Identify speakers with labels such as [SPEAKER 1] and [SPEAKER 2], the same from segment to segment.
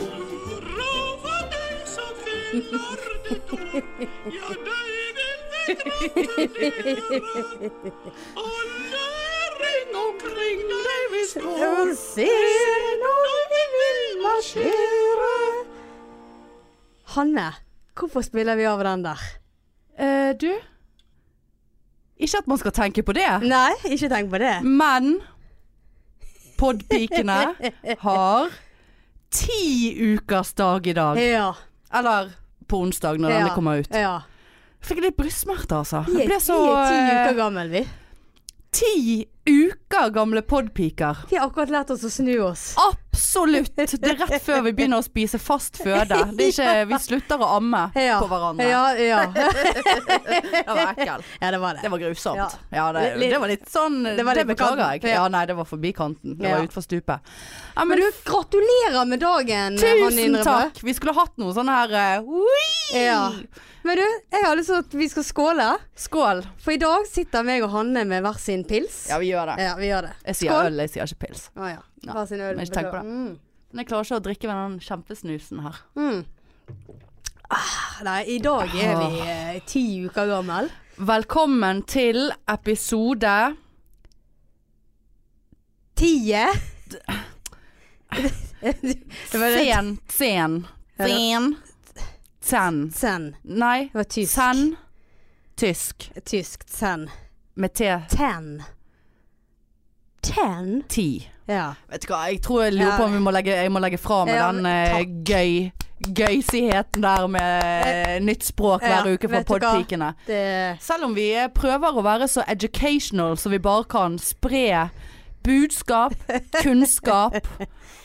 [SPEAKER 1] Rova deg som finner det tro. Ja, deg vil vi gratulere. Og læring omkring deg vi spår.
[SPEAKER 2] Se
[SPEAKER 1] Når vi vil marsjere.
[SPEAKER 2] Hanne, hvorfor spiller vi av den der?
[SPEAKER 3] Eh, du? Ikke at man skal tenke på det,
[SPEAKER 2] Nei, ikke tenk på det.
[SPEAKER 3] men podpikene har ti ukers dag i dag.
[SPEAKER 2] Ja.
[SPEAKER 3] Eller på onsdag når
[SPEAKER 2] ja,
[SPEAKER 3] denne kommer ut.
[SPEAKER 2] Ja.
[SPEAKER 3] Fikk litt brystsmerter, altså.
[SPEAKER 2] Vi
[SPEAKER 3] Jeg
[SPEAKER 2] er
[SPEAKER 3] ble
[SPEAKER 2] ti,
[SPEAKER 3] så
[SPEAKER 2] ti uker
[SPEAKER 3] eh,
[SPEAKER 2] gammel, vi.
[SPEAKER 3] Ti uker gamle podpiker.
[SPEAKER 2] Vi har akkurat lært oss å snu oss.
[SPEAKER 3] Absolutt! Det er rett før vi begynner å spise fast føde. Det er ikke, vi slutter å amme
[SPEAKER 2] Ja.
[SPEAKER 3] på hverandre.
[SPEAKER 2] Ja, ja.
[SPEAKER 3] Det var ekkelt.
[SPEAKER 2] ja det var det.
[SPEAKER 3] Det var grusomt.
[SPEAKER 2] Ja.
[SPEAKER 3] Ja, det,
[SPEAKER 2] Litt-
[SPEAKER 3] det var litt sånn Det,
[SPEAKER 2] det var litt på
[SPEAKER 3] beklager
[SPEAKER 2] kanten.
[SPEAKER 3] jeg. Ja, nei, det var forbi kanten. Det
[SPEAKER 2] Ja.
[SPEAKER 3] var utfor stupet. Ja,
[SPEAKER 2] Men
[SPEAKER 3] men
[SPEAKER 2] du, gratulerer med dagen, Hanne
[SPEAKER 3] tusen
[SPEAKER 2] Indrebø.
[SPEAKER 3] takk! Vi skulle hatt noe sånn her eh, hui!
[SPEAKER 2] Ja. Men du, jeg har lyst til at vi skal skåle.
[SPEAKER 3] Skål.
[SPEAKER 2] For i dag sitter meg og Hanne med hver sin pils.
[SPEAKER 3] Ja, vi gjør det.
[SPEAKER 2] Ja, vi gjør det.
[SPEAKER 3] Jeg sier
[SPEAKER 2] Eh, Skål.
[SPEAKER 3] øl, jeg sier ikke pils.
[SPEAKER 2] Å ja. Hver sin øl.
[SPEAKER 3] men ikke tenk på det.
[SPEAKER 2] Mm.
[SPEAKER 3] Men jeg klarer ikke å drikke med den kjempesnusen her.
[SPEAKER 2] Mm. Ah, nei, i dag er
[SPEAKER 3] Ah.
[SPEAKER 2] vi eh, ti uker gammel.
[SPEAKER 3] Velkommen til episode
[SPEAKER 2] Tie?
[SPEAKER 3] Sen, sen, sen, ten.
[SPEAKER 2] Sen.
[SPEAKER 3] Nei,
[SPEAKER 2] Det var tysk.
[SPEAKER 3] sen, tysk.
[SPEAKER 2] Tysk. Sen.
[SPEAKER 3] Med t,
[SPEAKER 2] Ten. Ten?
[SPEAKER 3] ti.
[SPEAKER 2] Ja.
[SPEAKER 3] Vet du hva, jeg tror jeg lurer
[SPEAKER 2] Ja.
[SPEAKER 3] på om vi må legge, jeg må legge fra meg
[SPEAKER 2] Ja,
[SPEAKER 3] den eh,
[SPEAKER 2] men
[SPEAKER 3] gøy, gøysigheten der med eh, nytt språk
[SPEAKER 2] Ja,
[SPEAKER 3] hver uke
[SPEAKER 2] vet
[SPEAKER 3] for
[SPEAKER 2] du hva?
[SPEAKER 3] podpikene.
[SPEAKER 2] Det
[SPEAKER 3] Selv om vi eh, prøver å være så educational som vi bare kan, spre budskap, kunnskap,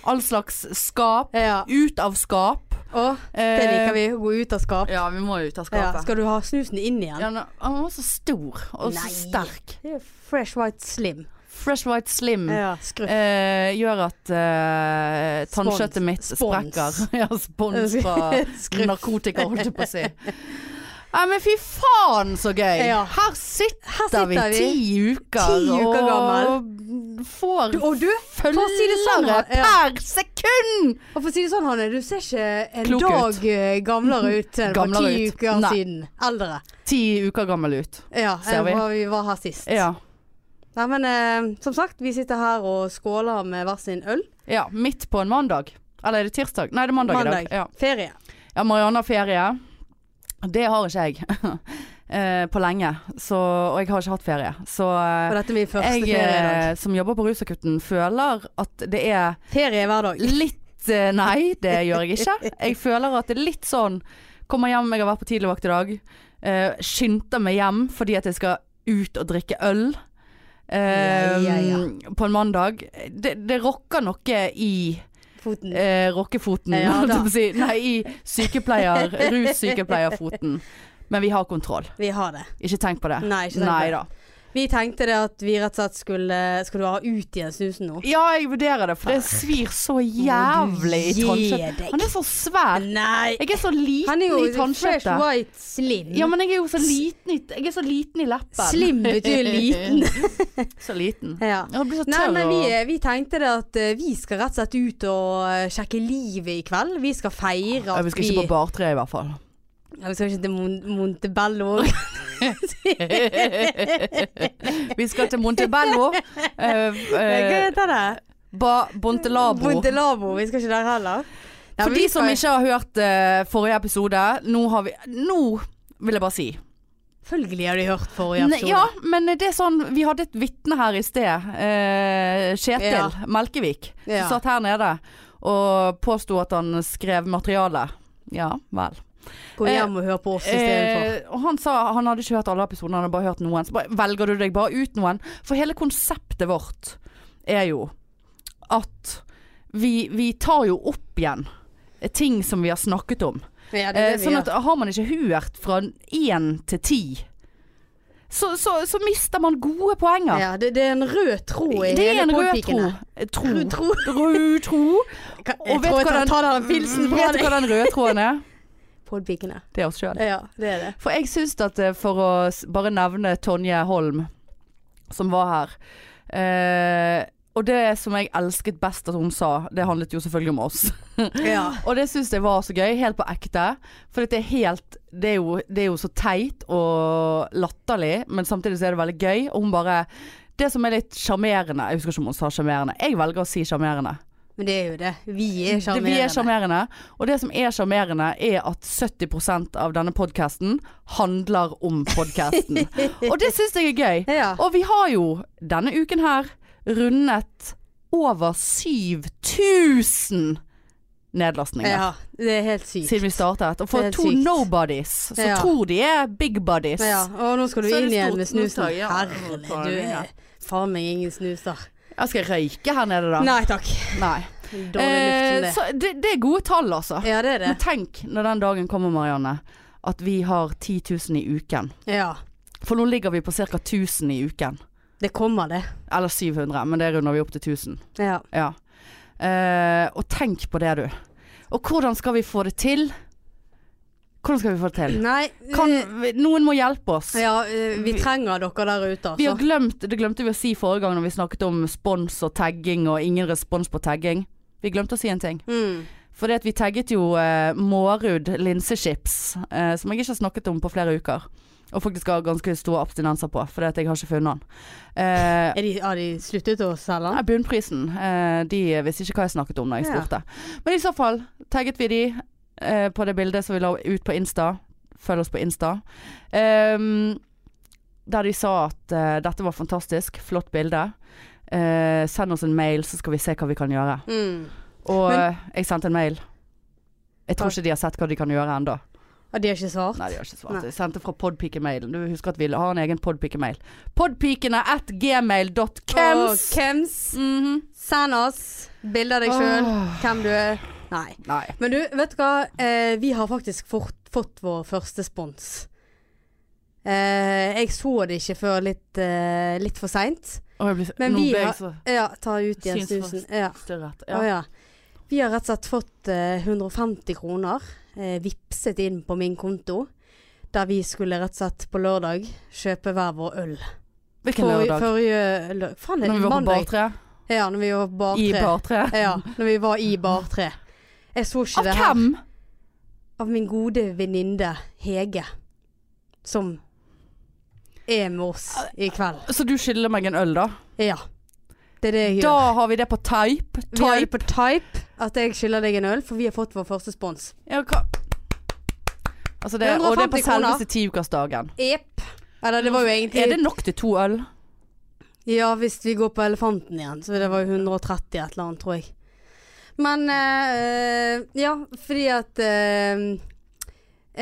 [SPEAKER 3] all slags skap,
[SPEAKER 2] Ja.
[SPEAKER 3] ut av skap. eh,
[SPEAKER 2] Og det liker vi. Å gå ut av skap.
[SPEAKER 3] Ja, vi må jo ut av
[SPEAKER 2] Ja.
[SPEAKER 3] skapet.
[SPEAKER 2] Skal du ha snusen inn igjen?
[SPEAKER 3] Ja, nå- han var så stor og
[SPEAKER 2] Nei.
[SPEAKER 3] så sterk.
[SPEAKER 2] Det er Fresh White Slim.
[SPEAKER 3] Fresh White Slim.
[SPEAKER 2] Ja, skruff.
[SPEAKER 3] Mm. eh, gjør at eh, tannkjøttet mitt
[SPEAKER 2] Spons.
[SPEAKER 3] sprekker. ja, spons fra
[SPEAKER 2] Skruff.
[SPEAKER 3] narkotika, holdt jeg på å si. Nei, men fy faen så gøy!
[SPEAKER 2] Ja.
[SPEAKER 3] Her sitter,
[SPEAKER 2] Her sitter
[SPEAKER 3] vi
[SPEAKER 2] vi.
[SPEAKER 3] ti uker,
[SPEAKER 2] Ti uker
[SPEAKER 3] og får
[SPEAKER 2] Du- Og du, for å si det sånn,
[SPEAKER 3] følgere
[SPEAKER 2] ja.
[SPEAKER 3] per sekund!
[SPEAKER 2] og for å si det sånn Hanne, du ser ikke en
[SPEAKER 3] Klok ut.
[SPEAKER 2] dag eh, gamlere ut enn for
[SPEAKER 3] Gamlere
[SPEAKER 2] ti
[SPEAKER 3] ut.
[SPEAKER 2] uker
[SPEAKER 3] Nei.
[SPEAKER 2] siden. Eldre.
[SPEAKER 3] Ti uker gammel ut.
[SPEAKER 2] Ja,
[SPEAKER 3] Ser
[SPEAKER 2] enn
[SPEAKER 3] vi.
[SPEAKER 2] hva vi var her sist.
[SPEAKER 3] Ja.
[SPEAKER 2] Nei, men eh, som sagt, vi sitter her og skåler med hver sin øl.
[SPEAKER 3] ja. Midt på en mandag. Eller er det tirsdag? Nei, det er mandag, i dag. Ja.
[SPEAKER 2] Ferie.
[SPEAKER 3] Ja, Marianne har ferie. Det har ikke jeg eh, på lenge, så, og jeg har ikke hatt ferie. Så eh,
[SPEAKER 2] Og dette er min første
[SPEAKER 3] jeg
[SPEAKER 2] ferie i dag.
[SPEAKER 3] eh, som jobber på Rusakutten føler at det er
[SPEAKER 2] Ferie hver dag.
[SPEAKER 3] litt eh, Nei, det gjør jeg ikke. Jeg føler at det er litt sånn Kommer hjem, jeg har vært på tidligvakt i dag. eh, skynder meg hjem fordi at jeg skal ut og drikke øl. eh,
[SPEAKER 2] Ja, ja,
[SPEAKER 3] På en mandag. Det, det rokker noe i
[SPEAKER 2] Foten.
[SPEAKER 3] eh, rockefoten.
[SPEAKER 2] Ja,
[SPEAKER 3] holdt jeg
[SPEAKER 2] da.
[SPEAKER 3] på å si. Nei, i sykepleier, russykepleierfoten. Men vi har kontroll.
[SPEAKER 2] Vi har det.
[SPEAKER 3] Ikke tenk på det.
[SPEAKER 2] Nei, ikke tenk på det.
[SPEAKER 3] da.
[SPEAKER 2] Vi tenkte det at vi rett og slett skulle Skal du ha ut igjen snusen nå?
[SPEAKER 3] Ja, jeg vurderer det, for det svir så jævlig i
[SPEAKER 2] Må du gi
[SPEAKER 3] tannkjøttet.
[SPEAKER 2] deg.
[SPEAKER 3] Han er så svær.
[SPEAKER 2] Nei!
[SPEAKER 3] Jeg er så liten
[SPEAKER 2] Han er
[SPEAKER 3] i
[SPEAKER 2] jo fresh
[SPEAKER 3] tannkjøttet.
[SPEAKER 2] white slim.
[SPEAKER 3] Ja, men jeg er jo så liten i, jeg er så liten i leppen.
[SPEAKER 2] Slim betyr liten.
[SPEAKER 3] så liten.
[SPEAKER 2] ja.
[SPEAKER 3] Jeg blir så
[SPEAKER 2] Nei,
[SPEAKER 3] tørr
[SPEAKER 2] men vi, eh,
[SPEAKER 3] og
[SPEAKER 2] vi tenkte det at eh, vi skal rett og slett ut og eh, sjekke livet i kveld. Vi skal feire
[SPEAKER 3] Ja,
[SPEAKER 2] at
[SPEAKER 3] Vi skal ikke på bartre i hvert fall.
[SPEAKER 2] Ja, vi skal ikke til Mon Montebello.
[SPEAKER 3] Vi skal til Montebello. eh,
[SPEAKER 2] Hva
[SPEAKER 3] eh,
[SPEAKER 2] heter det?
[SPEAKER 3] ba Bontelabo.
[SPEAKER 2] Montelabo. Vi skal ikke der heller. Nei,
[SPEAKER 3] For
[SPEAKER 2] men Mm, vi
[SPEAKER 3] de som
[SPEAKER 2] skal-
[SPEAKER 3] ikke har hørt eh, forrige episode, nå har vi Nå vil jeg bare si.
[SPEAKER 2] Selvfølgelig har de hørt forrige
[SPEAKER 3] Ne-
[SPEAKER 2] episode.
[SPEAKER 3] ja, men det er sånn Vi hadde et vitne her i sted. Eh, Kjetil
[SPEAKER 2] Ja.
[SPEAKER 3] Melkevik.
[SPEAKER 2] Ja.
[SPEAKER 3] Som satt her nede og påsto at han skrev materiale. Ja vel.
[SPEAKER 2] Gå hjem og hør på oss istedenfor.
[SPEAKER 3] Eh, og han sa han hadde ikke hørt alle episodene, han hadde bare hørt noen. Så bare, velger du deg bare ut noen? For hele konseptet vårt er jo at vi, vi tar jo opp igjen ting som vi har snakket om.
[SPEAKER 2] Ja, det er
[SPEAKER 3] Eh,
[SPEAKER 2] det vi
[SPEAKER 3] sånn
[SPEAKER 2] gjør.
[SPEAKER 3] at har man ikke hørt fra én til ti, så, så, så mister man gode poenger.
[SPEAKER 2] ja, det, det er en rød tråd Mm. i
[SPEAKER 3] Det er
[SPEAKER 2] hele
[SPEAKER 3] en rød tro.
[SPEAKER 2] podpikene.
[SPEAKER 3] tro.
[SPEAKER 2] Rød Mm. tro.
[SPEAKER 3] Rød tro.
[SPEAKER 2] Kan-
[SPEAKER 3] Og
[SPEAKER 2] Jeg
[SPEAKER 3] vet
[SPEAKER 2] tror jeg
[SPEAKER 3] hva
[SPEAKER 2] tar,
[SPEAKER 3] den-
[SPEAKER 2] tar den filsen fra
[SPEAKER 3] Vet du
[SPEAKER 2] deg.
[SPEAKER 3] hva den røde tråden er?
[SPEAKER 2] Podpikene.
[SPEAKER 3] Det er oss sjøl.
[SPEAKER 2] Ja, det er det.
[SPEAKER 3] For jeg syns at eh, for å s- bare nevne Tonje Holm, som var her eh, Og det som jeg elsket best at hun sa, det handlet jo selvfølgelig om oss.
[SPEAKER 2] Ja.
[SPEAKER 3] Og det syns jeg var så gøy, helt på ekte. For det er helt det er, jo, det er jo så teit og latterlig, men samtidig så er det veldig gøy. Og hun bare Det som er litt sjarmerende Jeg husker ikke om hun sa sjarmerende. Jeg velger å si sjarmerende.
[SPEAKER 2] Men det er jo det. Vi er
[SPEAKER 3] Det- Vi er
[SPEAKER 2] sjarmerende.
[SPEAKER 3] sjarmerende. Og det som er sjarmerende, er at 70 av denne podkasten handler om podkasten. og det syns jeg er gøy.
[SPEAKER 2] Ja.
[SPEAKER 3] Og vi har jo denne uken her rundet over 7000 nedlastninger.
[SPEAKER 2] ja. Det er helt sykt.
[SPEAKER 3] Siden vi startet. Og
[SPEAKER 2] Det
[SPEAKER 3] for
[SPEAKER 2] er
[SPEAKER 3] to
[SPEAKER 2] sykt.
[SPEAKER 3] nobodies, så
[SPEAKER 2] Ja.
[SPEAKER 3] tror de er big buddies.
[SPEAKER 2] Ja, og nå skal du
[SPEAKER 3] Så er
[SPEAKER 2] inn
[SPEAKER 3] det
[SPEAKER 2] igjen
[SPEAKER 3] stort
[SPEAKER 2] med snusen.
[SPEAKER 3] mottak, ja.
[SPEAKER 2] Herlig, du er faen meg ingen snuser.
[SPEAKER 3] Jeg skal røyke her nede, da.
[SPEAKER 2] Nei takk.
[SPEAKER 3] Nei.
[SPEAKER 2] Dårlig luft som
[SPEAKER 3] Eh,
[SPEAKER 2] det.
[SPEAKER 3] så det, det er gode tall, altså.
[SPEAKER 2] Ja, det er det.
[SPEAKER 3] Men tenk når den dagen kommer, Marianne, at vi har 10 000 i uken.
[SPEAKER 2] Ja.
[SPEAKER 3] For nå ligger vi på ca. 1000 i uken.
[SPEAKER 2] Det kommer, det.
[SPEAKER 3] Eller 700, men det runder vi opp til 1000.
[SPEAKER 2] Ja.
[SPEAKER 3] Ja. Eh, og tenk på det, du. Og hvordan skal vi få det til? Hvordan skal vi få det til?
[SPEAKER 2] Nei,
[SPEAKER 3] Kan,
[SPEAKER 2] eh,
[SPEAKER 3] noen må hjelpe oss.
[SPEAKER 2] ja, eh, vi trenger dere der ute,
[SPEAKER 3] Vi har
[SPEAKER 2] altså.
[SPEAKER 3] glemt, det glemte vi å si forrige gang når vi snakket om spons og tagging og ingen respons på tagging. Vi glemte å si en ting.
[SPEAKER 2] Mm.
[SPEAKER 3] For det at vi tagget jo eh, Mårud linsechips, eh, som jeg ikke har snakket om på flere uker. Og faktisk har ganske store abstinenser på, for det at jeg har ikke funnet den. Eh,
[SPEAKER 2] Er de, har de sluttet å selge
[SPEAKER 3] nei,
[SPEAKER 2] den?
[SPEAKER 3] Bunnprisen. Eh, de visste ikke hva jeg snakket om da jeg
[SPEAKER 2] Ja.
[SPEAKER 3] spurte. Men i så fall tagget vi de eh, på det bildet som vi la ut på Insta. Følg oss på Insta. Ehm, der de sa at eh, dette var fantastisk, flott bilde. Eh, send oss en mail, så skal vi se hva vi kan gjøre.
[SPEAKER 2] Mm.
[SPEAKER 3] Og
[SPEAKER 2] Men-
[SPEAKER 3] eh, jeg sendte en mail. Jeg tror ikke de har sett hva de kan gjøre ennå.
[SPEAKER 2] Ja, de har ikke svart?
[SPEAKER 3] Nei, de har ikke svart.
[SPEAKER 2] Nei.
[SPEAKER 3] Jeg sendte fra podpikemailen. Du husker at vi har en egen podpikemail. Podpikene at gmail.kems.
[SPEAKER 2] Åh, Kems.
[SPEAKER 3] Mhm.
[SPEAKER 2] Send oss bilde av deg sjøl. Hvem du er. Nei.
[SPEAKER 3] Nei.
[SPEAKER 2] Men du, vet du hva? Eh, vi har faktisk fort, fått vår første spons. Eh, jeg så det ikke før litt, eh, litt for seint.
[SPEAKER 3] Å, jeg blir,
[SPEAKER 2] Men
[SPEAKER 3] nå
[SPEAKER 2] vi
[SPEAKER 3] ble
[SPEAKER 2] har-
[SPEAKER 3] jeg så
[SPEAKER 2] Ja, ta ut igjen
[SPEAKER 3] Syns
[SPEAKER 2] snusen.
[SPEAKER 3] fast.
[SPEAKER 2] Ja.
[SPEAKER 3] størret.
[SPEAKER 2] Ja.
[SPEAKER 3] Ja.
[SPEAKER 2] ja. Vi har rett og slett fått eh, 150 kroner eh, vipset inn på min konto. Der vi skulle rett og slett på lørdag kjøpe hver vår øl.
[SPEAKER 3] Hvilken
[SPEAKER 2] Forrige-
[SPEAKER 3] lørdag?
[SPEAKER 2] Forrige lørdag Faen, er
[SPEAKER 3] Når
[SPEAKER 2] det
[SPEAKER 3] vi var på
[SPEAKER 2] mandag?
[SPEAKER 3] Bartre?
[SPEAKER 2] Ja, når vi var på bar
[SPEAKER 3] I
[SPEAKER 2] tre.
[SPEAKER 3] Bartre?
[SPEAKER 2] Ja, når vi var i bar tre. Jeg så ikke
[SPEAKER 3] Av
[SPEAKER 2] det
[SPEAKER 3] hvem?
[SPEAKER 2] her av min gode venninne Hege. Som er med oss i kveld.
[SPEAKER 3] Så du skylder meg en øl, da?
[SPEAKER 2] Ja. Det er det jeg gjør.
[SPEAKER 3] Da har vi det på type.
[SPEAKER 2] Vi har det
[SPEAKER 3] Type.
[SPEAKER 2] på type at jeg skylder deg en øl, for vi har fått vår første spons.
[SPEAKER 3] Ja, hva? Altså det, og det er
[SPEAKER 2] 150
[SPEAKER 3] på
[SPEAKER 2] kroner.
[SPEAKER 3] selveste tiukersdagen.
[SPEAKER 2] Jepp. Eller det var jo
[SPEAKER 3] Er det
[SPEAKER 2] egentlig
[SPEAKER 3] nok til to øl?
[SPEAKER 2] Ja, hvis vi går på elefanten igjen, så det var jo 130 et eller annet, tror jeg. Men eh, Ja, fordi at eh,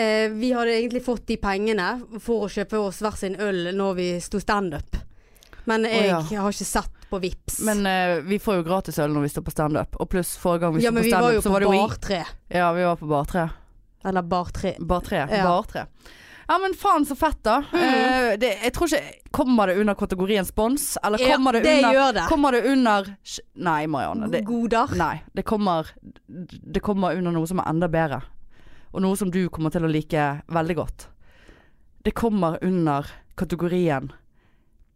[SPEAKER 2] eh, Vi hadde egentlig fått de pengene for å kjøpe oss hver sin øl når vi sto standup. Men jeg
[SPEAKER 3] ja.
[SPEAKER 2] har ikke sett på Vips.
[SPEAKER 3] Men eh, vi får jo gratis øl når vi står på standup. Og pluss forrige gang vi
[SPEAKER 2] ja,
[SPEAKER 3] sto
[SPEAKER 2] men
[SPEAKER 3] på
[SPEAKER 2] vi var jo
[SPEAKER 3] standup, så
[SPEAKER 2] på
[SPEAKER 3] var det jo i
[SPEAKER 2] Bar 3.
[SPEAKER 3] Ja, vi var på bar tre.
[SPEAKER 2] Eller Bar 3.
[SPEAKER 3] Bar tre.
[SPEAKER 2] Ja. Mm.
[SPEAKER 3] Bar tre. Ja, men faen så fett, da. Eh, det, jeg tror ikke Kommer det under kategorien spons? Eller
[SPEAKER 2] Ja,
[SPEAKER 3] kommer det
[SPEAKER 2] det
[SPEAKER 3] under
[SPEAKER 2] gjør det.
[SPEAKER 3] Kommer det under sk- Nei, Marianne. Det,
[SPEAKER 2] Goder.
[SPEAKER 3] nei, det kommer Det kommer under noe som er enda bedre. Og noe som du kommer til å like veldig godt. Det kommer under kategorien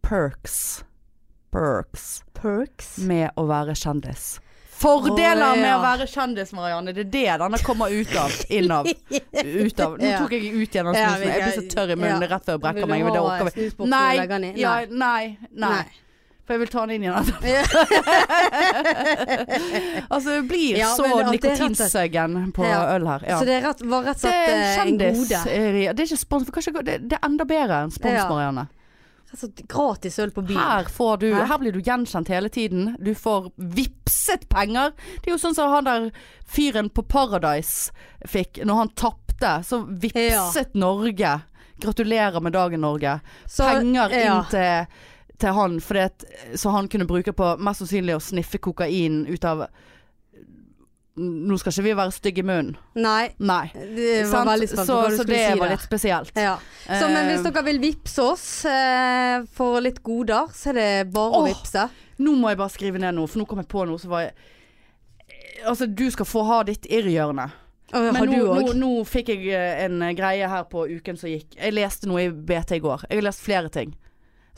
[SPEAKER 3] perks. Perks.
[SPEAKER 2] Perks.
[SPEAKER 3] med å være kjendis. Fordeler
[SPEAKER 2] Å, ja.
[SPEAKER 3] med å være kjendis, Marianne. Det er det denne kommer ut av. Inn av. Ut av. Nå
[SPEAKER 2] Ja.
[SPEAKER 3] tok jeg ut igjen den
[SPEAKER 2] Ja,
[SPEAKER 3] snusen.
[SPEAKER 2] vi
[SPEAKER 3] Jeg blir
[SPEAKER 2] kan-
[SPEAKER 3] så tørr i munnen
[SPEAKER 2] ja.
[SPEAKER 3] rett før jeg
[SPEAKER 2] Vil
[SPEAKER 3] brekker
[SPEAKER 2] du
[SPEAKER 3] meg. Men det
[SPEAKER 2] ha
[SPEAKER 3] orker vi.
[SPEAKER 2] snusboksen og legge den
[SPEAKER 3] Nei,
[SPEAKER 2] i?
[SPEAKER 3] ja, nei, nei.
[SPEAKER 2] Nei.
[SPEAKER 3] For jeg vil ta den inn igjen. altså, jeg blir
[SPEAKER 2] Ja,
[SPEAKER 3] så
[SPEAKER 2] men at det er rett og slett-
[SPEAKER 3] nikotinsøggen på
[SPEAKER 2] Ja.
[SPEAKER 3] øl her. Ja.
[SPEAKER 2] Så det er rett, var rett og
[SPEAKER 3] Det
[SPEAKER 2] slett
[SPEAKER 3] er
[SPEAKER 2] eh, en
[SPEAKER 3] kjendis.
[SPEAKER 2] gode.
[SPEAKER 3] eh, Det er ikke spons. for kanskje- Det det er enda bedre enn spons,
[SPEAKER 2] Ja.
[SPEAKER 3] Marianne.
[SPEAKER 2] Altså, gratis øl på byen.
[SPEAKER 3] Her får du
[SPEAKER 2] Hæ?
[SPEAKER 3] Her blir du gjenkjent hele tiden. Du får vipset penger. Det er jo sånn som han der fyren på Paradise fikk når han tapte. Så vipset Norge. Gratulerer med dagen, Norge.
[SPEAKER 2] Så-
[SPEAKER 3] penger
[SPEAKER 2] ja.
[SPEAKER 3] inn til, til han, fordi at, så han kunne bruke på mest sannsynlig å sniffe kokain ut av Nå skal ikke vi være stygge i munnen.
[SPEAKER 2] Nei,
[SPEAKER 3] Nei.
[SPEAKER 2] det var
[SPEAKER 3] Sant?
[SPEAKER 2] veldig spent på
[SPEAKER 3] så,
[SPEAKER 2] hva du
[SPEAKER 3] så
[SPEAKER 2] skulle
[SPEAKER 3] det
[SPEAKER 2] si
[SPEAKER 3] var
[SPEAKER 2] der.
[SPEAKER 3] litt spesielt.
[SPEAKER 2] Ja. Så, men hvis
[SPEAKER 3] Eh,
[SPEAKER 2] dere vil vippse oss eh, for litt goder, så er det bare å
[SPEAKER 3] Åh.
[SPEAKER 2] vippse.
[SPEAKER 3] Nå må jeg bare skrive ned noe, for nå kom jeg på noe som var Altså, du skal få ha ditt irrhjørne.
[SPEAKER 2] Og
[SPEAKER 3] Men
[SPEAKER 2] har
[SPEAKER 3] nå,
[SPEAKER 2] du
[SPEAKER 3] nå,
[SPEAKER 2] òg?
[SPEAKER 3] nå fikk jeg eh, en greie her på uken som gikk. Jeg leste noe i BT i går. Jeg har lest flere ting.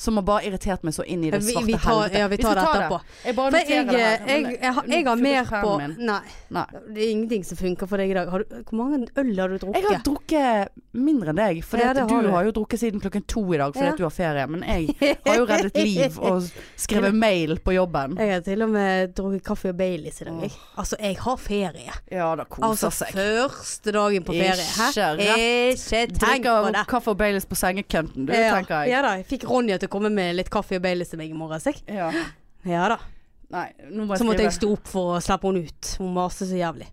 [SPEAKER 3] som har bare irritert meg så inn i det
[SPEAKER 2] Vi,
[SPEAKER 3] svarte
[SPEAKER 2] vi tar,
[SPEAKER 3] helvete.
[SPEAKER 2] ja, vi tar det etterpå.
[SPEAKER 3] Jeg bare
[SPEAKER 2] For jeg,
[SPEAKER 3] noterer
[SPEAKER 2] jeg,
[SPEAKER 3] det her, men
[SPEAKER 2] jeg, jeg, har- jeg har
[SPEAKER 3] nå
[SPEAKER 2] mer
[SPEAKER 3] flytter
[SPEAKER 2] på
[SPEAKER 3] skjermen min.
[SPEAKER 2] Nei.
[SPEAKER 3] Nei.
[SPEAKER 2] Det er ingenting som funker for deg i dag. Har du, hvor mange øl har du drukket?
[SPEAKER 3] Jeg har drukket mindre enn deg, for
[SPEAKER 2] Ja, det har
[SPEAKER 3] du
[SPEAKER 2] du.
[SPEAKER 3] har jo drukket siden klokken to i dag fordi
[SPEAKER 2] Ja.
[SPEAKER 3] at du har ferie. Men jeg har jo reddet liv og skrevet mail på jobben.
[SPEAKER 2] Jeg har til og med drukket kaffe og Baileys i dag.
[SPEAKER 3] Åh.
[SPEAKER 2] Jeg. Altså, jeg har ferie.
[SPEAKER 3] Ja, da koser
[SPEAKER 2] Altså
[SPEAKER 3] seg.
[SPEAKER 2] første dagen på ferie.
[SPEAKER 3] Ikke
[SPEAKER 2] Hæ? Ikke tenk på
[SPEAKER 3] Drikker
[SPEAKER 2] det.
[SPEAKER 3] kaffe og Baileys på sengekanten, du,
[SPEAKER 2] ja.
[SPEAKER 3] tenker jeg.
[SPEAKER 2] ja da. Jeg fikk Ronja til å komme med litt kaffe og Baileys til meg i morges. jeg.
[SPEAKER 3] Ja.
[SPEAKER 2] Ja da.
[SPEAKER 3] Nei, nå må jeg
[SPEAKER 2] Så måtte
[SPEAKER 3] skrive.
[SPEAKER 2] jeg stå opp for å slippe henne ut. Hun maste så jævlig.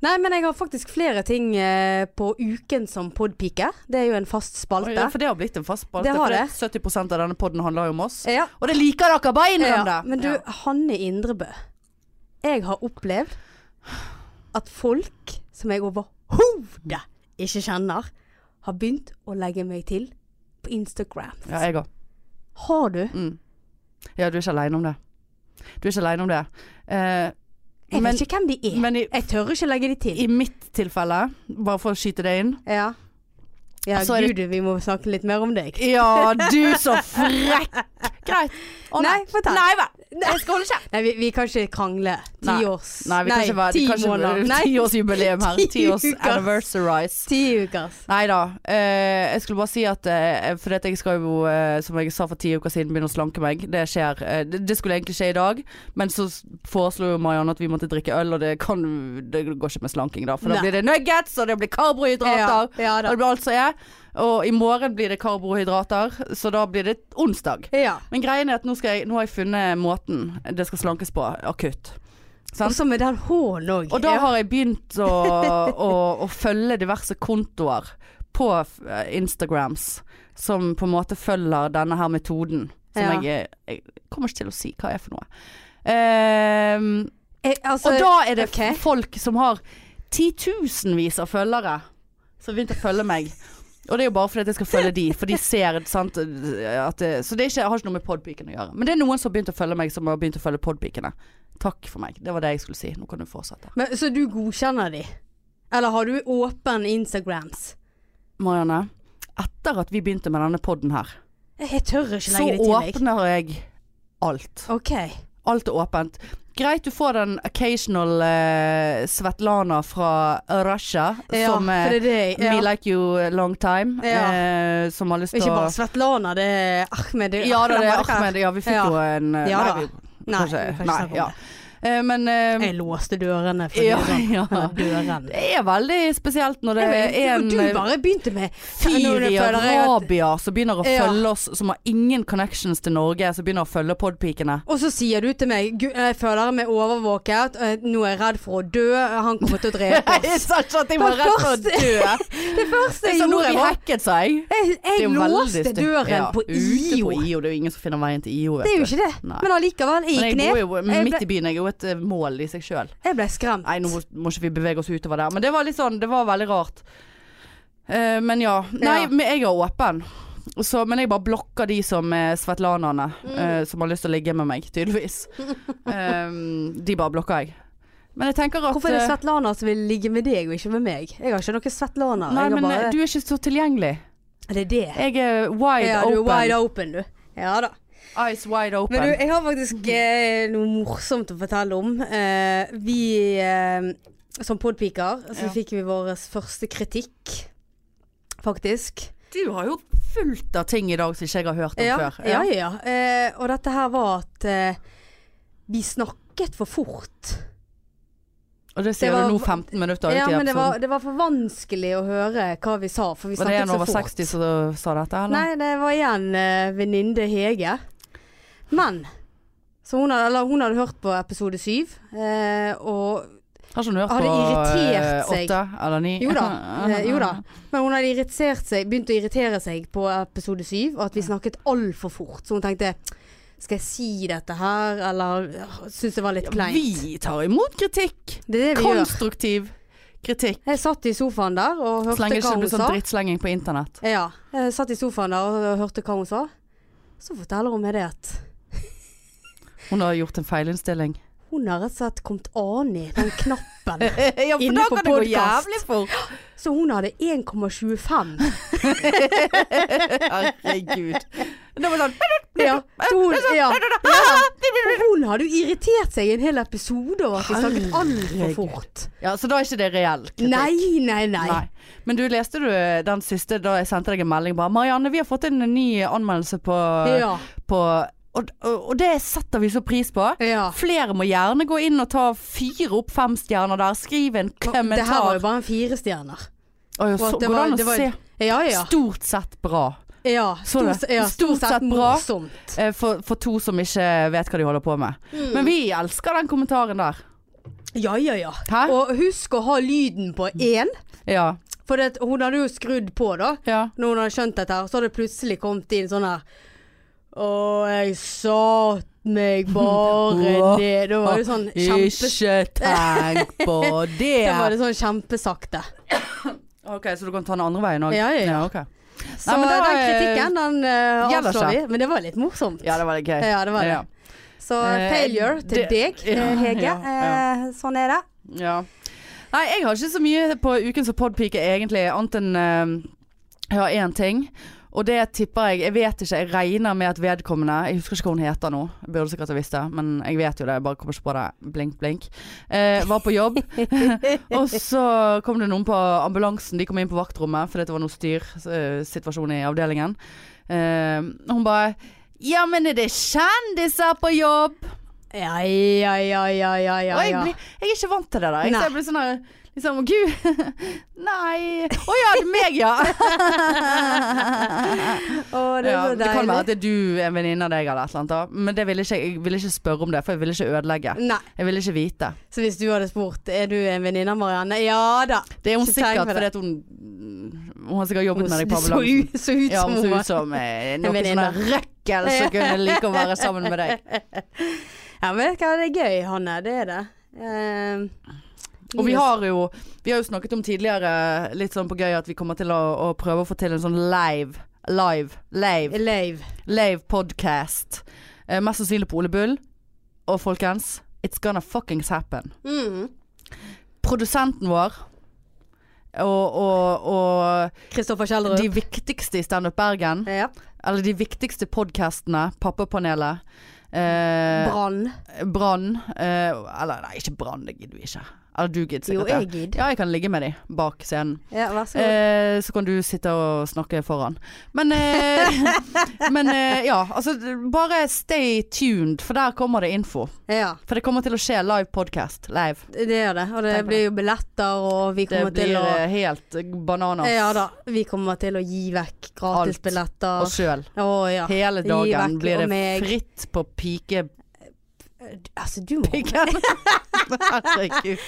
[SPEAKER 2] Nei, men jeg har faktisk flere ting eh, på uken som podpike. Det er jo en fast
[SPEAKER 3] Oi,
[SPEAKER 2] spalte.
[SPEAKER 3] ja, for det har blitt en fast spalte.
[SPEAKER 2] Det har
[SPEAKER 3] for det er 70 av denne podden handler jo om oss.
[SPEAKER 2] Ja,
[SPEAKER 3] Og det liker dere, bare innrøm det!
[SPEAKER 2] ja. Men du,
[SPEAKER 3] Ja.
[SPEAKER 2] Hanne Indrebø. Jeg har opplevd at folk som jeg overhodet ikke kjenner, har begynt å legge meg til på Instagram.
[SPEAKER 3] Ja, jeg òg.
[SPEAKER 2] Har du?
[SPEAKER 3] Mm. Ja, du er ikke aleine om det. Du er ikke aleine om det. Eh,
[SPEAKER 2] Jeg
[SPEAKER 3] men,
[SPEAKER 2] vet ikke hvem de er.
[SPEAKER 3] men i,
[SPEAKER 2] jeg tør ikke legge de til.
[SPEAKER 3] i mitt tilfelle, bare for å skyte det inn
[SPEAKER 2] Ja, ja
[SPEAKER 3] Så er det-
[SPEAKER 2] gud, vi må snakke litt mer om deg.
[SPEAKER 3] Ja, du så frekk! Greit. Å,
[SPEAKER 2] Nei, fortell.
[SPEAKER 3] Nei vel. Jeg skal holde kjeft.
[SPEAKER 2] Nei, vi, vi kan ikke krangle. Ti
[SPEAKER 3] Nei.
[SPEAKER 2] års
[SPEAKER 3] Nei, vi kan ikke være
[SPEAKER 2] ti
[SPEAKER 3] kan ikke-
[SPEAKER 2] måneder. Nei,
[SPEAKER 3] Tiårsjubileum her.
[SPEAKER 2] Ti
[SPEAKER 3] Tiårs
[SPEAKER 2] uker.
[SPEAKER 3] anniversarize.
[SPEAKER 2] ti ukers.
[SPEAKER 3] Nei da. eh, jeg skulle bare si at uh, Fordi at jeg skal jo, eh, som jeg sa for ti uker siden, begynne å slanke meg. Det skjer. eh, det, det skulle egentlig skje i dag, men så s- foreslo jo Marianne at vi måtte drikke øl, og det, kan, det går ikke med slanking da. For
[SPEAKER 2] Nei.
[SPEAKER 3] da blir det nuggets, og det blir karbohydrater.
[SPEAKER 2] Ja, ja
[SPEAKER 3] Og
[SPEAKER 2] da.
[SPEAKER 3] det blir alt som er. Og i morgen blir det karbohydrater, så da blir det onsdag.
[SPEAKER 2] Ja.
[SPEAKER 3] Men greien er at nå, skal jeg, nå har jeg funnet måten det skal slankes på akutt.
[SPEAKER 2] Og så med den hånden òg.
[SPEAKER 3] Og da har jeg begynt å, å, å følge diverse kontoer på eh, Instagrams som på en måte følger denne her metoden.
[SPEAKER 2] Ja.
[SPEAKER 3] Som jeg, eh, jeg kommer ikke til å si hva er for noe. Ehm,
[SPEAKER 2] jeg, altså,
[SPEAKER 3] og da er det
[SPEAKER 2] ok.
[SPEAKER 3] folk som har titusenvis av følgere som har begynt å følge meg. Og det er jo bare fordi at jeg skal følge de, for de ser sant, at det, Så det er ikke, har ikke noe med podpikene å gjøre. Men det er noen som har begynt å følge meg, som har begynt å følge podpikene. Takk for meg. Det var det jeg skulle si. Nå kan du fortsette.
[SPEAKER 2] Men, så du godkjenner de? Eller har du åpen Instagrams?
[SPEAKER 3] Marianne, etter at vi begynte med denne podden her,
[SPEAKER 2] Jeg jeg tør ikke
[SPEAKER 3] så
[SPEAKER 2] legge de til meg.
[SPEAKER 3] åpner jeg alt.
[SPEAKER 2] OK.
[SPEAKER 3] Alt er åpent. Greit du får den occasional eh, Svetlana fra Russia
[SPEAKER 2] Ja,
[SPEAKER 3] som eh,
[SPEAKER 2] for det er det jeg-
[SPEAKER 3] Me
[SPEAKER 2] ja.
[SPEAKER 3] like you a long time.
[SPEAKER 2] Ja.
[SPEAKER 3] Eh, som har lyst til
[SPEAKER 2] Ikke
[SPEAKER 3] å
[SPEAKER 2] bare Svetlana, det er Ahmed. det-
[SPEAKER 3] Ja da, det er
[SPEAKER 2] Ahmed, hva?
[SPEAKER 3] Ahmed. Ja, vi fikk
[SPEAKER 2] Ja.
[SPEAKER 3] jo en eh,
[SPEAKER 2] Ja da.
[SPEAKER 3] Nei, vi,
[SPEAKER 2] Nei,
[SPEAKER 3] kanskje,
[SPEAKER 2] vi kan ikke
[SPEAKER 3] nei
[SPEAKER 2] snakke om
[SPEAKER 3] ja. Eh, men eh,
[SPEAKER 2] Jeg låste dørene. For
[SPEAKER 3] ja,
[SPEAKER 2] ja, sånn.
[SPEAKER 3] ja.
[SPEAKER 2] Døren.
[SPEAKER 3] Det er veldig spesielt når det er
[SPEAKER 2] Og
[SPEAKER 3] en
[SPEAKER 2] du
[SPEAKER 3] eh,
[SPEAKER 2] bare begynte med Når
[SPEAKER 3] fyr
[SPEAKER 2] du
[SPEAKER 3] i
[SPEAKER 2] føler jeg at-
[SPEAKER 3] Arabia som begynner å
[SPEAKER 2] Ja.
[SPEAKER 3] følge oss, som har ingen connections til Norge, som begynner å følge podpikene.
[SPEAKER 2] Og så sier du til meg Gud, jeg føler meg overvåket, eh, nå er jeg redd for å dø, han kommer til å drepe
[SPEAKER 3] Jeg
[SPEAKER 2] oss.
[SPEAKER 3] sa ikke at jeg var
[SPEAKER 2] Men
[SPEAKER 3] redd for å
[SPEAKER 2] først-
[SPEAKER 3] dø.
[SPEAKER 2] Det første
[SPEAKER 3] Jeg
[SPEAKER 2] jeg
[SPEAKER 3] sa nå
[SPEAKER 2] gjorde,
[SPEAKER 3] har jeg
[SPEAKER 2] var
[SPEAKER 3] hacket seg.
[SPEAKER 2] Jeg,
[SPEAKER 3] Det er
[SPEAKER 2] jeg
[SPEAKER 3] jo veldig
[SPEAKER 2] låste
[SPEAKER 3] stygt.
[SPEAKER 2] døren
[SPEAKER 3] Ja,
[SPEAKER 2] på
[SPEAKER 3] Ute
[SPEAKER 2] IO.
[SPEAKER 3] på IO. Det er jo ingen som finner veien til IO,
[SPEAKER 2] Det er jo
[SPEAKER 3] vet du.
[SPEAKER 2] ikke det.
[SPEAKER 3] Nei.
[SPEAKER 2] Men allikevel, jeg
[SPEAKER 3] Men
[SPEAKER 2] gikk
[SPEAKER 3] jeg bor
[SPEAKER 2] ned.
[SPEAKER 3] jo
[SPEAKER 2] Jeg
[SPEAKER 3] midt
[SPEAKER 2] ble-
[SPEAKER 3] i byen. Jeg er jo et eh, mål i seg sjøl.
[SPEAKER 2] Jeg ble skremt.
[SPEAKER 3] Nei, nå må- må ikke vi bevege oss utover der. Men det var litt sånn, det var veldig rart. Eh, men ja. Nei,
[SPEAKER 2] Ja.
[SPEAKER 3] men jeg er åpen. Så, men jeg bare blokker de som er svetlanerne,
[SPEAKER 2] Mm.
[SPEAKER 3] eh, som har lyst til å ligge med meg, tydeligvis. Eh, de bare blokker jeg. Men jeg tenker at
[SPEAKER 2] Hvorfor er det
[SPEAKER 3] eh,
[SPEAKER 2] Svetlana som vil ligge med deg, og ikke med meg? Jeg har ikke noen Svetlana.
[SPEAKER 3] Nei,
[SPEAKER 2] jeg har
[SPEAKER 3] men eh,
[SPEAKER 2] bare...
[SPEAKER 3] du er ikke så tilgjengelig.
[SPEAKER 2] Er det det?
[SPEAKER 3] Jeg er wide
[SPEAKER 2] Ja, du er
[SPEAKER 3] open.
[SPEAKER 2] wide open, du. Ja da.
[SPEAKER 3] Eyes wide open.
[SPEAKER 2] Men du, jeg har faktisk eh, noe morsomt å fortelle om. Eh, vi eh, som podpiker, så
[SPEAKER 3] Ja.
[SPEAKER 2] fikk vi vår første kritikk, faktisk.
[SPEAKER 3] Du har jo fullt av ting i dag som ikke jeg har hørt om
[SPEAKER 2] Ja,
[SPEAKER 3] før.
[SPEAKER 2] ja, ja. ja. Eh, og dette her var at eh, vi snakket for fort.
[SPEAKER 3] Og det sier
[SPEAKER 2] Det var-
[SPEAKER 3] du nå 15 minutter ut
[SPEAKER 2] Ja,
[SPEAKER 3] i
[SPEAKER 2] men det var,
[SPEAKER 3] episoden.
[SPEAKER 2] det var for vanskelig å høre hva vi sa, for vi
[SPEAKER 3] Var det
[SPEAKER 2] snakket
[SPEAKER 3] en
[SPEAKER 2] så
[SPEAKER 3] over
[SPEAKER 2] fort.
[SPEAKER 3] 60 som sa dette, eller?
[SPEAKER 2] Nei, det var igjen uh, venninne Hege. Men så hun, hadde, eller, hun hadde hørt på episode syv, eh, og
[SPEAKER 3] Har ikke hun hørt
[SPEAKER 2] Har det
[SPEAKER 3] på
[SPEAKER 2] irritert
[SPEAKER 3] eh,
[SPEAKER 2] seg?
[SPEAKER 3] åtte eller ni?
[SPEAKER 2] Jo da. eh, jo da. Men hun hadde irritert seg, begynt å irritere seg på episode syv, og at vi snakket altfor fort. Så hun tenkte skal jeg si dette her, eller øh, syns det var litt kleint.
[SPEAKER 3] Vi tar imot kritikk.
[SPEAKER 2] Det er det vi gjør.
[SPEAKER 3] Konstruktiv kritikk.
[SPEAKER 2] Jeg satt i sofaen der og hørte
[SPEAKER 3] Så lenge det
[SPEAKER 2] hva
[SPEAKER 3] ikke
[SPEAKER 2] hun
[SPEAKER 3] blir sånn
[SPEAKER 2] sa.
[SPEAKER 3] drittslenging på internett.
[SPEAKER 2] Ja, jeg satt i sofaen der og og hørte hva hun sa. Så forteller hun meg det at
[SPEAKER 3] Hun har gjort en feilinnstilling.
[SPEAKER 2] hun har rett og slett kommet an i den knappen.
[SPEAKER 3] ja,
[SPEAKER 2] Inne på podcast.
[SPEAKER 3] fort.
[SPEAKER 2] Så hun hadde 1,25.
[SPEAKER 3] Herregud. Det var sånn
[SPEAKER 2] Ja, så hun, ja, ja. Og hun hadde jo irritert seg i en hel episode over at vi snakket altfor
[SPEAKER 3] Herregud.
[SPEAKER 2] fort.
[SPEAKER 3] Ja, så da er ikke det reell kritikk.
[SPEAKER 2] Nei, nei, nei.
[SPEAKER 3] Nei. Men du leste du den siste da jeg sendte deg en melding bare 'Marianne, vi har fått inn en ny anmeldelse på,
[SPEAKER 2] Ja.
[SPEAKER 3] på og, og, og det setter vi så pris på.
[SPEAKER 2] ja.
[SPEAKER 3] Flere må gjerne gå inn og ta fire opp fem stjerner der. Skriv en
[SPEAKER 2] Det her var
[SPEAKER 3] kommentar.
[SPEAKER 2] jo bare en fire stjerner.
[SPEAKER 3] Å,
[SPEAKER 2] og
[SPEAKER 3] ja,
[SPEAKER 2] at
[SPEAKER 3] så,
[SPEAKER 2] det
[SPEAKER 3] går det
[SPEAKER 2] var-
[SPEAKER 3] an
[SPEAKER 2] det
[SPEAKER 3] å
[SPEAKER 2] var-
[SPEAKER 3] se?
[SPEAKER 2] Ja, ja.
[SPEAKER 3] Stort sett bra.
[SPEAKER 2] ja
[SPEAKER 3] Så
[SPEAKER 2] stort,
[SPEAKER 3] det.
[SPEAKER 2] ja,
[SPEAKER 3] Stort
[SPEAKER 2] stort
[SPEAKER 3] sett
[SPEAKER 2] sett
[SPEAKER 3] bra.
[SPEAKER 2] morsomt.
[SPEAKER 3] eh, For, for to som ikke vet hva de holder på med.
[SPEAKER 2] Mm.
[SPEAKER 3] Men vi elsker den kommentaren der.
[SPEAKER 2] Ja, ja, ja.
[SPEAKER 3] Hæ?
[SPEAKER 2] Og husk å ha lyden på én,
[SPEAKER 3] Ja.
[SPEAKER 2] for det, at hun hadde jo skrudd på da.
[SPEAKER 3] ja.
[SPEAKER 2] Når hun hadde skjønt dette her, så hadde det plutselig kommet inn sånn her Å, jeg satt meg bare ned. Da var det sånn kjempe...
[SPEAKER 3] Ikke tenk på det.
[SPEAKER 2] Da var det sånn kjempesakte.
[SPEAKER 3] Ok, Så du kan ta den andre veien òg?
[SPEAKER 2] Ja, ja, ja.
[SPEAKER 3] ok.
[SPEAKER 2] Så
[SPEAKER 3] Nei, men da,
[SPEAKER 2] den kritikken, den eh,
[SPEAKER 3] gjelder
[SPEAKER 2] avslår vi.
[SPEAKER 3] ikke.
[SPEAKER 2] Men det var litt morsomt.
[SPEAKER 3] ja, det var litt gøy.
[SPEAKER 2] Ja, det var det. Så
[SPEAKER 3] Eh,
[SPEAKER 2] failure til
[SPEAKER 3] det-
[SPEAKER 2] deg, eh,
[SPEAKER 3] Ja,
[SPEAKER 2] Hege.
[SPEAKER 3] ja, ja.
[SPEAKER 2] Eh, Sånn er det.
[SPEAKER 3] Ja. Nei, jeg har ikke så mye på uken som podpike egentlig, annet enn eh, jeg har én ting. Og det tipper jeg Jeg vet ikke, jeg regner med at vedkommende Jeg husker ikke hva hun heter nå, jeg burde sikkert ha visst det, men jeg vet jo det. Jeg bare kommer ikke på det. Blink, blink. Eh, var på jobb, og så kom det noen på ambulansen. De kom inn på vaktrommet fordi det var noe styrsituasjon i avdelingen. Eh, hun bare 'Ja, men er det kjendiser på jobb?'
[SPEAKER 2] Ja, ja, ja, ja, ja, ja.
[SPEAKER 3] Og jeg,
[SPEAKER 2] ja.
[SPEAKER 3] blir, jeg er ikke vant til det der. Jeg,
[SPEAKER 2] Nei.
[SPEAKER 3] så jeg blir sånn der liksom, Gud, nei Å ja, det er meg, ja.
[SPEAKER 2] Å, det
[SPEAKER 3] ja.
[SPEAKER 2] er så
[SPEAKER 3] Det kan være
[SPEAKER 2] deilig.
[SPEAKER 3] at det er du, en venninne av deg eller et eller annet, da. men det ville ikke, jeg ville ikke spørre om det, for jeg ville ikke ødelegge.
[SPEAKER 2] Nei,
[SPEAKER 3] Jeg ville ikke vite.
[SPEAKER 2] så hvis du hadde spurt Er du en venninne av Marianne? Ja da.
[SPEAKER 3] Det er hun
[SPEAKER 2] Ikke tenk
[SPEAKER 3] sikkert
[SPEAKER 2] på det.
[SPEAKER 3] fordi at hun Hun har sikkert jobbet med deg på
[SPEAKER 2] Det så
[SPEAKER 3] ambulansen.
[SPEAKER 2] ut, så ut
[SPEAKER 3] Ja,
[SPEAKER 2] som
[SPEAKER 3] hun
[SPEAKER 2] hun
[SPEAKER 3] så
[SPEAKER 2] var-
[SPEAKER 3] ut som eh, noe sånn
[SPEAKER 2] venninne.
[SPEAKER 3] der røkkel som kunne like å være sammen med deg.
[SPEAKER 2] Ja, men vet du hva, det er gøy, Hanne. Det er det. Eh,
[SPEAKER 3] Og vi
[SPEAKER 2] livet-
[SPEAKER 3] har jo Vi har jo snakket om tidligere, litt sånn på gøy, at vi kommer til å, å prøve å få til en sånn live Live. Live.
[SPEAKER 2] Leiv.
[SPEAKER 3] Live podcast. Eh, mest sannsynlig på Ole Bull. Og folkens, it's gonna fuckings happen.
[SPEAKER 2] Mm.
[SPEAKER 3] Produsenten vår og, og, og
[SPEAKER 2] Kristoffer Kjeldrup.
[SPEAKER 3] de viktigste i Standup Bergen,
[SPEAKER 2] Ja.
[SPEAKER 3] eller de viktigste podkastene, Pappapanelet, eh,
[SPEAKER 2] Brann.
[SPEAKER 3] Brann eh, Eller nei, ikke Brann, det gidder vi ikke. Eller du gidder
[SPEAKER 2] Jo,
[SPEAKER 3] sikkert
[SPEAKER 2] jeg
[SPEAKER 3] det.
[SPEAKER 2] gidder.
[SPEAKER 3] Ja, jeg kan ligge med de bak scenen.
[SPEAKER 2] Ja, vær så god.
[SPEAKER 3] Eh, så kan du sitte og snakke foran. Men, eh, men eh, ja, altså bare stay tuned, for der kommer det info.
[SPEAKER 2] Ja,
[SPEAKER 3] For det kommer til å skje live podcast. Live.
[SPEAKER 2] det gjør det. Og
[SPEAKER 3] Tenk
[SPEAKER 2] det
[SPEAKER 3] på
[SPEAKER 2] blir jo billetter, og vi
[SPEAKER 3] Det
[SPEAKER 2] kommer til
[SPEAKER 3] blir
[SPEAKER 2] å
[SPEAKER 3] eh, helt bananas.
[SPEAKER 2] Ja da. Vi kommer til å gi vekk
[SPEAKER 3] Og
[SPEAKER 2] gratisbilletter.
[SPEAKER 3] sjøl.
[SPEAKER 2] Å ja.
[SPEAKER 3] Hele
[SPEAKER 2] Gi
[SPEAKER 3] dagen
[SPEAKER 2] vekk
[SPEAKER 3] blir det
[SPEAKER 2] og meg.
[SPEAKER 3] fritt på pikepiggen.
[SPEAKER 2] Altså, du må
[SPEAKER 3] Herregud.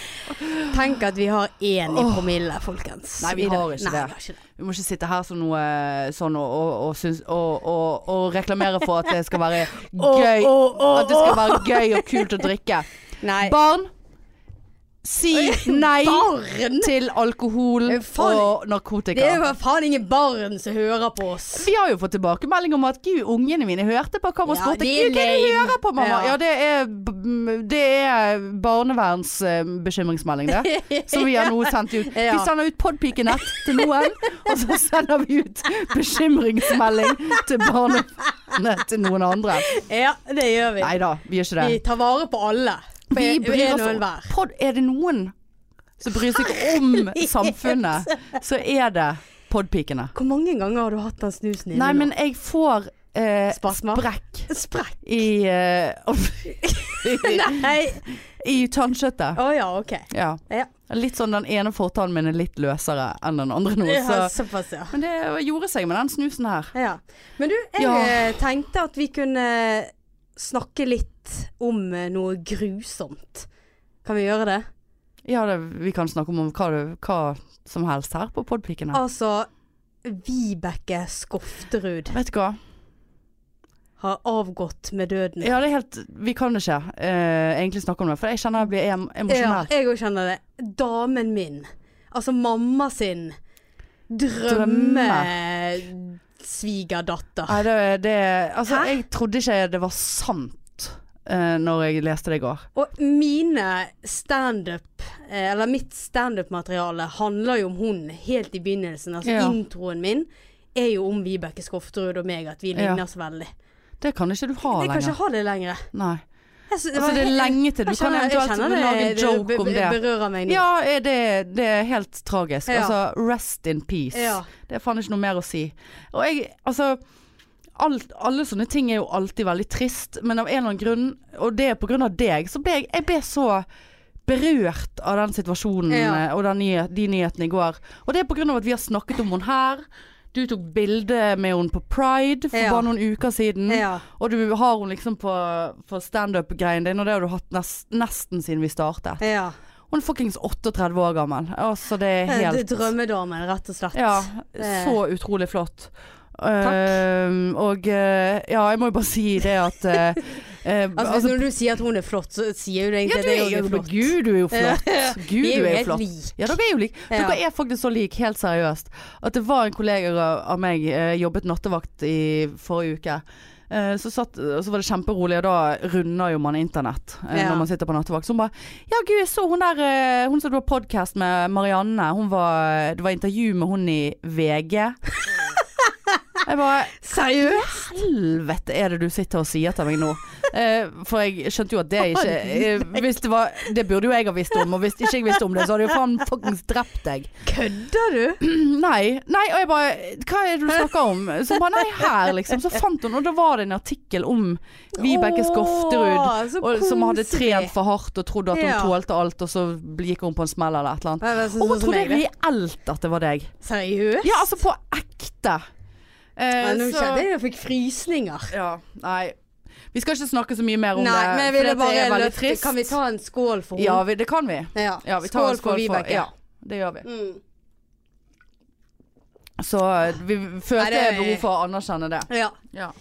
[SPEAKER 2] tenke at vi har én i
[SPEAKER 3] Åh.
[SPEAKER 2] promille, folkens.
[SPEAKER 3] Nei, vi
[SPEAKER 2] I dag.
[SPEAKER 3] har
[SPEAKER 2] Nei,
[SPEAKER 3] ikke det.
[SPEAKER 2] Vi har ikke det.
[SPEAKER 3] Vi må ikke sitte her som noe sånn og, og, og, syns- og, og, og reklamere for at det skal være gøy. At det skal være gøy og kult å drikke.
[SPEAKER 2] Nei.
[SPEAKER 3] Barn, si nei
[SPEAKER 2] Barn!
[SPEAKER 3] til alkohol
[SPEAKER 2] Eh, faen.
[SPEAKER 3] og
[SPEAKER 2] Det er jo
[SPEAKER 3] narkotika.
[SPEAKER 2] for faen ingen barn som hører på oss.
[SPEAKER 3] Vi har jo fått tilbakemelding om at gud, ungene mine hørte på Kammer
[SPEAKER 2] Ja,
[SPEAKER 3] Sport.
[SPEAKER 2] det er
[SPEAKER 3] Gud, hva er det de
[SPEAKER 2] lame.
[SPEAKER 3] hører på, mamma?
[SPEAKER 2] Ja.
[SPEAKER 3] Ja, det er, b- det er barneverns eh, bekymringsmelding, det. Som vi har nå sendt ut.
[SPEAKER 2] Ja.
[SPEAKER 3] Vi sender ut Podpikenett til noen, og så sender vi ut bekymringsmelding til barnevernet til noen andre.
[SPEAKER 2] Ja, det gjør vi.
[SPEAKER 3] Nei da, vi gjør ikke det.
[SPEAKER 2] Vi tar vare på alle. På
[SPEAKER 3] Vi
[SPEAKER 2] en-
[SPEAKER 3] bryr
[SPEAKER 2] en og
[SPEAKER 3] oss
[SPEAKER 2] enhver.
[SPEAKER 3] Pod, sånn, Er det noen som bryr seg om samfunnet, så er det podpikene.
[SPEAKER 2] Hvor mange ganger har du hatt den snusen inne
[SPEAKER 3] Nei,
[SPEAKER 2] nå?
[SPEAKER 3] men jeg får eh,
[SPEAKER 2] Spasmer?
[SPEAKER 3] sprekk
[SPEAKER 2] Sprekk.
[SPEAKER 3] i eh, i,
[SPEAKER 2] Nei.
[SPEAKER 3] i tannkjøttet.
[SPEAKER 2] Å ja, OK.
[SPEAKER 3] Ja.
[SPEAKER 2] Ja.
[SPEAKER 3] Litt sånn den ene fortannen min er litt løsere enn den andre nå,
[SPEAKER 2] Ja,
[SPEAKER 3] så
[SPEAKER 2] såpass, ja.
[SPEAKER 3] Men det gjorde seg med den snusen her.
[SPEAKER 2] ja. Men du, jeg
[SPEAKER 3] Ja.
[SPEAKER 2] eh, tenkte at vi kunne snakke litt om eh, noe grusomt. Kan vi gjøre det?
[SPEAKER 3] Ja, det, vi kan snakke om hva, du- hva som helst her på podpikene.
[SPEAKER 2] Altså, Vibeke Skofterud
[SPEAKER 3] Vet du hva?
[SPEAKER 2] har avgått med døden.
[SPEAKER 3] Ja, det er helt Vi kan ikke eh, egentlig snakke om det, for jeg kjenner jeg blir em
[SPEAKER 2] Ja,
[SPEAKER 3] emosjonell.
[SPEAKER 2] jeg òg kjenner det. Damen min, altså mamma sin
[SPEAKER 3] Drømme.
[SPEAKER 2] drømmesvigerdatter.
[SPEAKER 3] Nei, det, det Altså,
[SPEAKER 2] Hæ?
[SPEAKER 3] jeg trodde ikke det var sant uh, når jeg leste det i går.
[SPEAKER 2] Og mine standup, eh, eller mitt standup-materiale handler jo om hun helt i begynnelsen. Altså
[SPEAKER 3] Ja.
[SPEAKER 2] introen min er jo om Vibeke Skofterud og meg at vi
[SPEAKER 3] Ja.
[SPEAKER 2] ligner så veldig.
[SPEAKER 3] Det kan ikke du ha
[SPEAKER 2] Jeg kan
[SPEAKER 3] lenger.
[SPEAKER 2] ikke ha det lenger.
[SPEAKER 3] Nei.
[SPEAKER 2] Jeg sy-
[SPEAKER 3] Altså, det er
[SPEAKER 2] helt-
[SPEAKER 3] lenge til. Du
[SPEAKER 2] jeg
[SPEAKER 3] kan
[SPEAKER 2] kjenner- jeg
[SPEAKER 3] eventuelt
[SPEAKER 2] kjenner det-
[SPEAKER 3] lage en
[SPEAKER 2] det
[SPEAKER 3] joke
[SPEAKER 2] be-
[SPEAKER 3] om det.
[SPEAKER 2] berører meg nå.
[SPEAKER 3] Ja, er det, det er helt tragisk.
[SPEAKER 2] Ja.
[SPEAKER 3] Altså, rest in peace.
[SPEAKER 2] Ja.
[SPEAKER 3] Det er faen ikke noe mer å si. Og jeg, altså alt, Alle sånne ting er jo alltid veldig trist, men av en eller annen grunn, og det er på grunn av deg, så ble jeg, jeg ble så berørt av den situasjonen
[SPEAKER 2] Ja.
[SPEAKER 3] eh, og den nyhet, de nyhetene i går. Og det er på grunn av at vi har snakket om henne her. Du tok bilde med henne på Pride for
[SPEAKER 2] Ja.
[SPEAKER 3] bare noen uker siden.
[SPEAKER 2] Ja.
[SPEAKER 3] Og du har henne liksom på, på standup-greien din, og det har du hatt nest, nesten siden vi startet.
[SPEAKER 2] ja.
[SPEAKER 3] Hun er fuckings 38 år gammel. Altså,
[SPEAKER 2] Eh,
[SPEAKER 3] det er helt
[SPEAKER 2] D- Drømmedamen, rett og slett.
[SPEAKER 3] Ja.
[SPEAKER 2] Eh.
[SPEAKER 3] Så utrolig flott. Ehm, og eh, ja, jeg må jo bare si det at eh, eh,
[SPEAKER 2] Altså,
[SPEAKER 3] altså,
[SPEAKER 2] Når du sier at hun er flott, så sier jo det egentlig
[SPEAKER 3] Ja, du
[SPEAKER 2] at
[SPEAKER 3] er
[SPEAKER 2] jeg
[SPEAKER 3] jo
[SPEAKER 2] også er flott.
[SPEAKER 3] Gud, du er jo flott. Gud,
[SPEAKER 2] Vi er jo
[SPEAKER 3] du er jo
[SPEAKER 2] helt
[SPEAKER 3] flott.
[SPEAKER 2] like.
[SPEAKER 3] Ja, dere er jo like. Dere er faktisk så like, helt seriøst. At det var en kollega av meg eh, jobbet nattevakt i forrige uke. Eh, så, satt, og så var det kjemperolig, og da runder jo man internett eh,
[SPEAKER 2] Ja.
[SPEAKER 3] når man sitter på nattevakt. Så hun bare Ja, gud, jeg så hun der eh, Hun som du har podkast med, Marianne. Hun var, det var intervju med hun i VG. Jeg bare
[SPEAKER 2] Seriøst?
[SPEAKER 3] helvete er det du sitter og sier til meg nå? Eh, for jeg skjønte jo at det ikke eh, hvis det, var, det burde jo jeg ha visst om, og hvis ikke jeg visste om det, så hadde jeg faen fuckings drept deg.
[SPEAKER 2] Kødder du?
[SPEAKER 3] Nei. nei, Og jeg bare Hva er det du snakker om? Så bare nei, her, liksom. Så fant hun, og da var det en artikkel om Vibeke Skofterud.
[SPEAKER 2] Åh, så
[SPEAKER 3] Og, som hadde
[SPEAKER 2] koselig.
[SPEAKER 3] trent for hardt og trodde at hun
[SPEAKER 2] Ja.
[SPEAKER 3] tålte alt, og så gikk hun på en smell eller et eller annet.
[SPEAKER 2] Nei, men sånn- sånn
[SPEAKER 3] Og hun
[SPEAKER 2] som
[SPEAKER 3] trodde
[SPEAKER 2] jeg, det.
[SPEAKER 3] reelt at det var deg.
[SPEAKER 2] Seriøst?
[SPEAKER 3] Ja, altså på ekte. Eh,
[SPEAKER 2] Nei, Nå
[SPEAKER 3] så-
[SPEAKER 2] kjente jeg jeg fikk frysninger.
[SPEAKER 3] Ja, nei Vi skal ikke snakke så mye mer om
[SPEAKER 2] Nei,
[SPEAKER 3] det
[SPEAKER 2] men jeg
[SPEAKER 3] for
[SPEAKER 2] ville
[SPEAKER 3] dette
[SPEAKER 2] bare
[SPEAKER 3] er veldig
[SPEAKER 2] løfte
[SPEAKER 3] trist.
[SPEAKER 2] Kan vi ta en skål for
[SPEAKER 3] Ja,
[SPEAKER 2] henne?
[SPEAKER 3] vi, det kan vi
[SPEAKER 2] Ja.
[SPEAKER 3] ja, vi tar en skål for
[SPEAKER 2] Vibeke.
[SPEAKER 3] Ja, det gjør vi
[SPEAKER 2] Mm.
[SPEAKER 3] Så vi følte
[SPEAKER 2] Ah. Nei, det-
[SPEAKER 3] behov for å anerkjenne det
[SPEAKER 2] ja.
[SPEAKER 3] Ja,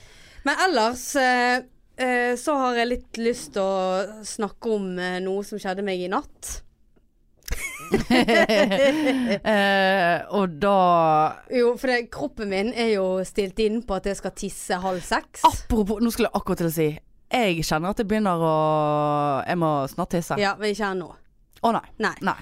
[SPEAKER 2] Men ellers eh, eh, så har jeg litt lyst til å snakke om eh, noe som skjedde meg i natt.
[SPEAKER 3] eh, Og da
[SPEAKER 2] Jo, for det, kroppen min er jo stilt inn på at jeg skal tisse halv seks.
[SPEAKER 3] Apropos, nå skulle jeg akkurat til å si Jeg kjenner at det begynner å Jeg må snart tisse Å
[SPEAKER 2] Ja, men ikke ennå.
[SPEAKER 3] nei,
[SPEAKER 2] Nei.
[SPEAKER 3] nei, nei,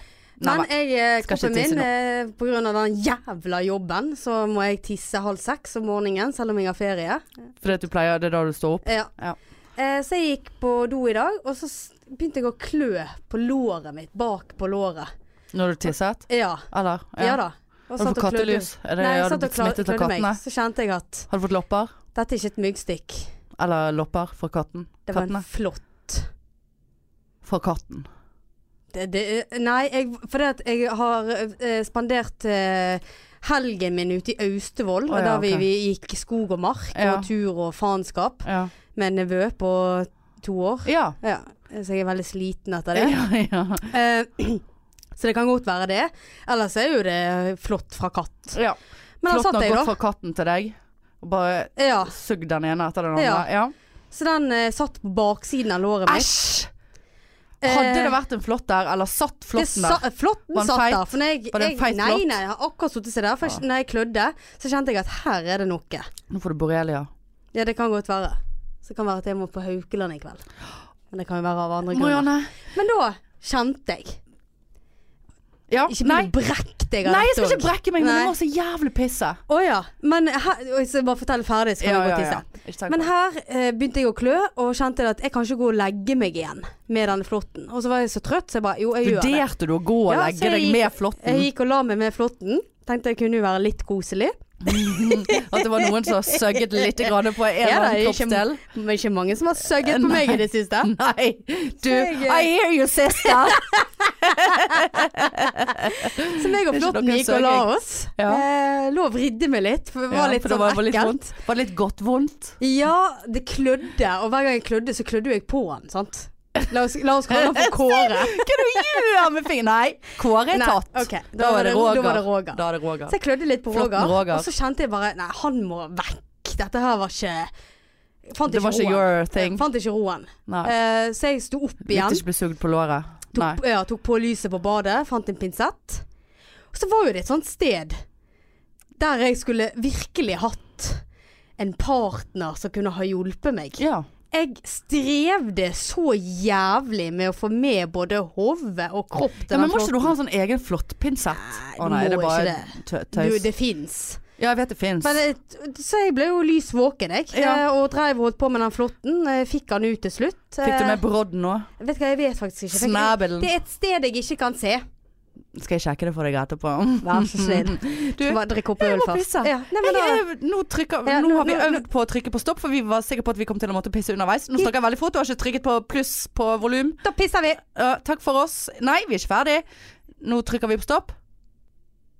[SPEAKER 2] Men
[SPEAKER 3] nei.
[SPEAKER 2] jeg, eh,
[SPEAKER 3] Skal ikke
[SPEAKER 2] kroppen
[SPEAKER 3] tisse
[SPEAKER 2] min,
[SPEAKER 3] nå.
[SPEAKER 2] eh, på grunn av den jævla jobben, så må jeg tisse halv seks om morgenen, selv om jeg har ferie.
[SPEAKER 3] Fordi at du pleier, det er da du står opp
[SPEAKER 2] Ja.
[SPEAKER 3] Ja.
[SPEAKER 2] Eh, så jeg gikk på do i dag, og så s- begynte jeg å klø på låret mitt, bak på låret.
[SPEAKER 3] Når du tisset,
[SPEAKER 2] Ja,
[SPEAKER 3] eller?
[SPEAKER 2] ja, da. Og
[SPEAKER 3] Har du
[SPEAKER 2] satt
[SPEAKER 3] fått
[SPEAKER 2] og klødde.
[SPEAKER 3] kattelys? Er det,
[SPEAKER 2] Nei, jeg
[SPEAKER 3] har
[SPEAKER 2] satt
[SPEAKER 3] du
[SPEAKER 2] og
[SPEAKER 3] blitt
[SPEAKER 2] kla-
[SPEAKER 3] smittet av
[SPEAKER 2] klødde
[SPEAKER 3] kattene?
[SPEAKER 2] meg. Så kjente jeg at
[SPEAKER 3] Har du fått lopper?
[SPEAKER 2] dette er ikke et myggstikk.
[SPEAKER 3] Eller lopper fra katten?
[SPEAKER 2] Det var
[SPEAKER 3] Kattene?
[SPEAKER 2] en flått.
[SPEAKER 3] Fra katten.
[SPEAKER 2] Det, det, eh, nei, jeg, for det at jeg har eh, spandert eh, helgen min ute i Austevoll,
[SPEAKER 3] Å, ja,
[SPEAKER 2] der vi,
[SPEAKER 3] ok.
[SPEAKER 2] vi gikk i skog og mark
[SPEAKER 3] Ja.
[SPEAKER 2] og tur og faenskap
[SPEAKER 3] Ja.
[SPEAKER 2] med en nevø på to år.
[SPEAKER 3] Ja.
[SPEAKER 2] Ja, så jeg er veldig sliten etter det.
[SPEAKER 3] ja, ja.
[SPEAKER 2] Eh, så det kan godt være det. Ellers er jo det flott fra katt.
[SPEAKER 3] ja.
[SPEAKER 2] Men da
[SPEAKER 3] Flott
[SPEAKER 2] satt
[SPEAKER 3] nok
[SPEAKER 2] jeg,
[SPEAKER 3] gått
[SPEAKER 2] da.
[SPEAKER 3] fra katten til deg. Og bare
[SPEAKER 2] Ja,
[SPEAKER 3] sugd den ene etter den
[SPEAKER 2] Ja.
[SPEAKER 3] andre. Ja.
[SPEAKER 2] så den eh, satt på baksiden av låret mitt.
[SPEAKER 3] Æsj! Hadde det vært en flått der, eller satt flåtten der?
[SPEAKER 2] sa, Flåtten
[SPEAKER 3] Var den
[SPEAKER 2] Eh. satt
[SPEAKER 3] feit?
[SPEAKER 2] der. For når jeg,
[SPEAKER 3] Var det en
[SPEAKER 2] jeg,
[SPEAKER 3] feit Ah.
[SPEAKER 2] nei,
[SPEAKER 3] flått?
[SPEAKER 2] nei, jeg har akkurat sittet seg der. For jeg, når jeg klødde, så kjente jeg at her er det noe.
[SPEAKER 3] Nå får du borrelia.
[SPEAKER 2] Ja, det kan godt være. Så det kan være at jeg må på Haukeland i kveld. Men det kan jo være av andre grunner.
[SPEAKER 3] Marianne.
[SPEAKER 2] Men da kjente jeg.
[SPEAKER 3] Ja.
[SPEAKER 2] Ikke
[SPEAKER 3] Nei.
[SPEAKER 2] bli brekt jeg
[SPEAKER 3] Nei, jeg skal ikke brekke meg, men
[SPEAKER 2] Nei.
[SPEAKER 3] det var så jævlig pisse.
[SPEAKER 2] Å ja. Men her, oi, så bare fortell ferdig, så kan jeg gå og tisse.
[SPEAKER 3] Ikke tenk
[SPEAKER 2] Men
[SPEAKER 3] på det.
[SPEAKER 2] her eh, begynte jeg å klø, og kjente at jeg kan ikke gå og legge meg igjen med denne flåtten. Og så var jeg så trøtt, så jeg bare jo, jeg gjør det.
[SPEAKER 3] Vurderte du å gå og
[SPEAKER 2] Ja, så
[SPEAKER 3] legge
[SPEAKER 2] jeg
[SPEAKER 3] deg
[SPEAKER 2] gikk-
[SPEAKER 3] med
[SPEAKER 2] Jeg
[SPEAKER 3] flåtten?
[SPEAKER 2] gikk og la meg med flåtten. Tenkte jeg kunne jo være litt koselig.
[SPEAKER 3] At det var noen som søgget litt grann på en eller
[SPEAKER 2] Ja,
[SPEAKER 3] annen
[SPEAKER 2] det er ikke-
[SPEAKER 3] kroppsdel? Eh,
[SPEAKER 2] Men ikke mange som har søgget på meg i det siste.
[SPEAKER 3] Nei. Du,
[SPEAKER 2] jeg, eh,
[SPEAKER 3] I hear you, sister.
[SPEAKER 2] Så meg og
[SPEAKER 3] Det er ikke
[SPEAKER 2] flåtten
[SPEAKER 3] noe
[SPEAKER 2] gikk og la
[SPEAKER 3] søking.
[SPEAKER 2] oss.
[SPEAKER 3] Ja.
[SPEAKER 2] Eh, lå og vridde meg litt, for det var
[SPEAKER 3] Ja,
[SPEAKER 2] litt
[SPEAKER 3] for det
[SPEAKER 2] sånn
[SPEAKER 3] var- var litt
[SPEAKER 2] ekkelt.
[SPEAKER 3] vondt. Var det litt godt vondt?
[SPEAKER 2] Ja, det klødde, og hver gang jeg klødde, så klødde jo jeg på den, sant. La oss, la oss kalle den for Kåre.
[SPEAKER 3] Hva du gjør med fingeren? Nei, Kåre er
[SPEAKER 2] Nei,
[SPEAKER 3] tatt.
[SPEAKER 2] ok, da var det- da var det Roger.
[SPEAKER 3] Da er det Roger.
[SPEAKER 2] Så jeg klødde litt på
[SPEAKER 3] Flott
[SPEAKER 2] Roger,
[SPEAKER 3] med Roger.
[SPEAKER 2] og så kjente jeg bare Nei, han må vekk. Dette her var ikke jeg Fant
[SPEAKER 3] Det
[SPEAKER 2] ikke
[SPEAKER 3] var ikke
[SPEAKER 2] roen.
[SPEAKER 3] your thing.
[SPEAKER 2] Jeg Fant ikke roen.
[SPEAKER 3] Nei.
[SPEAKER 2] Eh, så jeg sto opp
[SPEAKER 3] Likte
[SPEAKER 2] igjen.
[SPEAKER 3] ikke å bli sugd på låret. Nei.
[SPEAKER 2] Tok, ja, tok på lyset på badet, fant en pinsett. Og så var jo det et sånt sted der jeg skulle virkelig hatt en partner som kunne ha hjulpet meg.
[SPEAKER 3] Ja.
[SPEAKER 2] Jeg strevde så jævlig med å få med både hode og kropp til
[SPEAKER 3] ja,
[SPEAKER 2] den
[SPEAKER 3] men må ikke du
[SPEAKER 2] flåtten.
[SPEAKER 3] ha en sånn egen
[SPEAKER 2] Nei,
[SPEAKER 3] flåttpinsett? Å
[SPEAKER 2] du
[SPEAKER 3] nei,
[SPEAKER 2] må
[SPEAKER 3] det eh, er bare
[SPEAKER 2] ikke
[SPEAKER 3] tø-
[SPEAKER 2] Du,
[SPEAKER 3] tøys.
[SPEAKER 2] det fins.
[SPEAKER 3] Ja, jeg vet det fins.
[SPEAKER 2] Men jeg, så jeg ble jo lys våken, jeg.
[SPEAKER 3] Ja.
[SPEAKER 2] eh, Og dreiv og holdt på med den flåtten. Eh, Fikk han ut til slutt.
[SPEAKER 3] Fikk du
[SPEAKER 2] Eh,
[SPEAKER 3] med brodden òg?
[SPEAKER 2] Vet du hva, jeg vet faktisk ikke. Fikk-
[SPEAKER 3] Snabelen.
[SPEAKER 2] Det er et sted jeg ikke kan se.
[SPEAKER 3] Skal jeg sjekke det for deg etterpå?
[SPEAKER 2] Vær så snill.
[SPEAKER 3] Du,
[SPEAKER 2] Bare drikk opp
[SPEAKER 3] jeg
[SPEAKER 2] øl
[SPEAKER 3] må
[SPEAKER 2] først.
[SPEAKER 3] pisse.
[SPEAKER 2] Ja, nei, men
[SPEAKER 3] jeg,
[SPEAKER 2] da,
[SPEAKER 3] jeg, nå, trykker,
[SPEAKER 2] Ja,
[SPEAKER 3] nå
[SPEAKER 2] nå-
[SPEAKER 3] har vi
[SPEAKER 2] nå-
[SPEAKER 3] øvd på å trykke på stopp, for vi var sikre på at vi kom til å måtte pisse underveis. Nå snakker jeg veldig fort og har ikke trykket på pluss på volum.
[SPEAKER 2] da pisser vi.
[SPEAKER 3] Ja, takk for oss. Nei, vi er ikke ferdig. Nå trykker vi på stopp.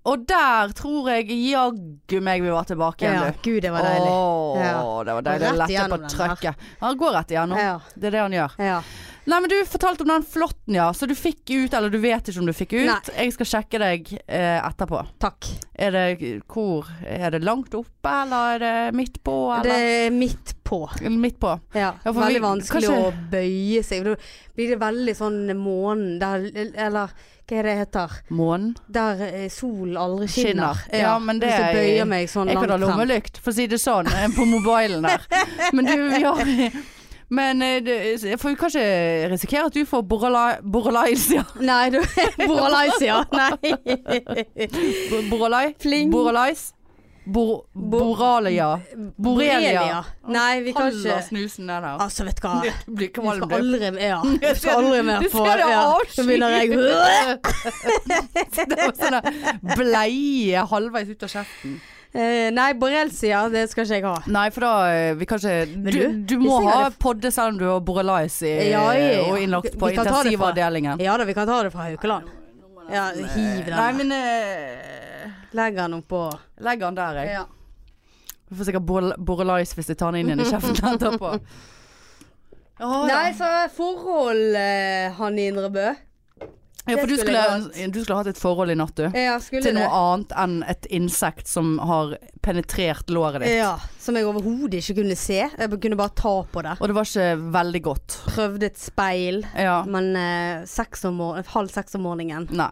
[SPEAKER 3] Og der tror jeg jaggu meg vi var tilbake
[SPEAKER 2] Ja,
[SPEAKER 3] igjen, du.
[SPEAKER 2] gud, det var deilig.
[SPEAKER 3] Åh,
[SPEAKER 2] Ja.
[SPEAKER 3] det var
[SPEAKER 2] Og
[SPEAKER 3] deilig.
[SPEAKER 2] rett
[SPEAKER 3] Lette på
[SPEAKER 2] igjennom den der.
[SPEAKER 3] trøkket. Han går rett igjennom.
[SPEAKER 2] Ja,
[SPEAKER 3] Det er det han gjør.
[SPEAKER 2] ja.
[SPEAKER 3] Nei, men du fortalte om den flåtten, ja. Så du fikk ut, eller du vet ikke om du fikk ut.
[SPEAKER 2] Nei.
[SPEAKER 3] Jeg skal sjekke deg eh, etterpå.
[SPEAKER 2] Takk.
[SPEAKER 3] Er det hvor? Er det langt oppe, eller er det midt på?
[SPEAKER 2] Det
[SPEAKER 3] Eller?
[SPEAKER 2] er midt på.
[SPEAKER 3] Eller Midt på.
[SPEAKER 2] Ja,
[SPEAKER 3] Ja, for
[SPEAKER 2] veldig
[SPEAKER 3] vi-
[SPEAKER 2] vanskelig
[SPEAKER 3] kanskje-
[SPEAKER 2] å bøye seg. Da blir det veldig sånn månen der Eller hva er det heter?
[SPEAKER 3] Månen.
[SPEAKER 2] Der eh, solen aldri skinner.
[SPEAKER 3] Skinner. Ja, men det
[SPEAKER 2] Hvis jeg
[SPEAKER 3] er-
[SPEAKER 2] bøyer meg sånn
[SPEAKER 3] Jeg
[SPEAKER 2] langt
[SPEAKER 3] kan ha
[SPEAKER 2] frem.
[SPEAKER 3] lommelykt, for å si det sånn, eh, på mobilen der. Men du, vi har Men eh, det- jeg får jo kanskje risikere at du får borreli- borreliasia.
[SPEAKER 2] Nei, du Boralaisia. Nei.
[SPEAKER 3] Bo- Borrelai?
[SPEAKER 2] Fling.
[SPEAKER 3] Borrelais? Bor boralia? Borrelia?
[SPEAKER 2] Nei, vi kan ikke
[SPEAKER 3] Halla snusen den her.
[SPEAKER 2] Altså, vet du hva.
[SPEAKER 3] Du blir
[SPEAKER 2] Du
[SPEAKER 3] kvalm,
[SPEAKER 2] skal
[SPEAKER 3] du.
[SPEAKER 2] aldri Ja,
[SPEAKER 3] Jeg
[SPEAKER 2] du
[SPEAKER 3] ser-
[SPEAKER 2] skal aldri mer
[SPEAKER 3] du
[SPEAKER 2] på
[SPEAKER 3] ser det
[SPEAKER 2] ja.
[SPEAKER 3] avsky.
[SPEAKER 2] Da begynner jeg
[SPEAKER 3] Det var sånn der bleie halvveis ut av kjeften.
[SPEAKER 2] Eh, Nei, borrelsia, det skal ikke jeg ha.
[SPEAKER 3] Nei, for da eh, Vi kan ikke
[SPEAKER 2] Men
[SPEAKER 3] Du,
[SPEAKER 2] du,
[SPEAKER 3] du må
[SPEAKER 2] hvis jeg
[SPEAKER 3] ha
[SPEAKER 2] hadde-
[SPEAKER 3] podde selv om du har borrelais i,
[SPEAKER 2] Ja, ja, ja.
[SPEAKER 3] og innlagt på
[SPEAKER 2] Vi kan ta det fra-
[SPEAKER 3] intensivavdelingen.
[SPEAKER 2] Ja da, vi kan ta det fra Haukeland. Ja, hiv
[SPEAKER 3] Nei,
[SPEAKER 2] den.
[SPEAKER 3] men eh,
[SPEAKER 2] Legg den oppå.
[SPEAKER 3] Legg den der, jeg.
[SPEAKER 2] Ja.
[SPEAKER 3] Du får sikkert borrel- borrelais hvis jeg tar den inn igjen i kjeften etterpå. Å,
[SPEAKER 2] Nei,
[SPEAKER 3] ja.
[SPEAKER 2] så forhold, eh, Hanne Indrebø.
[SPEAKER 3] ja, for du
[SPEAKER 2] det skulle
[SPEAKER 3] skulle,
[SPEAKER 2] jeg
[SPEAKER 3] du skulle hatt et forhold i natt, du.
[SPEAKER 2] Ja, skulle
[SPEAKER 3] Til
[SPEAKER 2] det.
[SPEAKER 3] noe annet enn et insekt som har penetrert låret ditt.
[SPEAKER 2] Ja, som jeg overhodet ikke kunne se. Jeg kunne bare ta på det.
[SPEAKER 3] Og det var ikke veldig godt.
[SPEAKER 2] Prøvde et speil,
[SPEAKER 3] Ja.
[SPEAKER 2] men eh, seks om mor halv seks om morgenen.
[SPEAKER 3] Nei.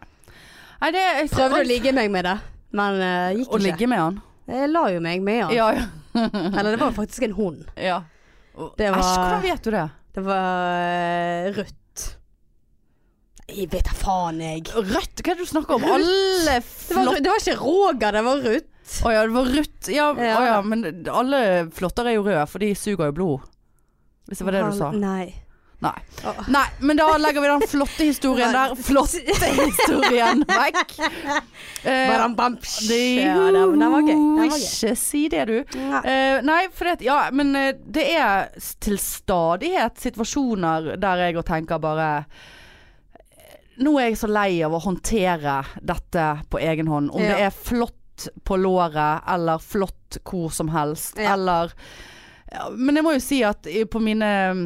[SPEAKER 3] Nei, det
[SPEAKER 2] Prøvde å ligge meg med det, men eh, gikk
[SPEAKER 3] Å
[SPEAKER 2] ikke.
[SPEAKER 3] ligge med han?
[SPEAKER 2] Jeg la jo meg med han.
[SPEAKER 3] Ja, ja.
[SPEAKER 2] Eller det var faktisk en hund.
[SPEAKER 3] ja.
[SPEAKER 2] Det var-
[SPEAKER 3] Æsj, hvordan vet du det?
[SPEAKER 2] Det var eh, rødt. Jeg vet da faen, jeg.
[SPEAKER 3] Rødt? Hva er det du snakker om?
[SPEAKER 2] Rødt. Det
[SPEAKER 3] Alle
[SPEAKER 2] var,
[SPEAKER 3] flott...
[SPEAKER 2] det var ikke Roger, det var Ruth.
[SPEAKER 3] Å ja, det var rødt. Ja,
[SPEAKER 2] Ja.
[SPEAKER 3] å ja, men alle flåtter er jo røde, for de suger jo blod. Hvis det var det du sa.
[SPEAKER 2] Nei.
[SPEAKER 3] Nei.
[SPEAKER 2] Å.
[SPEAKER 3] Nei, men da legger vi den flotte historien der. Flotte historien vekk. Eh,
[SPEAKER 2] Badam, bam, psh.
[SPEAKER 3] det,
[SPEAKER 2] Ja, den, den var gøy. Den var gøy.
[SPEAKER 3] Ikke si det, du.
[SPEAKER 2] Nei.
[SPEAKER 3] Eh, nei, for det, ja, men eh, det er s- til stadighet situasjoner der jeg og tenker bare eh, Nå er jeg så lei av å håndtere dette på egen hånd. Om
[SPEAKER 2] Ja.
[SPEAKER 3] det er flott på låret, eller flott hvor som helst,
[SPEAKER 2] Ja.
[SPEAKER 3] eller ja, Men jeg må jo si at i- på mine mm,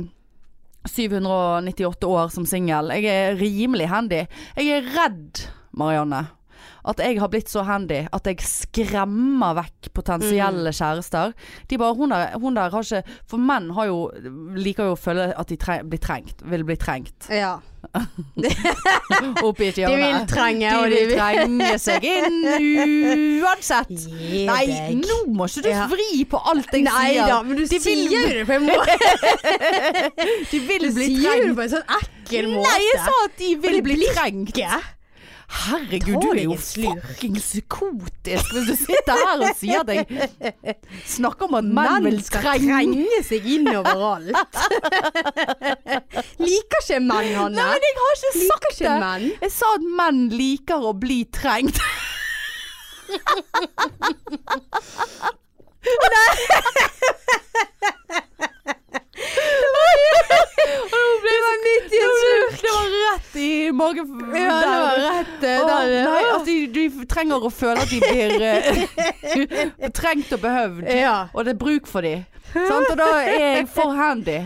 [SPEAKER 3] 798 år som singel, jeg er rimelig handy. Jeg er redd, Marianne. At jeg har blitt så handy at jeg skremmer vekk
[SPEAKER 2] Mm.
[SPEAKER 3] potensielle kjærester. De bare, hun der, hun der har ikke For menn har jo, liker jo å føle at de tre, blir trengt. Vil bli trengt.
[SPEAKER 2] Ja.
[SPEAKER 3] Oppi et
[SPEAKER 2] De vil
[SPEAKER 3] hjørne.
[SPEAKER 2] trenge, og de
[SPEAKER 3] vil
[SPEAKER 2] vil
[SPEAKER 3] trenge seg inn uansett.
[SPEAKER 2] Gi
[SPEAKER 3] Nei, nå må ikke du
[SPEAKER 2] Ja.
[SPEAKER 3] vri på alt jeg
[SPEAKER 2] Nei
[SPEAKER 3] sier.
[SPEAKER 2] da, men du
[SPEAKER 3] De vil-
[SPEAKER 2] sier jo det på en måte.
[SPEAKER 3] De vil
[SPEAKER 2] Du
[SPEAKER 3] bli
[SPEAKER 2] sier jo det
[SPEAKER 3] trengt.
[SPEAKER 2] på en sånn ekkel måte.
[SPEAKER 3] Nei, jeg sa at de vil
[SPEAKER 2] det
[SPEAKER 3] bli
[SPEAKER 2] blir
[SPEAKER 3] trengt.
[SPEAKER 2] ikke.
[SPEAKER 3] Herregud,
[SPEAKER 2] Ta
[SPEAKER 3] du er
[SPEAKER 2] deg
[SPEAKER 3] jo
[SPEAKER 2] en slurk.
[SPEAKER 3] fucking psykotisk hvis du sitter her og sier at jeg snakker om at
[SPEAKER 2] Menn
[SPEAKER 3] menn vil
[SPEAKER 2] skal
[SPEAKER 3] trenge
[SPEAKER 2] trenge seg inn overalt. Liker ikke menn, Hanne.
[SPEAKER 3] Nei, men jeg har ikke
[SPEAKER 2] Liker
[SPEAKER 3] sagt
[SPEAKER 2] ikke
[SPEAKER 3] det!
[SPEAKER 2] menn.
[SPEAKER 3] Jeg sa at menn liker å bli trengt.
[SPEAKER 2] Det var midt i en
[SPEAKER 3] Det var rett i magen
[SPEAKER 2] Ja, det var rett eh,
[SPEAKER 3] Åh,
[SPEAKER 2] der.
[SPEAKER 3] nei, at de, de altså, trenger å føle at de blir eh, trengt og behøvd.
[SPEAKER 2] Ja.
[SPEAKER 3] Og det er bruk for dem. Og da er jeg for handy.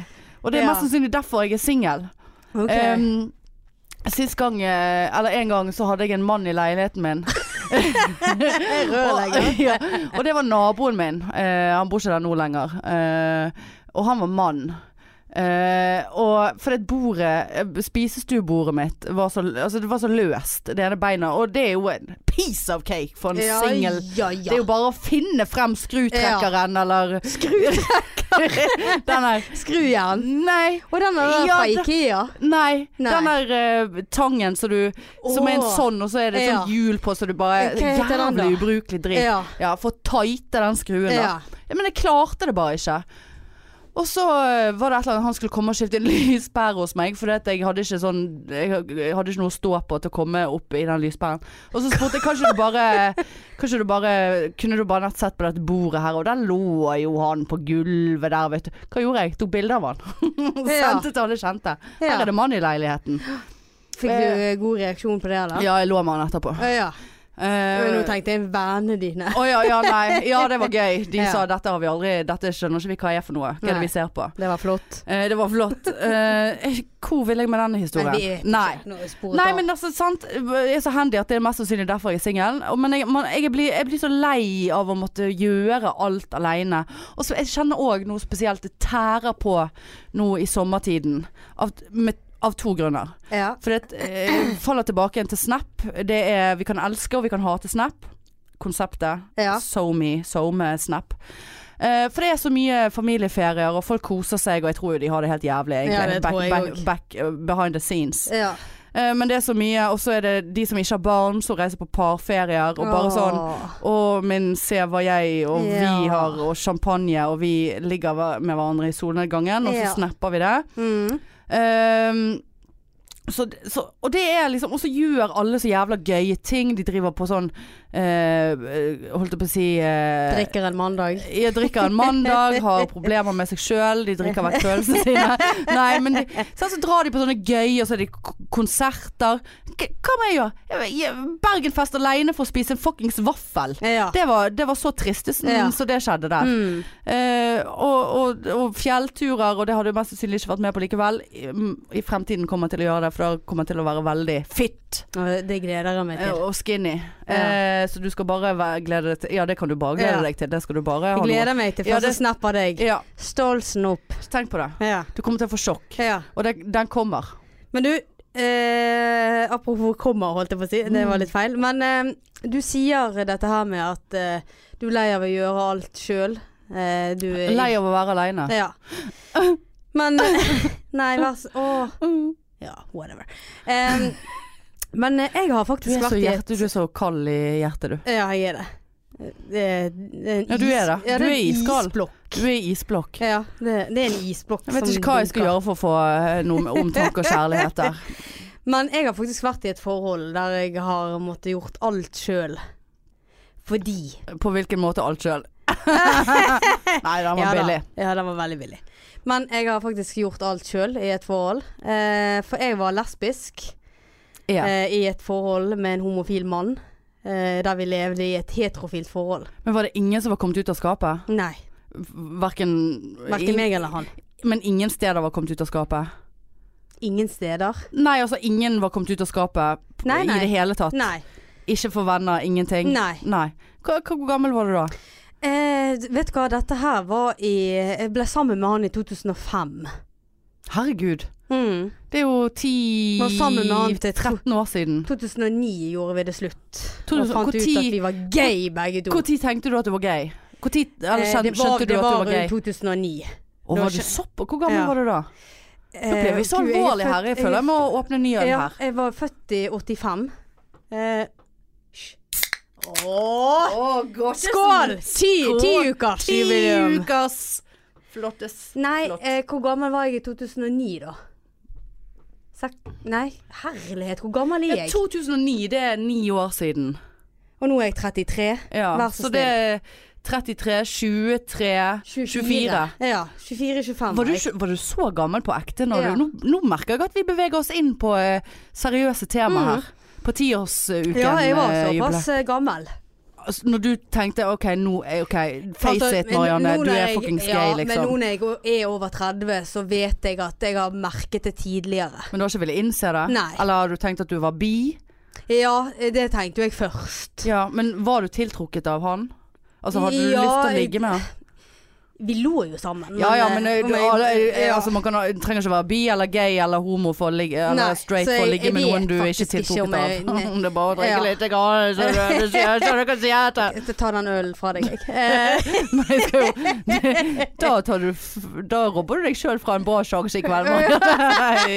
[SPEAKER 3] Og det er
[SPEAKER 2] Ja.
[SPEAKER 3] mest sannsynlig derfor jeg er singel.
[SPEAKER 2] Ok.
[SPEAKER 3] Ehm, sist gang, eh, eller en gang, så hadde jeg en mann i leiligheten min. og, ja, og det var naboen min. Eh, han bor ikke der nå lenger. Eh, og han var mann. Eh, og for det bordet, eh, spisestuebordet mitt, var så, altså det var så løst, det ene beina. Og det er jo en piece of cake for en
[SPEAKER 2] Ja,
[SPEAKER 3] singel.
[SPEAKER 2] ja,
[SPEAKER 3] Det er
[SPEAKER 2] ja.
[SPEAKER 3] jo bare å finne frem skrutrekkeren, eller
[SPEAKER 2] Skru,
[SPEAKER 3] den der
[SPEAKER 2] skrujern.
[SPEAKER 3] Nei.
[SPEAKER 2] Og den er der
[SPEAKER 3] Ja,
[SPEAKER 2] fra
[SPEAKER 3] det-
[SPEAKER 2] Ikea.
[SPEAKER 3] Nei.
[SPEAKER 2] Nei.
[SPEAKER 3] Den der eh, tangen som du Som er en
[SPEAKER 2] Åh.
[SPEAKER 3] sånn, og så er det
[SPEAKER 2] Ja. Eh,
[SPEAKER 3] sånn hjul på, så du bare
[SPEAKER 2] Hva heter den da?
[SPEAKER 3] Jævlig ubrukelig dritt. Ja.
[SPEAKER 2] Ja.
[SPEAKER 3] for å tighte den skruen, da.
[SPEAKER 2] ja.
[SPEAKER 3] Ja, men jeg klarte det bare ikke. Og så eh, var det et eller annet han skulle komme og skifte en lyspære hos meg, for jeg hadde ikke sånn Jeg jeg hadde ikke noe å stå på til å komme opp i den lyspæren. Og så spurte jeg kanskje du bare Kanskje du bare Kunne du bare nett sett på dette bordet her, og der lå jo han på gulvet der, vet du. Hva gjorde jeg? Tok bilde av han.
[SPEAKER 2] Ja.
[SPEAKER 3] Sendte til alle kjente.
[SPEAKER 2] Ja.
[SPEAKER 3] Her er det mann i leiligheten.
[SPEAKER 2] Fikk du eh, god reaksjon på det, da?
[SPEAKER 3] Ja, jeg lå med han etterpå.
[SPEAKER 2] Å, ja. Men Nå
[SPEAKER 3] Eh,
[SPEAKER 2] tenkte jeg vennene dine.
[SPEAKER 3] Å ja, ja, nei. Ja, det var gøy. De
[SPEAKER 2] Ja.
[SPEAKER 3] sa dette har vi aldri Dette skjønner ikke vi hva er for noe. Hva er
[SPEAKER 2] Nei.
[SPEAKER 3] det vi ser på?
[SPEAKER 2] Det var flott.
[SPEAKER 3] Eh, det var flott. Eh, hvor vil jeg med denne historien?
[SPEAKER 2] vi er
[SPEAKER 3] Nei.
[SPEAKER 2] ikke noe sporet
[SPEAKER 3] Nei,
[SPEAKER 2] av.
[SPEAKER 3] men altså, sant. Jeg er så handy at det er mest sannsynlig derfor jeg er singel. Og- Men jeg, man, jeg, blir, jeg blir så lei av å måtte gjøre alt aleine. Og så jeg kjenner òg noe spesielt det tærer på nå i sommertiden. Av, med, av to grunner.
[SPEAKER 2] ja.
[SPEAKER 3] For det eh, faller tilbake igjen til Snap. Det er Vi kan elske og vi kan hate Snap. Konseptet.
[SPEAKER 2] Ja.
[SPEAKER 3] SoMe, SoMe, Snap. Eh, for det er så mye familieferier, og folk koser seg, og jeg tror jo de har det helt jævlig, egentlig.
[SPEAKER 2] Ja, det
[SPEAKER 3] back,
[SPEAKER 2] tror jeg
[SPEAKER 3] back,
[SPEAKER 2] også.
[SPEAKER 3] back, eh, behind the scenes.
[SPEAKER 2] ja.
[SPEAKER 3] Eh, men det er så mye, og så er det de som ikke har barn, som reiser på parferier, og bare sånn
[SPEAKER 2] Åh.
[SPEAKER 3] Å, min, se hva jeg og vi
[SPEAKER 2] Ja.
[SPEAKER 3] har, og champagne, og vi ligger hver- med hverandre i solnedgangen, og så
[SPEAKER 2] Ja.
[SPEAKER 3] snapper vi det.
[SPEAKER 2] Mm.
[SPEAKER 3] Ehm, så, så, og det er liksom Og så gjør alle så jævla gøye ting. De driver på sånn eh, Holdt jeg på å si eh,
[SPEAKER 2] Drikker en mandag.
[SPEAKER 3] jeg drikker en mandag, har problemer med seg sjøl, de drikker vekk følelsene sine. Nei, men de, så, så drar de på sånne gøye, og så er det k- konserter. K hva må jeg gjøre? Jeg- jeg- Bergenfest aleine for å spise en fuckings vaffel.
[SPEAKER 2] Ja.
[SPEAKER 3] Det var, det var så tristesen,
[SPEAKER 2] Ja.
[SPEAKER 3] så det skjedde der.
[SPEAKER 2] Mm.
[SPEAKER 3] Eh, og, og, og fjellturer, og det har du mest sannsynlig ikke vært med på likevel. I, mm, i fremtiden kommer jeg til å gjøre det, for da kommer jeg til å være veldig fit
[SPEAKER 2] Og Det gleder jeg meg
[SPEAKER 3] eh,
[SPEAKER 2] til.
[SPEAKER 3] og skinny. Eh, så du skal bare være, glede deg til Ja, det kan du bare glede
[SPEAKER 2] Ja.
[SPEAKER 3] deg til. Det skal du bare
[SPEAKER 2] Jeg
[SPEAKER 3] ha noe
[SPEAKER 2] gleder meg til
[SPEAKER 3] Ja,
[SPEAKER 2] første
[SPEAKER 3] det-
[SPEAKER 2] snap av deg.
[SPEAKER 3] ja,
[SPEAKER 2] Stolsen opp.
[SPEAKER 3] tenk på det.
[SPEAKER 2] Ja.
[SPEAKER 3] Du kommer til å få sjokk.
[SPEAKER 2] ja.
[SPEAKER 3] Og det, den kommer.
[SPEAKER 2] Men du, eh, apropos kommer, holdt jeg på å si.
[SPEAKER 3] Mm.
[SPEAKER 2] Det var litt feil. Men eh, du sier dette her med at eh, du er lei av å gjøre alt sjøl. Eh, du er
[SPEAKER 3] Lei av å være aleine.
[SPEAKER 2] Ja. Men Nei, vær så Åh. Ja, whatever. Em, men eh, jeg har
[SPEAKER 3] Du
[SPEAKER 2] faktisk
[SPEAKER 3] er så
[SPEAKER 2] vært i et
[SPEAKER 3] hjerte, du er så kald i hjertet, du.
[SPEAKER 2] Ja, jeg er det. det er det er en
[SPEAKER 3] Ja, du er det.
[SPEAKER 2] is- Ja,
[SPEAKER 3] Du
[SPEAKER 2] det
[SPEAKER 3] er
[SPEAKER 2] en
[SPEAKER 3] iskald.
[SPEAKER 2] Isblokk.
[SPEAKER 3] Du er i isblokk.
[SPEAKER 2] Ja, det, det er en isblokk.
[SPEAKER 3] Jeg vet
[SPEAKER 2] som
[SPEAKER 3] ikke hva jeg skal
[SPEAKER 2] dunker.
[SPEAKER 3] gjøre for å få eh, noe med omtanke og kjærlighet der.
[SPEAKER 2] Men jeg har faktisk vært i et forhold der jeg har måttet gjort alt sjøl. Fordi
[SPEAKER 3] På hvilken måte alt sjøl. Nei, den var
[SPEAKER 2] ja, da.
[SPEAKER 3] billig.
[SPEAKER 2] Ja, den var veldig billig. Men jeg har faktisk gjort alt sjøl i et forhold. Eh, for jeg var lesbisk
[SPEAKER 3] Ja.
[SPEAKER 2] eh, i et forhold med en homofil mann. Eh, der vi levde i et heterofilt forhold.
[SPEAKER 3] Men var det ingen som var kommet ut av skapet?
[SPEAKER 2] Nei,
[SPEAKER 3] Verken
[SPEAKER 2] verken meg eller han.
[SPEAKER 3] Men ingen steder var kommet ut av skapet?
[SPEAKER 2] Ingen steder.
[SPEAKER 3] Nei, altså ingen var kommet ut av skapet p-
[SPEAKER 2] Nei, nei.
[SPEAKER 3] i det hele tatt.
[SPEAKER 2] Nei.
[SPEAKER 3] Ikke for venner, ingenting.
[SPEAKER 2] Nei.
[SPEAKER 3] Hva, hva, hvor gammel var du da?
[SPEAKER 2] Eh, vet du hva, dette her var i Jeg ble sammen med han i 2005.
[SPEAKER 3] Herregud.
[SPEAKER 2] Mm.
[SPEAKER 3] Det er jo ti
[SPEAKER 2] Var sammen med han til
[SPEAKER 3] 13 år siden.
[SPEAKER 2] 2009 gjorde vi det slutt.
[SPEAKER 3] To-
[SPEAKER 2] Og fant
[SPEAKER 3] hvor
[SPEAKER 2] ut
[SPEAKER 3] tid-
[SPEAKER 2] at vi var gay begge to.
[SPEAKER 3] Når tenkte du at du var gay? Hvor tid, eller,
[SPEAKER 2] Eh,
[SPEAKER 3] kjen,
[SPEAKER 2] det var,
[SPEAKER 3] skjønte du
[SPEAKER 2] det
[SPEAKER 3] at du
[SPEAKER 2] var
[SPEAKER 3] var gay?
[SPEAKER 2] rundt 2009.
[SPEAKER 3] Og
[SPEAKER 2] det var
[SPEAKER 3] var du
[SPEAKER 2] kjent-
[SPEAKER 3] sopp? Hvor gammel
[SPEAKER 2] Ja.
[SPEAKER 3] var du da? Nå ble vi så
[SPEAKER 2] Eh, Gud, jeg er
[SPEAKER 3] alvorlige her. Jeg
[SPEAKER 2] født-
[SPEAKER 3] føler jeg må åpne ny øl
[SPEAKER 2] ja,
[SPEAKER 3] her.
[SPEAKER 2] Jeg var født i 85. Eh, hysj. Åh, skål! Ti, ti ukers
[SPEAKER 3] Ti
[SPEAKER 2] jubileum.
[SPEAKER 3] ukers flottes
[SPEAKER 2] Nei,
[SPEAKER 3] Flott.
[SPEAKER 2] eh, hvor gammel var jeg i 2009 da? Sek nei, herlighet, hvor gammel er
[SPEAKER 3] Ja,
[SPEAKER 2] jeg?
[SPEAKER 3] 2009, det er ni år siden.
[SPEAKER 2] Og nå er jeg 33.
[SPEAKER 3] Ja,
[SPEAKER 2] Vær så
[SPEAKER 3] så,
[SPEAKER 2] snill.
[SPEAKER 3] det er 33, 23, 24.
[SPEAKER 2] Ja, 24-25
[SPEAKER 3] Var du, ikke- var du så gammel på ekte? Når
[SPEAKER 2] Ja.
[SPEAKER 3] du, nå, nå merker jeg at vi beveger oss inn på eh, seriøse tema
[SPEAKER 2] Mm.
[SPEAKER 3] her. På tiårsuken.
[SPEAKER 2] Ja, jeg var
[SPEAKER 3] eh,
[SPEAKER 2] såpass eh, gammel.
[SPEAKER 3] jubileum. Altså, Når du tenkte OK, nå er OK, face
[SPEAKER 2] Altså,
[SPEAKER 3] it,
[SPEAKER 2] men
[SPEAKER 3] Marianne.
[SPEAKER 2] nå
[SPEAKER 3] Du
[SPEAKER 2] når
[SPEAKER 3] er
[SPEAKER 2] jeg-
[SPEAKER 3] fuckings
[SPEAKER 2] ja, Men
[SPEAKER 3] gay,
[SPEAKER 2] nå
[SPEAKER 3] liksom. Men,
[SPEAKER 2] når jeg er over 30, så vet jeg at jeg har merket det tidligere.
[SPEAKER 3] du har ikke villet innse det?
[SPEAKER 2] Nei.
[SPEAKER 3] Eller har du tenkt at du var bi?
[SPEAKER 2] Ja, det tenkte jo jeg først.
[SPEAKER 3] Ja, Men var du tiltrukket av han? Altså, hadde du
[SPEAKER 2] Ja,
[SPEAKER 3] lyst til å
[SPEAKER 2] jeg-
[SPEAKER 3] ligge med han?
[SPEAKER 2] Vi lå jo sammen.
[SPEAKER 3] Ja ja, men
[SPEAKER 2] eh,
[SPEAKER 3] eh, du,
[SPEAKER 2] om jeg-
[SPEAKER 3] alle, eh,
[SPEAKER 2] ja.
[SPEAKER 3] altså, man kan, ha- trenger ikke være bi eller gay eller homo for å ligge, eller
[SPEAKER 2] Nei,
[SPEAKER 3] straight
[SPEAKER 2] så
[SPEAKER 3] for å
[SPEAKER 2] jeg-
[SPEAKER 3] ligge med
[SPEAKER 2] jeg
[SPEAKER 3] noen du
[SPEAKER 2] vet
[SPEAKER 3] ikke er
[SPEAKER 2] faktisk ikke om
[SPEAKER 3] tiltrukket
[SPEAKER 2] jeg-
[SPEAKER 3] av.
[SPEAKER 2] nei.
[SPEAKER 3] Om det er bare å drikke
[SPEAKER 2] Ja.
[SPEAKER 3] litt, grann, så du- så du- så du kan si etter.
[SPEAKER 2] Jeg tar den ølen fra deg, jeg. Eh,
[SPEAKER 3] Men jeg skal jo, da, tar du, f- da robber du deg sjøl fra en bra sjanse i kveld. Mark. Nei,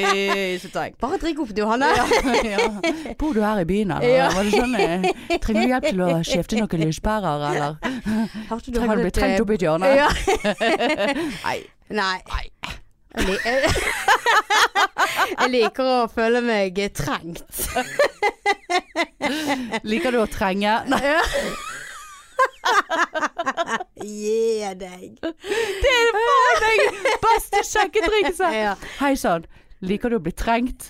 [SPEAKER 3] ikke tenk.
[SPEAKER 2] bare drikk opp, du, Hanne.
[SPEAKER 3] Ja. Bor du her i byen, eller?
[SPEAKER 2] Ja.
[SPEAKER 3] Hva er det sånn, eh, Trenger du hjelp til å skifte noen lyspærer, eller?
[SPEAKER 2] Har ikke du
[SPEAKER 3] Trenger du å bli
[SPEAKER 2] havnet,
[SPEAKER 3] trengt
[SPEAKER 2] eh,
[SPEAKER 3] opp i et hjørne?
[SPEAKER 2] Ja.
[SPEAKER 3] Nei.
[SPEAKER 2] Nei. Jeg lik- Jeg liker å føle meg eh, trengt.
[SPEAKER 3] Liker du å trenge? Nei,
[SPEAKER 2] Gi deg.
[SPEAKER 3] det er faen meg beste sjekketrikset!
[SPEAKER 2] Ja.
[SPEAKER 3] Hei sann. Liker du å bli trengt?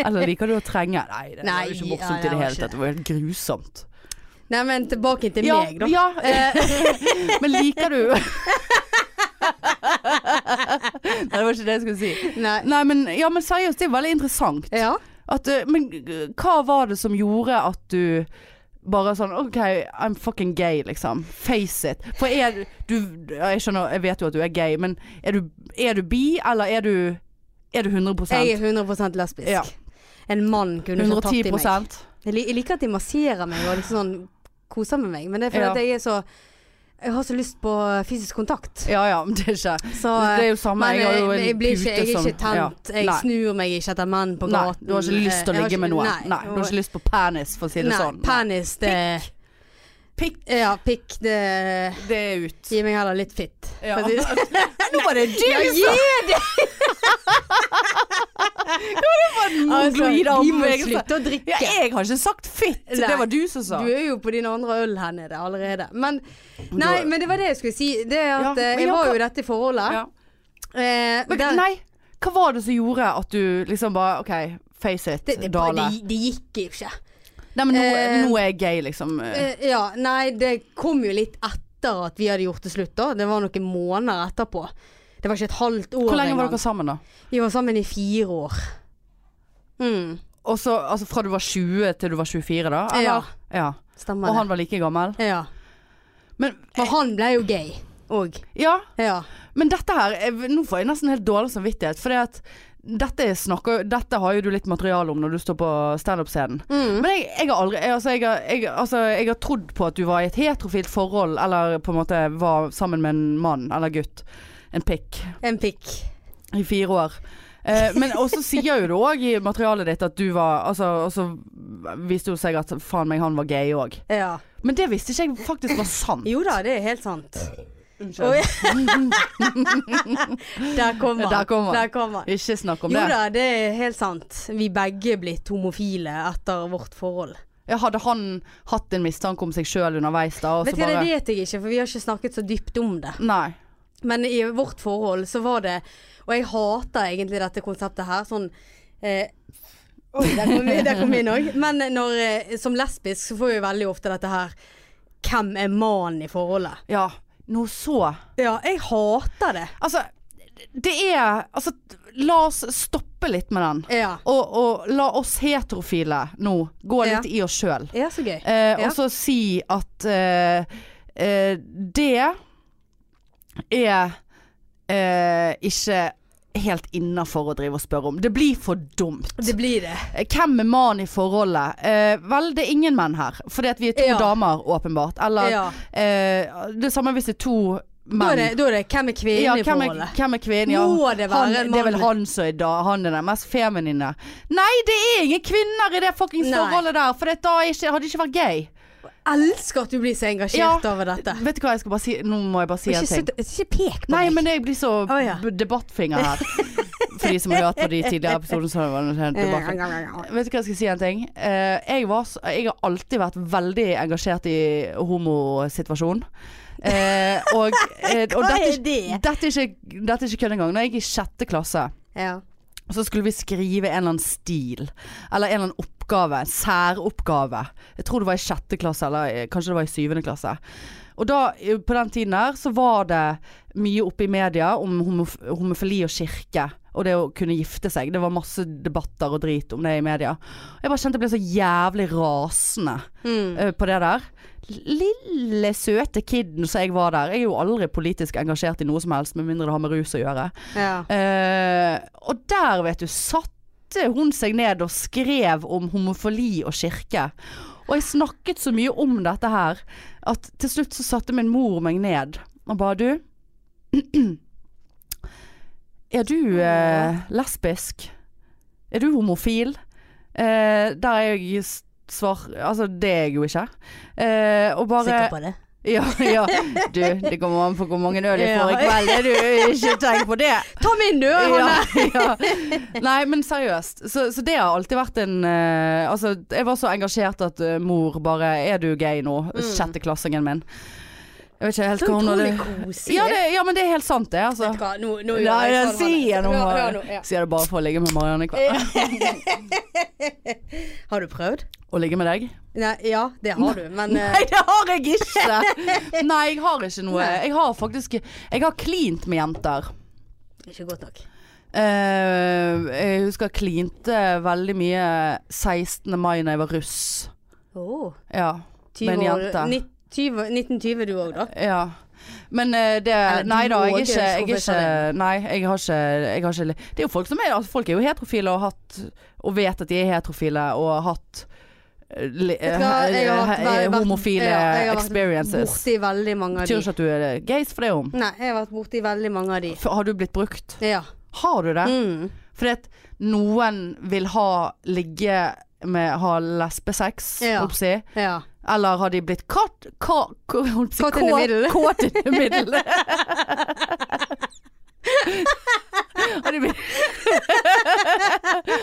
[SPEAKER 3] Eller liker du å trenge? Nei, det var
[SPEAKER 2] Nei,
[SPEAKER 3] jo ikke
[SPEAKER 2] ja,
[SPEAKER 3] morsomt i
[SPEAKER 2] det
[SPEAKER 3] det
[SPEAKER 2] var
[SPEAKER 3] hele
[SPEAKER 2] ikke
[SPEAKER 3] tatt. Det var helt grusomt.
[SPEAKER 2] Nei, men tilbake til
[SPEAKER 3] ja,
[SPEAKER 2] meg, da.
[SPEAKER 3] Ja, eh, men liker du Nei, det var ikke det jeg skulle si.
[SPEAKER 2] Nei.
[SPEAKER 3] Nei, men, ja, men seriøst, det er veldig interessant.
[SPEAKER 2] Ja.
[SPEAKER 3] At, eh, men eh, hva var det som gjorde at du bare sånn OK, I'm fucking gay, liksom. Face it. For er du ja, Jeg skjønner, jeg vet jo at du er gay, men er du, er du bi, eller er du Er du 100
[SPEAKER 2] Jeg er 100 lesbisk.
[SPEAKER 3] Ja.
[SPEAKER 2] En mann kunne ikke tatt i
[SPEAKER 3] 110
[SPEAKER 2] meg. Jeg, lik- jeg liker at de masserer meg og liksom sånn koser med meg, men det er fordi
[SPEAKER 3] Ja.
[SPEAKER 2] at jeg er så Jeg har så lyst på fysisk kontakt.
[SPEAKER 3] Ja ja, men det er ikke
[SPEAKER 2] Så,
[SPEAKER 3] Det er jo samme,
[SPEAKER 2] men
[SPEAKER 3] jeg har jo
[SPEAKER 2] jeg,
[SPEAKER 3] en
[SPEAKER 2] jeg blir ikke,
[SPEAKER 3] pute
[SPEAKER 2] jeg er ikke
[SPEAKER 3] som- ja.
[SPEAKER 2] tent. Jeg
[SPEAKER 3] Nei.
[SPEAKER 2] snur meg ikke etter menn på
[SPEAKER 3] Nei,
[SPEAKER 2] gaten.
[SPEAKER 3] du har ikke lyst til
[SPEAKER 2] Jeg
[SPEAKER 3] å
[SPEAKER 2] har
[SPEAKER 3] ligge med
[SPEAKER 2] ikke-
[SPEAKER 3] noen.
[SPEAKER 2] Nei,
[SPEAKER 3] Nei, du har ikke lyst på penis, for å si det
[SPEAKER 2] nei,
[SPEAKER 3] sånn.
[SPEAKER 2] Penis, det
[SPEAKER 3] Pikk.
[SPEAKER 2] Ja, pikk, det
[SPEAKER 3] Det er ut.
[SPEAKER 2] Gi meg heller litt fitt.
[SPEAKER 3] Ja.
[SPEAKER 2] For å si det- sånn.
[SPEAKER 3] Nå var det det
[SPEAKER 2] Ja,
[SPEAKER 3] vi
[SPEAKER 2] gi det! Altså, de må
[SPEAKER 3] sa!
[SPEAKER 2] slutte å drikke.
[SPEAKER 3] Ja, jeg har ikke sagt fitt.
[SPEAKER 2] Nei.
[SPEAKER 3] Det var du som sa.
[SPEAKER 2] Du er jo på din andre øl her nede allerede. Men, nei,
[SPEAKER 3] Du-
[SPEAKER 2] men det var det jeg skulle si. Det er
[SPEAKER 3] Ja,
[SPEAKER 2] at eh,
[SPEAKER 3] men
[SPEAKER 2] jeg
[SPEAKER 3] ja,
[SPEAKER 2] var
[SPEAKER 3] hva-
[SPEAKER 2] jo i dette forholdet.
[SPEAKER 3] Ja.
[SPEAKER 2] Eh,
[SPEAKER 3] Men,
[SPEAKER 2] der-
[SPEAKER 3] nei, hva var det som gjorde at du liksom bare OK, face it,
[SPEAKER 2] det, det,
[SPEAKER 3] Dale.
[SPEAKER 2] det, det gikk jo ikke.
[SPEAKER 3] Nei, men nå,
[SPEAKER 2] Eh,
[SPEAKER 3] nå er jeg gay, liksom.
[SPEAKER 2] Eh, ja, nei, det kom jo litt etter at vi hadde gjort det slutt, da. Det var noen måneder etterpå. Det var ikke et halvt år
[SPEAKER 3] Hvor lenge var
[SPEAKER 2] engang.
[SPEAKER 3] dere sammen, da?
[SPEAKER 2] Vi var sammen i fire år. Mm,
[SPEAKER 3] Og så, altså Fra du var 20 til du var 24, da?
[SPEAKER 2] Ja.
[SPEAKER 3] ja.
[SPEAKER 2] stemmer
[SPEAKER 3] Og
[SPEAKER 2] det.
[SPEAKER 3] han var like gammel?
[SPEAKER 2] Ja.
[SPEAKER 3] Men,
[SPEAKER 2] For han ble jo gay òg.
[SPEAKER 3] ja,
[SPEAKER 2] Ja.
[SPEAKER 3] Men dette her, jeg, nå får jeg nesten helt dårlig samvittighet, for dette, er snakker, dette har jo du litt materiale om når du står på standup-scenen.
[SPEAKER 2] Mm.
[SPEAKER 3] Men jeg, jeg har aldri jeg, altså, jeg, har- jeg, altså, jeg har trodd på at du var i et heterofilt forhold, eller på en måte var sammen med en mann eller gutt. En pikk.
[SPEAKER 2] En pikk.
[SPEAKER 3] I fire år. Eh, men også sier jo du òg i materialet ditt at du var altså, Og så viste det seg at faen meg, han var gay òg.
[SPEAKER 2] Ja.
[SPEAKER 3] Men det visste ikke jeg faktisk var sant.
[SPEAKER 2] Jo da, det er helt sant.
[SPEAKER 3] Unnskyld.
[SPEAKER 2] Oi. Der kommer han.
[SPEAKER 3] Der kom han.
[SPEAKER 2] Der kom han.
[SPEAKER 3] Ikke snakk om
[SPEAKER 2] Jo
[SPEAKER 3] det.
[SPEAKER 2] da, det er helt sant. Vi begge blitt homofile etter vårt forhold.
[SPEAKER 3] Ja, hadde han hatt en mistanke om seg sjøl underveis da, og så
[SPEAKER 2] Vet du, Det
[SPEAKER 3] bare
[SPEAKER 2] vet jeg ikke, for vi har ikke snakket så dypt om det.
[SPEAKER 3] Nei.
[SPEAKER 2] Men i vårt forhold så var det Og jeg hater egentlig dette konseptet her. Sånn eh, Oi, der kom vi- der kom vi inn òg. Men når, eh, som lesbisk så får vi veldig ofte dette her Hvem er mannen i forholdet?
[SPEAKER 3] Ja, noe så
[SPEAKER 2] Ja, jeg hater det.
[SPEAKER 3] Altså, det er Altså, la oss stoppe litt med den.
[SPEAKER 2] Ja.
[SPEAKER 3] Og, og la oss heterofile nå gå
[SPEAKER 2] Ja.
[SPEAKER 3] litt i oss sjøl.
[SPEAKER 2] Ja, så gøy.
[SPEAKER 3] Eh,
[SPEAKER 2] Ja.
[SPEAKER 3] Og så si at eh, eh, det er eh, ikke helt innafor å drive og spørre om. Det blir for dumt.
[SPEAKER 2] Det blir det.
[SPEAKER 3] Eh, Hvem er mannen i forholdet? Eh, vel, det er ingen menn her. Fordi at vi er to
[SPEAKER 2] Ja.
[SPEAKER 3] damer, åpenbart. Eller
[SPEAKER 2] Ja.
[SPEAKER 3] eh, det samme hvis det er to
[SPEAKER 2] Da er
[SPEAKER 3] menn.
[SPEAKER 2] det, da er det hvem er kvinnen
[SPEAKER 3] Ja,
[SPEAKER 2] i
[SPEAKER 3] hvem er,
[SPEAKER 2] forholdet?
[SPEAKER 3] hvem er kvinnen? Ja.
[SPEAKER 2] Må det være
[SPEAKER 3] han,
[SPEAKER 2] en
[SPEAKER 3] det er vel
[SPEAKER 2] mann?
[SPEAKER 3] han som er da, han er den mest feminine. Nei, det er ingen kvinner i det fuckings
[SPEAKER 2] Nei.
[SPEAKER 3] forholdet der! For det, da er ikke, hadde det ikke vært gay.
[SPEAKER 2] Elsker at du blir så engasjert
[SPEAKER 3] Ja.
[SPEAKER 2] over dette.
[SPEAKER 3] Vet du hva, jeg skal bare si Nå må jeg bare si
[SPEAKER 2] Ikke,
[SPEAKER 3] en ting.
[SPEAKER 2] sitt- ikke pek på
[SPEAKER 3] Nei,
[SPEAKER 2] meg.
[SPEAKER 3] men jeg blir så
[SPEAKER 2] Å, ja.
[SPEAKER 3] b- debattfinger her. For de som har hørt på de tidligere episodene, så har det vært en debattfinger. Vet du hva jeg skal si en ting? Eh, jeg, var, s- jeg har alltid vært veldig engasjert i homosituasjonen. Eh, og eh, og
[SPEAKER 2] Hva
[SPEAKER 3] dette,
[SPEAKER 2] er det?
[SPEAKER 3] dette er ikke, dette er ikke kødd engang. Da jeg gikk i sjette klasse,
[SPEAKER 2] Ja.
[SPEAKER 3] så skulle vi skrive en eller annen stil. Eller en eller annen oppgave. En særoppgave. Jeg tror det var i sjette klasse, eller eh, kanskje det var i syvende klasse. Og da, eh, på den tiden her, så var det mye oppe i media om homof homofili og kirke. Og det å kunne gifte seg. Det var masse debatter og drit om det i media. Og jeg bare kjente jeg ble så jævlig rasende
[SPEAKER 2] Mm.
[SPEAKER 3] eh, på det der. lille søte kiden som jeg var der. Jeg er jo aldri politisk engasjert i noe som helst, med mindre det har med rus å gjøre.
[SPEAKER 2] Ja.
[SPEAKER 3] Eh, og der, vet du, satte hun seg ned og skrev om homofili og kirke. Og jeg snakket så mye om dette her, at til slutt så satte min mor meg ned og ba du Er du eh, lesbisk? Er du homofil? Eh, der er jeg s- svar... Altså, det er jeg jo ikke. Eh, og bare
[SPEAKER 2] Sikker på det.
[SPEAKER 3] ja, ja. Du, det kommer an på hvor mange øl jeg får
[SPEAKER 2] Ja.
[SPEAKER 3] i kveld. Er du ikke tenk på det.
[SPEAKER 2] Ta min, du! Hanne!
[SPEAKER 3] Ja, ja. Nei, men seriøst. Så, så det har alltid vært en eh, Altså, jeg var så engasjert at eh, mor bare Er du gay nå? Sjetteklassingen min. Jeg vet ikke helt
[SPEAKER 2] Så
[SPEAKER 3] hva hun hadde
[SPEAKER 2] Mm. utrolig koselig.
[SPEAKER 3] ja, det, ja, men det er helt sant, det, altså.
[SPEAKER 2] Vet du hva, nå, nå gjør
[SPEAKER 3] Nei,
[SPEAKER 2] jeg
[SPEAKER 3] jeg
[SPEAKER 2] sånn,
[SPEAKER 3] sier
[SPEAKER 2] Hanne.
[SPEAKER 3] noe.
[SPEAKER 2] Hør- hør nå, ja.
[SPEAKER 3] Sier det bare for å ligge med Marianne i kveld.
[SPEAKER 2] Har du prøvd?
[SPEAKER 3] Å ligge med deg?
[SPEAKER 2] Nei, ja, det har du, men eh,
[SPEAKER 3] Nei, det har jeg ikke! Nei, jeg har ikke noe.
[SPEAKER 2] Nei.
[SPEAKER 3] Jeg har faktisk Jeg har klint med jenter.
[SPEAKER 2] ikke godt nok.
[SPEAKER 3] Eh, jeg husker jeg klinte veldig mye 16. mai da jeg var russ.
[SPEAKER 2] Oh,
[SPEAKER 3] Ja.
[SPEAKER 2] 20
[SPEAKER 3] Med en
[SPEAKER 2] år-
[SPEAKER 3] jente.
[SPEAKER 2] nitt- 20 1920 du òg, da?
[SPEAKER 3] ja. Men eh, det
[SPEAKER 2] Eller,
[SPEAKER 3] Nei
[SPEAKER 2] du
[SPEAKER 3] da,
[SPEAKER 2] og
[SPEAKER 3] jeg er ikke,
[SPEAKER 2] Gøs,
[SPEAKER 3] jeg er
[SPEAKER 2] hvorfor
[SPEAKER 3] ikke Nei, jeg har ikke, jeg har ikke Det er jo folk som er altså, Folk er jo heterofile og har hatt Og vet at de er heterofile og har hatt eh, li-
[SPEAKER 2] Vet du hva, jeg har vært-
[SPEAKER 3] eh,
[SPEAKER 2] vært-
[SPEAKER 3] homofile
[SPEAKER 2] ja, jeg har vært
[SPEAKER 3] experiences.
[SPEAKER 2] Borti veldig mange av
[SPEAKER 3] Betyr
[SPEAKER 2] de.
[SPEAKER 3] ikke at du er gays for det om.
[SPEAKER 2] Nei, jeg har vært borti veldig mange av de.
[SPEAKER 3] F- Har du blitt brukt?
[SPEAKER 2] Ja.
[SPEAKER 3] Har du det?
[SPEAKER 2] Mm.
[SPEAKER 3] Fordi at noen vil ha ligge med ha lesbesex,
[SPEAKER 2] Ja.
[SPEAKER 3] holdt på å si.
[SPEAKER 2] ja.
[SPEAKER 3] Eller har de blitt katt ka, ka, holdt på å si,
[SPEAKER 2] Caught in the
[SPEAKER 3] kåt-
[SPEAKER 2] middle.
[SPEAKER 3] Kåt in the middle. har de blitt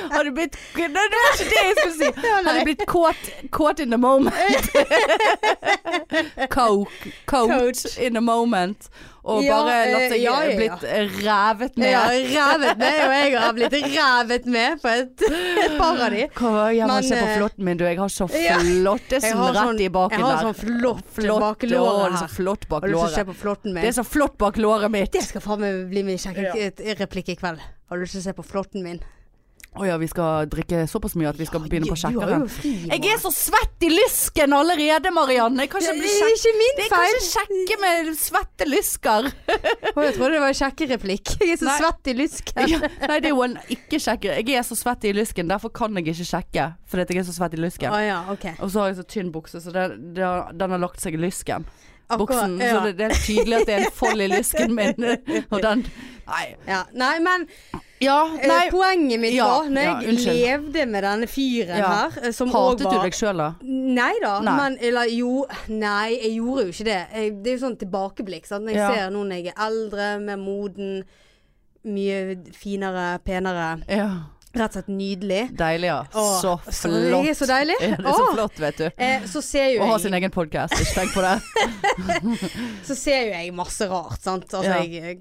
[SPEAKER 3] Har de blitt Nei, det var ikke det jeg skulle si. Har de blitt kåt, kåt in the moment. Coke. Coat
[SPEAKER 2] Coat.
[SPEAKER 3] in the moment. Og
[SPEAKER 2] Ja,
[SPEAKER 3] bare latt
[SPEAKER 2] eh,
[SPEAKER 3] seg
[SPEAKER 2] ja, ja, ja.
[SPEAKER 3] blitt revet med.
[SPEAKER 2] Jeg har revet med, og jeg har blitt revet med på et, et par av de.
[SPEAKER 3] Hva, jeg må
[SPEAKER 2] Men,
[SPEAKER 3] se på
[SPEAKER 2] eh,
[SPEAKER 3] flåtten min, du. Jeg har så
[SPEAKER 2] ja.
[SPEAKER 3] flottesen rett i baken
[SPEAKER 2] jeg har
[SPEAKER 3] der.
[SPEAKER 2] sånn flott,
[SPEAKER 3] Flott,
[SPEAKER 2] bak
[SPEAKER 3] å,
[SPEAKER 2] låret
[SPEAKER 3] det er så
[SPEAKER 2] her.
[SPEAKER 3] flott bak
[SPEAKER 2] Har du lyst til å se
[SPEAKER 3] låret.
[SPEAKER 2] på flåtten min?
[SPEAKER 3] Det er så flott bak låret mitt.
[SPEAKER 2] Det skal faen meg bli min kjekke replikk i kveld. Har du lyst til å se på flåtten min?
[SPEAKER 3] Å ja, vi skal drikke såpass mye at vi skal begynne
[SPEAKER 2] Du
[SPEAKER 3] på
[SPEAKER 2] har
[SPEAKER 3] sjekkeren.
[SPEAKER 2] jo fri.
[SPEAKER 3] Jeg er så svett i lysken allerede, Marianne. Jeg kan
[SPEAKER 2] det
[SPEAKER 3] ikke bli
[SPEAKER 2] er
[SPEAKER 3] kjekk.
[SPEAKER 2] ikke min
[SPEAKER 3] Jeg kan
[SPEAKER 2] feil.
[SPEAKER 3] ikke sjekke med svette lysker.
[SPEAKER 2] Å, jeg trodde det var en kjekke replikk. Jeg er så
[SPEAKER 3] Nei.
[SPEAKER 2] svett i lysken.
[SPEAKER 3] Ja, nei, det er jo en ikke-sjekker. Jeg er så svett i lysken, derfor kan jeg ikke sjekke. Fordi at jeg er så svett i
[SPEAKER 2] Å
[SPEAKER 3] lysken.
[SPEAKER 2] ja, ok.
[SPEAKER 3] Og så har jeg så tynn bukse, så det, det, har- den har lagt seg i lysken.
[SPEAKER 2] Akkurat,
[SPEAKER 3] buksen.
[SPEAKER 2] ja.
[SPEAKER 3] Så det, det er tydelig at det er en fold i lysken min. Og den Nei.
[SPEAKER 2] ja. Nei, men
[SPEAKER 3] Ja,
[SPEAKER 2] eh,
[SPEAKER 3] nei.
[SPEAKER 2] poenget mitt
[SPEAKER 3] Ja,
[SPEAKER 2] var, når
[SPEAKER 3] ja,
[SPEAKER 2] jeg
[SPEAKER 3] unnskyld.
[SPEAKER 2] levde med denne fyren
[SPEAKER 3] Ja.
[SPEAKER 2] her, eh, som òg
[SPEAKER 3] Hatet du
[SPEAKER 2] var
[SPEAKER 3] deg sjøl, da?
[SPEAKER 2] Nei da,
[SPEAKER 3] Nei.
[SPEAKER 2] men eller jo Nei, jeg gjorde jo ikke det. Jeg, det er jo sånn tilbakeblikk. Sant? Når jeg
[SPEAKER 3] Ja.
[SPEAKER 2] ser nå når jeg er eldre, mer moden, mye finere, penere.
[SPEAKER 3] Ja.
[SPEAKER 2] Rett og slett nydelig.
[SPEAKER 3] Deilig, ja.
[SPEAKER 2] Åh,
[SPEAKER 3] Så
[SPEAKER 2] så-
[SPEAKER 3] flott.
[SPEAKER 2] det er så deilig.
[SPEAKER 3] Ja, det er så
[SPEAKER 2] Åh.
[SPEAKER 3] flott, vet du.
[SPEAKER 2] Eh, så ser jo
[SPEAKER 3] Å ha
[SPEAKER 2] jeg
[SPEAKER 3] sin egen podkast, ikke tenk på det.
[SPEAKER 2] så ser jo jeg masse rart, sant. Altså,
[SPEAKER 3] Ja.
[SPEAKER 2] jeg,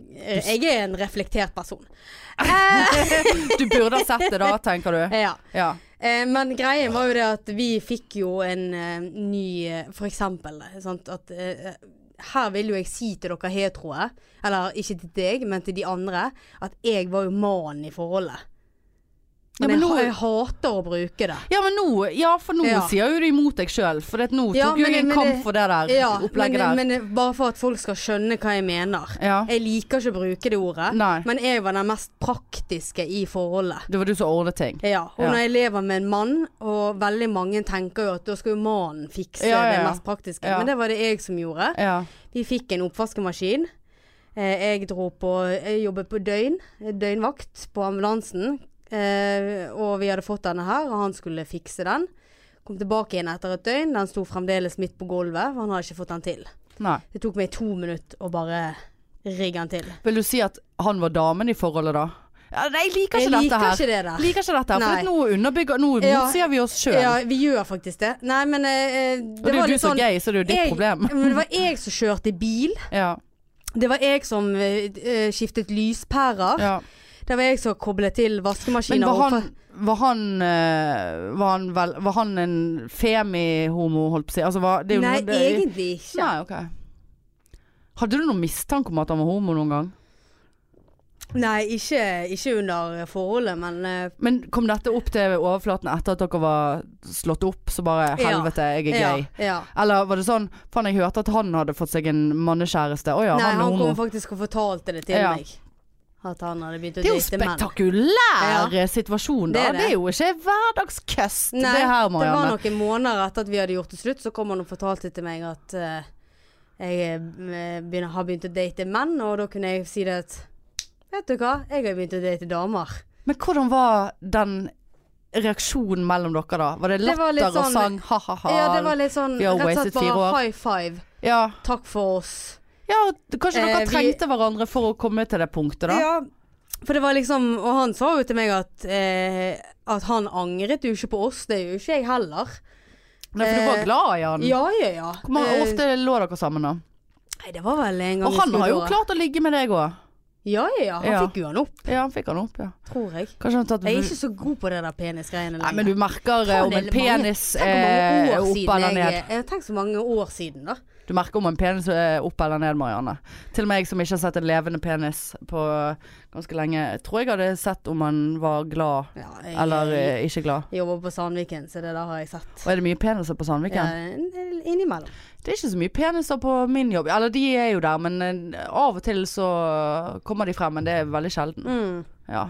[SPEAKER 2] jeg er en reflektert person.
[SPEAKER 3] Du burde ha sett det da, tenker du.
[SPEAKER 2] Ja.
[SPEAKER 3] Ja.
[SPEAKER 2] Eh, men greien var jo det at vi fikk jo en eh, ny eh, For eksempel, eh, sant, at eh, her vil jo jeg si til dere heteroer, eller ikke til deg, men til de andre, at jeg var jo mannen i forholdet.
[SPEAKER 3] Ja,
[SPEAKER 2] Men,
[SPEAKER 3] men
[SPEAKER 2] jeg,
[SPEAKER 3] nå-
[SPEAKER 2] ha- jeg hater å bruke det.
[SPEAKER 3] ja, men nå, ja, for nå
[SPEAKER 2] Ja.
[SPEAKER 3] sier jo du imot deg sjøl. For det at nå
[SPEAKER 2] Ja,
[SPEAKER 3] tok jo
[SPEAKER 2] men-
[SPEAKER 3] jeg en
[SPEAKER 2] men
[SPEAKER 3] kamp
[SPEAKER 2] det-
[SPEAKER 3] for det der
[SPEAKER 2] Ja, men,
[SPEAKER 3] opplegget der.
[SPEAKER 2] men eh, bare for at folk skal skjønne hva jeg mener.
[SPEAKER 3] ja.
[SPEAKER 2] Jeg liker ikke å bruke det ordet,
[SPEAKER 3] Nei.
[SPEAKER 2] men jeg var den mest praktiske i forholdet.
[SPEAKER 3] Det var du som ordnet ting.
[SPEAKER 2] Ja, og
[SPEAKER 3] Ja.
[SPEAKER 2] når jeg lever med en mann, og veldig mange tenker jo at da skal jo mannen fikse
[SPEAKER 3] Ja, ja,
[SPEAKER 2] det
[SPEAKER 3] ja.
[SPEAKER 2] mest praktiske,
[SPEAKER 3] Ja.
[SPEAKER 2] men det var det jeg som gjorde.
[SPEAKER 3] Ja.
[SPEAKER 2] Vi fikk en oppvaskemaskin. Eh, Jeg dro på Jeg jobbet på døgn, eh, døgnvakt på ambulansen. Eh, og vi hadde fått denne her, og han skulle fikse den. Kom tilbake igjen etter et døgn. Den sto fremdeles midt på gulvet, for han hadde ikke fått den til.
[SPEAKER 3] Nei.
[SPEAKER 2] Det tok meg to minutter å bare rigge den til.
[SPEAKER 3] Vil du si at han var damen i forholdet da? Ja, nei, jeg liker
[SPEAKER 2] Jeg
[SPEAKER 3] ikke dette
[SPEAKER 2] liker
[SPEAKER 3] her.
[SPEAKER 2] ikke det der.
[SPEAKER 3] Liker ikke dette her, for
[SPEAKER 2] Nei.
[SPEAKER 3] at nå underbygger Nå
[SPEAKER 2] Ja.
[SPEAKER 3] motsier vi oss sjøl.
[SPEAKER 2] Ja, vi gjør faktisk det. Nei, men eh, eh,
[SPEAKER 3] Og det er
[SPEAKER 2] var
[SPEAKER 3] jo
[SPEAKER 2] litt
[SPEAKER 3] du som er gay, så det er jo ditt
[SPEAKER 2] jeg,
[SPEAKER 3] problem.
[SPEAKER 2] men det var jeg som kjørte bil.
[SPEAKER 3] Ja.
[SPEAKER 2] Det var jeg som eh, eh, skiftet lyspærer.
[SPEAKER 3] ja.
[SPEAKER 2] Det var jeg som koblet til
[SPEAKER 3] Men
[SPEAKER 2] vaskemaskiner.
[SPEAKER 3] var
[SPEAKER 2] og-
[SPEAKER 3] han, var han, eh, var han, vel, var han en femi-homo, holdt på å si? Altså, var, det er jo
[SPEAKER 2] Nei,
[SPEAKER 3] noe- det,
[SPEAKER 2] egentlig ikke.
[SPEAKER 3] Nei, ok. Hadde du noen mistanke om at han var homo noen gang?
[SPEAKER 2] Nei, ikke, ikke under forholdet, men eh,
[SPEAKER 3] Men kom dette opp til overflaten etter at dere var slått opp, så bare
[SPEAKER 2] Ja.
[SPEAKER 3] helvete, jeg er
[SPEAKER 2] ja,
[SPEAKER 3] gay?
[SPEAKER 2] ja.
[SPEAKER 3] Eller var det sånn Faen, jeg hørte at han hadde fått seg en mannekjæreste. Å ja,
[SPEAKER 2] Nei,
[SPEAKER 3] han er
[SPEAKER 2] han
[SPEAKER 3] homo.
[SPEAKER 2] kom faktisk og fortalte det til
[SPEAKER 3] Ja.
[SPEAKER 2] meg. At han hadde begynt å
[SPEAKER 3] Det er jo
[SPEAKER 2] date menn.
[SPEAKER 3] spektakulær situasjon, da.
[SPEAKER 2] Det er
[SPEAKER 3] Det er,
[SPEAKER 2] det.
[SPEAKER 3] jo ikke hverdagskøst,
[SPEAKER 2] Nei,
[SPEAKER 3] det her,
[SPEAKER 2] det var
[SPEAKER 3] Marianne.
[SPEAKER 2] noen måneder etter at vi hadde gjort det slutt, så kom han og fortalte til meg at eh, jeg eh, begynner, har begynt å date menn, og da kunne jeg si det at Vet du hva, jeg har begynt å date damer.
[SPEAKER 3] Men hvordan var den reaksjonen mellom dere, da? Var det
[SPEAKER 2] Det var
[SPEAKER 3] latter
[SPEAKER 2] litt
[SPEAKER 3] og
[SPEAKER 2] sånn-
[SPEAKER 3] sang ha-ha-ha?
[SPEAKER 2] Ja, det var litt sånn
[SPEAKER 3] vi har
[SPEAKER 2] rett og slett
[SPEAKER 3] wasted fire
[SPEAKER 2] bare
[SPEAKER 3] år.
[SPEAKER 2] high five.
[SPEAKER 3] ja.
[SPEAKER 2] Takk for oss.
[SPEAKER 3] ja, kanskje dere
[SPEAKER 2] Eh, vi-
[SPEAKER 3] trengte hverandre for å komme til det punktet, da?
[SPEAKER 2] Ja, for det var liksom Og han sa jo til meg at, eh, at han angret jo ikke på oss, det gjør jo ikke jeg heller.
[SPEAKER 3] Nei, for du var
[SPEAKER 2] eh,
[SPEAKER 3] glad i han?
[SPEAKER 2] Ja, ja, ja.
[SPEAKER 3] Mm. Hvor mange-
[SPEAKER 2] Eh,
[SPEAKER 3] hvor ofte lå dere sammen, da?
[SPEAKER 2] Nei, det var vel en gang
[SPEAKER 3] Og
[SPEAKER 2] i
[SPEAKER 3] han har jo
[SPEAKER 2] skuddåret.
[SPEAKER 3] klart å ligge med deg òg.
[SPEAKER 2] Ja, ja, ja. Han
[SPEAKER 3] Ja.
[SPEAKER 2] fikk jo han opp,
[SPEAKER 3] Ja, han fikk han opp, ja.
[SPEAKER 2] tror jeg.
[SPEAKER 3] Kanskje han har tatt
[SPEAKER 2] Jeg er ikke så god på det der penisgreiene
[SPEAKER 3] Nei, men du merker eh,
[SPEAKER 2] Faen,
[SPEAKER 3] om
[SPEAKER 2] det er
[SPEAKER 3] en
[SPEAKER 2] mange-
[SPEAKER 3] penis
[SPEAKER 2] Tenk hvor mange
[SPEAKER 3] eh, er
[SPEAKER 2] år
[SPEAKER 3] opp
[SPEAKER 2] siden
[SPEAKER 3] eller ned.
[SPEAKER 2] jeg- eh, Tenk så mange år siden, da.
[SPEAKER 3] Du merker om en penis er opp eller ned, Marianne. Til og med jeg som ikke har sett en levende penis på ganske lenge, tror jeg hadde sett om han var glad
[SPEAKER 2] Ja, jeg,
[SPEAKER 3] eller
[SPEAKER 2] jeg,
[SPEAKER 3] eh, ikke glad.
[SPEAKER 2] jobber på Sandviken, så det der har jeg sett.
[SPEAKER 3] Og er det mye peniser på
[SPEAKER 2] Ja,
[SPEAKER 3] Sandviken?
[SPEAKER 2] en- en- innimellom.
[SPEAKER 3] Det er ikke så mye peniser på min jobb. Eller de er jo der, men eh, av og til så kommer de frem, men det er veldig sjelden.
[SPEAKER 2] Mm.
[SPEAKER 3] Ja.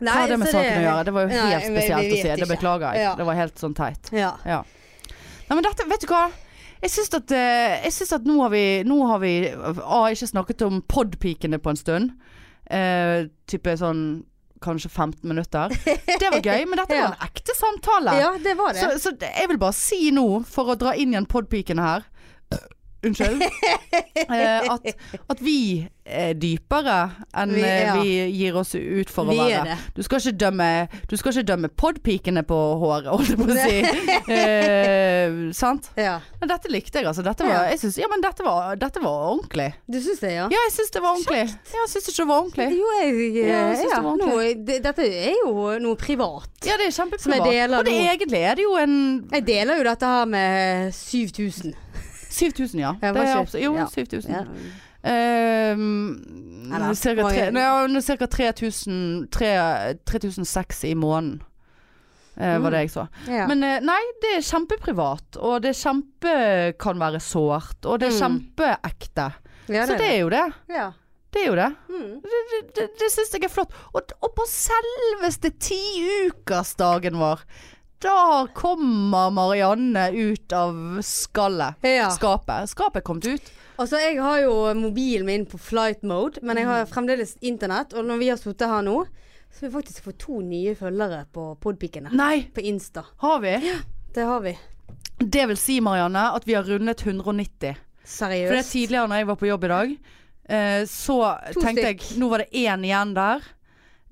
[SPEAKER 2] Nei,
[SPEAKER 3] Hva har det med
[SPEAKER 2] så
[SPEAKER 3] saken å gjøre? Det var jo
[SPEAKER 2] Nei,
[SPEAKER 3] helt
[SPEAKER 2] vi- vi
[SPEAKER 3] spesielt å
[SPEAKER 2] vet
[SPEAKER 3] si. Det
[SPEAKER 2] ikke.
[SPEAKER 3] beklager jeg.
[SPEAKER 2] Ja.
[SPEAKER 3] Det var helt sånn teit.
[SPEAKER 2] Ja.
[SPEAKER 3] Ja. Nei, men dette, vet du hva? Jeg syns at, eh, jeg syns at nå har vi, nå har vi A, ikke snakket om podpikene på en stund. Eh, type sånn kanskje 15 minutter. Det var gøy, men dette
[SPEAKER 2] Ja.
[SPEAKER 3] var en ekte samtale.
[SPEAKER 2] ja, det var det.
[SPEAKER 3] så, så det- jeg vil bare si nå, for å dra inn igjen podpikene her Unnskyld. Eh, at, at vi er dypere enn
[SPEAKER 2] Vi-
[SPEAKER 3] eh,
[SPEAKER 2] ja.
[SPEAKER 3] vi gir oss ut for å
[SPEAKER 2] Vi
[SPEAKER 3] være.
[SPEAKER 2] er det.
[SPEAKER 3] Du skal ikke dømme, du skal ikke dømme podpikene på håret, holdt jeg på å si. Eh, sant?
[SPEAKER 2] Ja.
[SPEAKER 3] Men dette likte jeg, altså. Dette var, jeg synes, ja, men dette var, dette var ordentlig.
[SPEAKER 2] Du syns det, ja?
[SPEAKER 3] Ja, jeg syns det var ordentlig. Ja, jeg syns ikke det var ordentlig.
[SPEAKER 2] Jo, jeg, eh,
[SPEAKER 3] Ja, jeg synes
[SPEAKER 2] ja,
[SPEAKER 3] det var
[SPEAKER 2] nå, eh, det, Dette er jo noe privat.
[SPEAKER 3] Ja, det er
[SPEAKER 2] Som jeg
[SPEAKER 3] kjempeprivat.
[SPEAKER 2] deler
[SPEAKER 3] Og det
[SPEAKER 2] nå.
[SPEAKER 3] egentlig er det jo en
[SPEAKER 2] Jeg deler jo dette her med eh, 7000.
[SPEAKER 3] 7000, ja.
[SPEAKER 2] Ja,
[SPEAKER 3] Det er
[SPEAKER 2] var ikke-
[SPEAKER 3] absolutt- jo,
[SPEAKER 2] ja.
[SPEAKER 3] 7000.
[SPEAKER 2] Ja.
[SPEAKER 3] Ehm,
[SPEAKER 2] Eller,
[SPEAKER 3] cirka
[SPEAKER 2] mange-
[SPEAKER 3] tre- nei, ja, nå cirka 3000 tre- 3006 i måneden, eh, var det jeg så.
[SPEAKER 2] Ja.
[SPEAKER 3] Men eh, nei, det er kjempeprivat, og det er kjempe kan være sårt, og det er
[SPEAKER 2] Mm.
[SPEAKER 3] kjempeekte.
[SPEAKER 2] ja,
[SPEAKER 3] Så det er jo det.
[SPEAKER 2] Ja.
[SPEAKER 3] Det er jo det.
[SPEAKER 2] Mm.
[SPEAKER 3] Det, det, det, det syns jeg er flott. Og, og på selveste tiukersdagen vår, da kommer Marianne ut av skallet.
[SPEAKER 2] Ja.
[SPEAKER 3] Skapet. Skapet er kommet ut.
[SPEAKER 2] Altså, jeg har jo mobilen min på flight mode, men jeg
[SPEAKER 3] Mm.
[SPEAKER 2] har fremdeles internett. Og når vi har sittet her nå, så har vi faktisk fått to nye følgere på Podpikene.
[SPEAKER 3] Nei,
[SPEAKER 2] På Insta.
[SPEAKER 3] har vi?
[SPEAKER 2] Det har vi.
[SPEAKER 3] Det vil si, Marianne, at vi har rundet 190. For det er
[SPEAKER 2] Seriøst.
[SPEAKER 3] tidligere når jeg var på jobb i dag, eh, så
[SPEAKER 2] To
[SPEAKER 3] tenkte
[SPEAKER 2] stykk.
[SPEAKER 3] jeg Nå var det én igjen der.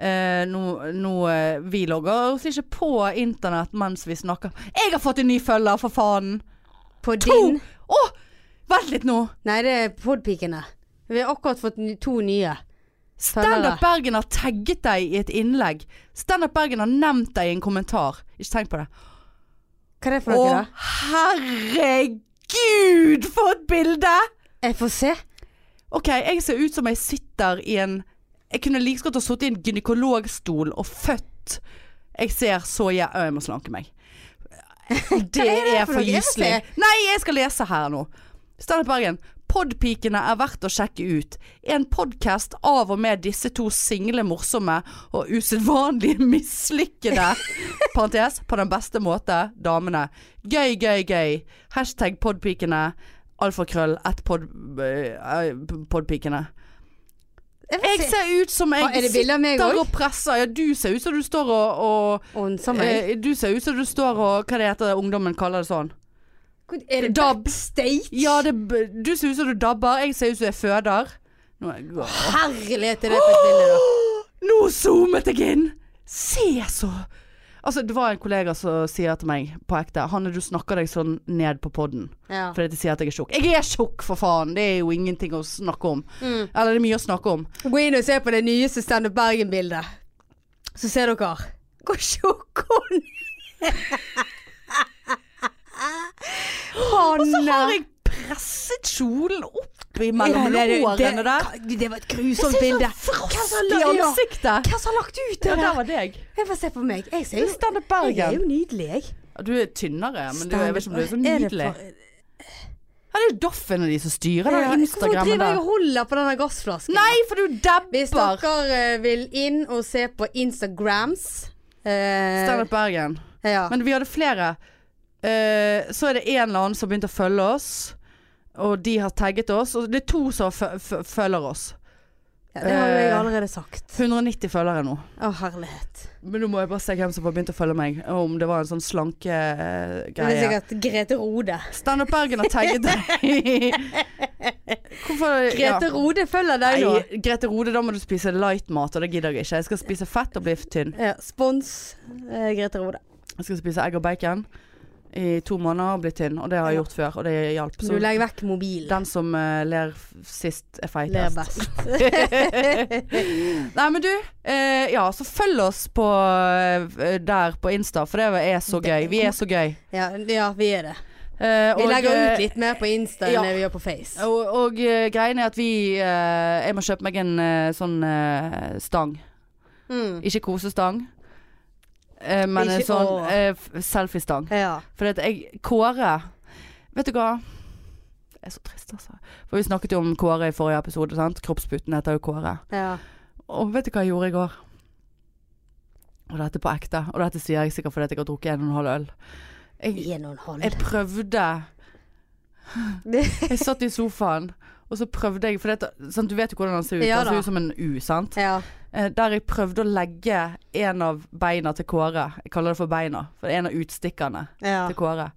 [SPEAKER 3] Eh, nå, nå eh, Vi logger oss ikke på internett mens vi snakker. Jeg har fått en ny følger, for faen!
[SPEAKER 2] På
[SPEAKER 3] To!
[SPEAKER 2] din
[SPEAKER 3] Å! vent litt nå!
[SPEAKER 2] Nei, det er Podpikene. Vi har akkurat fått ny- to nye.
[SPEAKER 3] Standup Bergen har tagget deg i et innlegg. Standup Bergen har nevnt deg i en kommentar. Ikke tenk på det.
[SPEAKER 2] Hva er det for
[SPEAKER 3] Å,
[SPEAKER 2] noe? da?
[SPEAKER 3] herregud, for et bilde!
[SPEAKER 2] Jeg får se.
[SPEAKER 3] Ok, jeg ser ut som jeg sitter i en Jeg kunne like så godt ha sittet i en gynekologstol og født. Jeg ser så jeg, Å, jeg må slanke meg.
[SPEAKER 2] er det
[SPEAKER 3] Det er
[SPEAKER 2] for
[SPEAKER 3] for
[SPEAKER 2] noe? Jeg vil
[SPEAKER 3] gyselig.
[SPEAKER 2] se.
[SPEAKER 3] Nei, jeg skal lese her nå. Standup Bergen. Podpikene er verdt å sjekke ut. En podkast av og med disse to single morsomme og usedvanlig mislykkede Parentes på den beste måte, damene. Gøy, gøy, gøy. Hashtag podpikene. Alfakrøll. Ett pod, eh, podpikene.
[SPEAKER 2] Jeg får
[SPEAKER 3] Jeg
[SPEAKER 2] se.
[SPEAKER 3] ser ut som jeg
[SPEAKER 2] Ah, er det bilde av meg
[SPEAKER 3] sitter
[SPEAKER 2] også?
[SPEAKER 3] og presser. Ja, du ser ut som du står og, og
[SPEAKER 2] Ånsa meg.
[SPEAKER 3] eh, Du ser ut som du står og Hva det heter ungdommen kaller det sånn?
[SPEAKER 2] Hvor- Er det
[SPEAKER 3] dab.
[SPEAKER 2] backstage?
[SPEAKER 3] Ja, det, b- du ser ut som du dabber. Jeg ser ut som jeg føder. Nå, er jeg gå-
[SPEAKER 2] Herlighet, er det på et bilde, da.
[SPEAKER 3] Nå zoomet jeg inn! Se så! Altså, det var en kollega som sier til meg på ekte Hanne, du snakker deg sånn ned på podden.
[SPEAKER 2] Ja.
[SPEAKER 3] Fordi de sier at jeg er tjukk. Jeg er tjukk, for faen! Det er jo ingenting å snakke om.
[SPEAKER 2] Mm.
[SPEAKER 3] Eller det er mye å snakke om.
[SPEAKER 2] Gå inn og se på det nyeste Stand Up Bergen-bildet. Så ser dere hvor tjukk hun er.
[SPEAKER 3] Og så
[SPEAKER 2] Hanne.
[SPEAKER 3] har jeg presset kjolen opp opp mellom
[SPEAKER 2] Ja, det-
[SPEAKER 3] lårene der.
[SPEAKER 2] Det, det var et grusomt bilde. Hvem som
[SPEAKER 3] I
[SPEAKER 2] la- ja,
[SPEAKER 3] ansiktet!
[SPEAKER 2] Hvem som har lagt ut det
[SPEAKER 3] Ja, der
[SPEAKER 2] der?
[SPEAKER 3] var deg.
[SPEAKER 2] Jeg får se på meg. Jeg, ser
[SPEAKER 3] Det er
[SPEAKER 2] jo,
[SPEAKER 3] Standup
[SPEAKER 2] jeg er
[SPEAKER 3] Bergen.
[SPEAKER 2] jo nydelig, jeg.
[SPEAKER 3] Du er tynnere, men du, jeg vet ikke om du er så
[SPEAKER 2] det
[SPEAKER 3] nydelig.
[SPEAKER 2] for-
[SPEAKER 3] Ja, det er jo Doffen og de som styrer
[SPEAKER 2] Ja,
[SPEAKER 3] den
[SPEAKER 2] Hvorfor
[SPEAKER 3] Instagrammen
[SPEAKER 2] driver jeg
[SPEAKER 3] der.
[SPEAKER 2] og holder på denne gassflasken?
[SPEAKER 3] Nei, for du
[SPEAKER 2] Hvis
[SPEAKER 3] dabber!
[SPEAKER 2] dere eh, vil inn og se på Instagrams eh,
[SPEAKER 3] Standup Bergen.
[SPEAKER 2] ja.
[SPEAKER 3] Men vi hadde flere. Eh, så er det en eller annen som begynte å følge oss, og de har tagget oss. Og det er to som fø- fø- følger oss.
[SPEAKER 2] ja, det har jo jeg
[SPEAKER 3] eh,
[SPEAKER 2] allerede sagt.
[SPEAKER 3] 190 følgere nå.
[SPEAKER 2] Å, herlighet.
[SPEAKER 3] Men nå må jeg bare se hvem som har begynt å følge meg. og Om det var en sånn
[SPEAKER 2] Det er
[SPEAKER 3] slankegreie.
[SPEAKER 2] sikkert Grete Rode.
[SPEAKER 3] Stand Up Bergen har tagget deg. Hvorfor
[SPEAKER 2] Grete Rode følger deg nå.
[SPEAKER 3] Nei, Grete Rode, da må du spise lightmat, og det gidder jeg ikke. Jeg skal spise fett og bli tynn.
[SPEAKER 2] Ja, spons eh, Grete Rode.
[SPEAKER 3] Jeg skal spise egg og bacon i to måneder og bli tynn, og det har jeg gjort før, og det hjalp.
[SPEAKER 2] Du
[SPEAKER 3] Så
[SPEAKER 2] legger vekk mobilen.
[SPEAKER 3] den som eh, ler f- sist, er
[SPEAKER 2] Ler
[SPEAKER 3] feitest.
[SPEAKER 2] best.
[SPEAKER 3] Nei, men du, eh, ja, så følg oss på eh, der på Insta, for det er så gøy. Vi er så gøy.
[SPEAKER 2] Ja, ja, vi er det.
[SPEAKER 3] Eh,
[SPEAKER 2] Vi
[SPEAKER 3] og,
[SPEAKER 2] legger
[SPEAKER 3] eh,
[SPEAKER 2] ut litt mer på Insta
[SPEAKER 3] ja.
[SPEAKER 2] enn det vi gjør på Face.
[SPEAKER 3] Og, og eh, greien er at vi eh, Jeg må kjøpe meg en eh, sånn eh, stang.
[SPEAKER 2] Mm.
[SPEAKER 3] Ikke kosestang, eh, men
[SPEAKER 2] Ikke-
[SPEAKER 3] en sånn
[SPEAKER 2] åh.
[SPEAKER 3] eh, f- selfiestang.
[SPEAKER 2] Ja.
[SPEAKER 3] Fordi at jeg Kåre Vet du hva? Jeg er så trist, altså. For vi snakket jo om Kåre i forrige episode. sant? Kroppsputen heter jo Kåre.
[SPEAKER 2] ja.
[SPEAKER 3] Og vet du hva jeg gjorde i går? Og dette er på ekte. Og dette sier jeg sikkert fordi at jeg har drukket en og en halv øl. Jeg,
[SPEAKER 2] En og en halv.
[SPEAKER 3] jeg prøvde Jeg satt i sofaen, og så prøvde jeg For det, sant, du vet jo hvordan han ser ut.
[SPEAKER 2] Ja
[SPEAKER 3] han
[SPEAKER 2] da.
[SPEAKER 3] ser ut som en U, sant?
[SPEAKER 2] Ja.
[SPEAKER 3] Eh, Der jeg prøvde å legge en av beina til Kåre. Jeg kaller det for beina. For det er en av utstikkerne
[SPEAKER 2] ja.
[SPEAKER 3] til Kåre.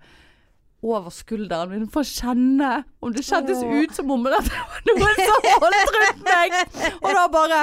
[SPEAKER 3] Over skulderen min for å kjenne om det kjentes
[SPEAKER 2] Åh.
[SPEAKER 3] ut som om det var noen som holdt rundt meg. Og da bare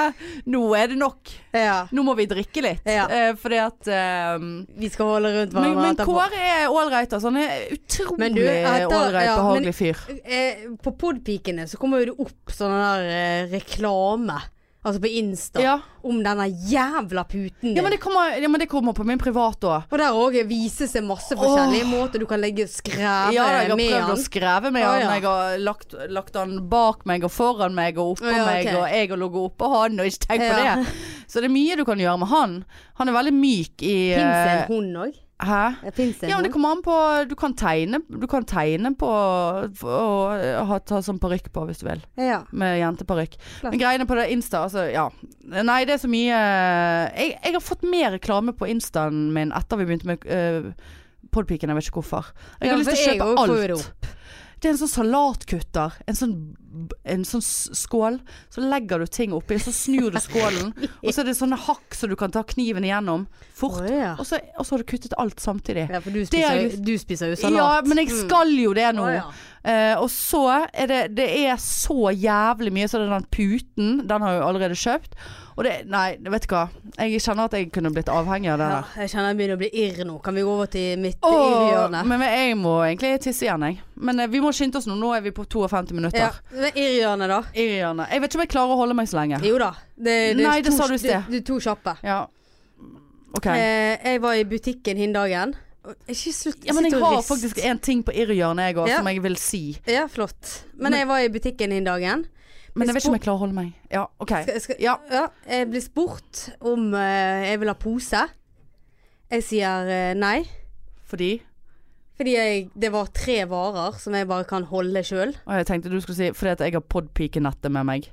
[SPEAKER 3] Nå er det nok.
[SPEAKER 2] ja.
[SPEAKER 3] Nå må vi drikke litt.
[SPEAKER 2] Ja.
[SPEAKER 3] Eh, fordi at eh,
[SPEAKER 2] Vi skal holde rundt
[SPEAKER 3] men,
[SPEAKER 2] hverandre
[SPEAKER 3] men
[SPEAKER 2] etterpå.
[SPEAKER 3] Kåre er ålreit, altså. Han er
[SPEAKER 2] Men du,
[SPEAKER 3] utrolig
[SPEAKER 2] etter-
[SPEAKER 3] ålreit,
[SPEAKER 2] ja, men-
[SPEAKER 3] behagelig fyr.
[SPEAKER 2] Eh, på podpikene så kommer jo det opp sånn der eh, reklame, altså på Insta,
[SPEAKER 3] Ja.
[SPEAKER 2] om denne jævla puten din.
[SPEAKER 3] Ja, men det kommer, ja, men det kommer på min privat òg.
[SPEAKER 2] og der òg vises det masse forskjellige måter du kan legge skræve
[SPEAKER 3] Ja, jeg har
[SPEAKER 2] med
[SPEAKER 3] prøvd å
[SPEAKER 2] den.
[SPEAKER 3] skreve med
[SPEAKER 2] Å,
[SPEAKER 3] han.
[SPEAKER 2] ja.
[SPEAKER 3] Jeg har lagt, lagt han bak meg og foran meg og oppå
[SPEAKER 2] Å, ja,
[SPEAKER 3] meg,
[SPEAKER 2] ok.
[SPEAKER 3] og jeg har ligget oppå han, og ikke tenk på
[SPEAKER 2] Ja.
[SPEAKER 3] det. Så det er mye du kan gjøre med han. Han er veldig myk i
[SPEAKER 2] Fins en
[SPEAKER 3] eh,
[SPEAKER 2] hund òg?
[SPEAKER 3] Hæ?
[SPEAKER 2] Fins en
[SPEAKER 3] Ja, men
[SPEAKER 2] hund?
[SPEAKER 3] det kommer an på Du kan tegne, du kan tegne på og ha, ta sånn parykk på hvis du vil.
[SPEAKER 2] Ja.
[SPEAKER 3] Med jenteparykk.
[SPEAKER 2] Flott.
[SPEAKER 3] Men greiene på det Insta, altså ja. Nei, det er så mye eh, Jeg, jeg har fått mer reklame på Instaen min etter vi begynte med uh, Podpiken, jeg vet ikke hvorfor. Jeg
[SPEAKER 2] Ja,
[SPEAKER 3] har lyst
[SPEAKER 2] for
[SPEAKER 3] til å
[SPEAKER 2] jeg også
[SPEAKER 3] kjøpe
[SPEAKER 2] får
[SPEAKER 3] alt.
[SPEAKER 2] det
[SPEAKER 3] Det er en sånn salatkutter. En sånn, b- en sånn s- skål. Så legger du ting oppi, så snur du skålen. Og så er det sånne hakk så du kan ta kniven igjennom fort.
[SPEAKER 2] Å, ja.
[SPEAKER 3] Og så, og så har du kuttet alt samtidig.
[SPEAKER 2] ja, for du
[SPEAKER 3] Det er
[SPEAKER 2] spiser,
[SPEAKER 3] litt-
[SPEAKER 2] du spiser jo
[SPEAKER 3] Ja,
[SPEAKER 2] salat. Mm.
[SPEAKER 3] men jeg skal jo det nå.
[SPEAKER 2] Å, ja.
[SPEAKER 3] Eh, og så er det Det er så jævlig mye. Så er det den puten. Den har jeg jo allerede kjøpt. Og det Nei, vet du hva. Jeg kjenner at jeg kunne blitt avhengig av det
[SPEAKER 2] Ja,
[SPEAKER 3] der.
[SPEAKER 2] jeg kjenner jeg begynner å bli irr nå. Kan vi gå over til mitt
[SPEAKER 3] Åh,
[SPEAKER 2] irrhjørne?
[SPEAKER 3] men jeg må egentlig tisse igjen, jeg. Men eh, vi må skynde oss nå. Nå er vi på 52
[SPEAKER 2] Ja,
[SPEAKER 3] minutter.
[SPEAKER 2] men irrhjørne, da?
[SPEAKER 3] Irrhjørne. Jeg vet ikke om jeg klarer å holde meg så lenge.
[SPEAKER 2] Jo da. Det, det, er
[SPEAKER 3] Nei, det
[SPEAKER 2] to-
[SPEAKER 3] sa du i sted.
[SPEAKER 2] Det, det er to kjappe.
[SPEAKER 3] Ja. OK.
[SPEAKER 2] Eh, jeg var i butikken hin dagen. Og- Ikke slutt.
[SPEAKER 3] Ja, men jeg
[SPEAKER 2] sitter og
[SPEAKER 3] har
[SPEAKER 2] rist.
[SPEAKER 3] faktisk en ting på irrhjørnet, jeg òg,
[SPEAKER 2] Ja.
[SPEAKER 3] som jeg vil si.
[SPEAKER 2] Ja, flott. Men,
[SPEAKER 3] Men-
[SPEAKER 2] jeg var i butikken hin dagen.
[SPEAKER 3] Men jeg vet ikke om jeg klarer å holde meg. Ja, OK.
[SPEAKER 2] Skal, skal, ja.
[SPEAKER 3] Ja.
[SPEAKER 2] jeg ble spurt om eh, jeg vil ha pose. Jeg sier eh, nei.
[SPEAKER 3] Fordi
[SPEAKER 2] Fordi jeg, det var tre varer som jeg bare kan holde sjøl.
[SPEAKER 3] Og jeg tenkte du skulle si fordi at jeg har podpikenettet med meg.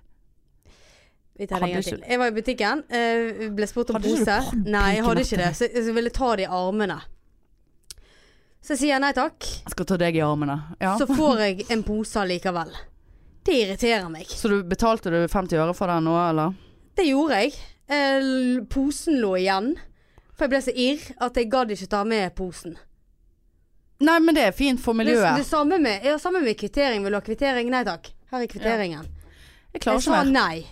[SPEAKER 2] Vi tar det en gang
[SPEAKER 3] Hadde
[SPEAKER 2] til. Jeg var i butikken, eh, ble spurt om
[SPEAKER 3] Hadde ikke du
[SPEAKER 2] pose.
[SPEAKER 3] pannpike
[SPEAKER 2] Nei, jeg hadde
[SPEAKER 3] nettet?
[SPEAKER 2] ikke det. Så jeg så ville ta det i armene. Så jeg sier nei takk.
[SPEAKER 3] Jeg skal ta deg i armene. Ja.
[SPEAKER 2] Så får jeg en pose likevel. Det irriterer meg.
[SPEAKER 3] Så du betalte du 50 øre for den nå, eller?
[SPEAKER 2] Det gjorde jeg. Eh, l- Posen lå igjen. For jeg ble så irr at jeg gadd ikke ta med posen.
[SPEAKER 3] Nei, men det er fint for
[SPEAKER 2] Det, det
[SPEAKER 3] miljøet.
[SPEAKER 2] samme med, ja, samme med kvittering. Vil du ha kvittering? Nei takk. Her er kvitteringen.
[SPEAKER 3] Jeg klarer
[SPEAKER 2] jeg
[SPEAKER 3] ikke
[SPEAKER 2] sa
[SPEAKER 3] mer.
[SPEAKER 2] nei.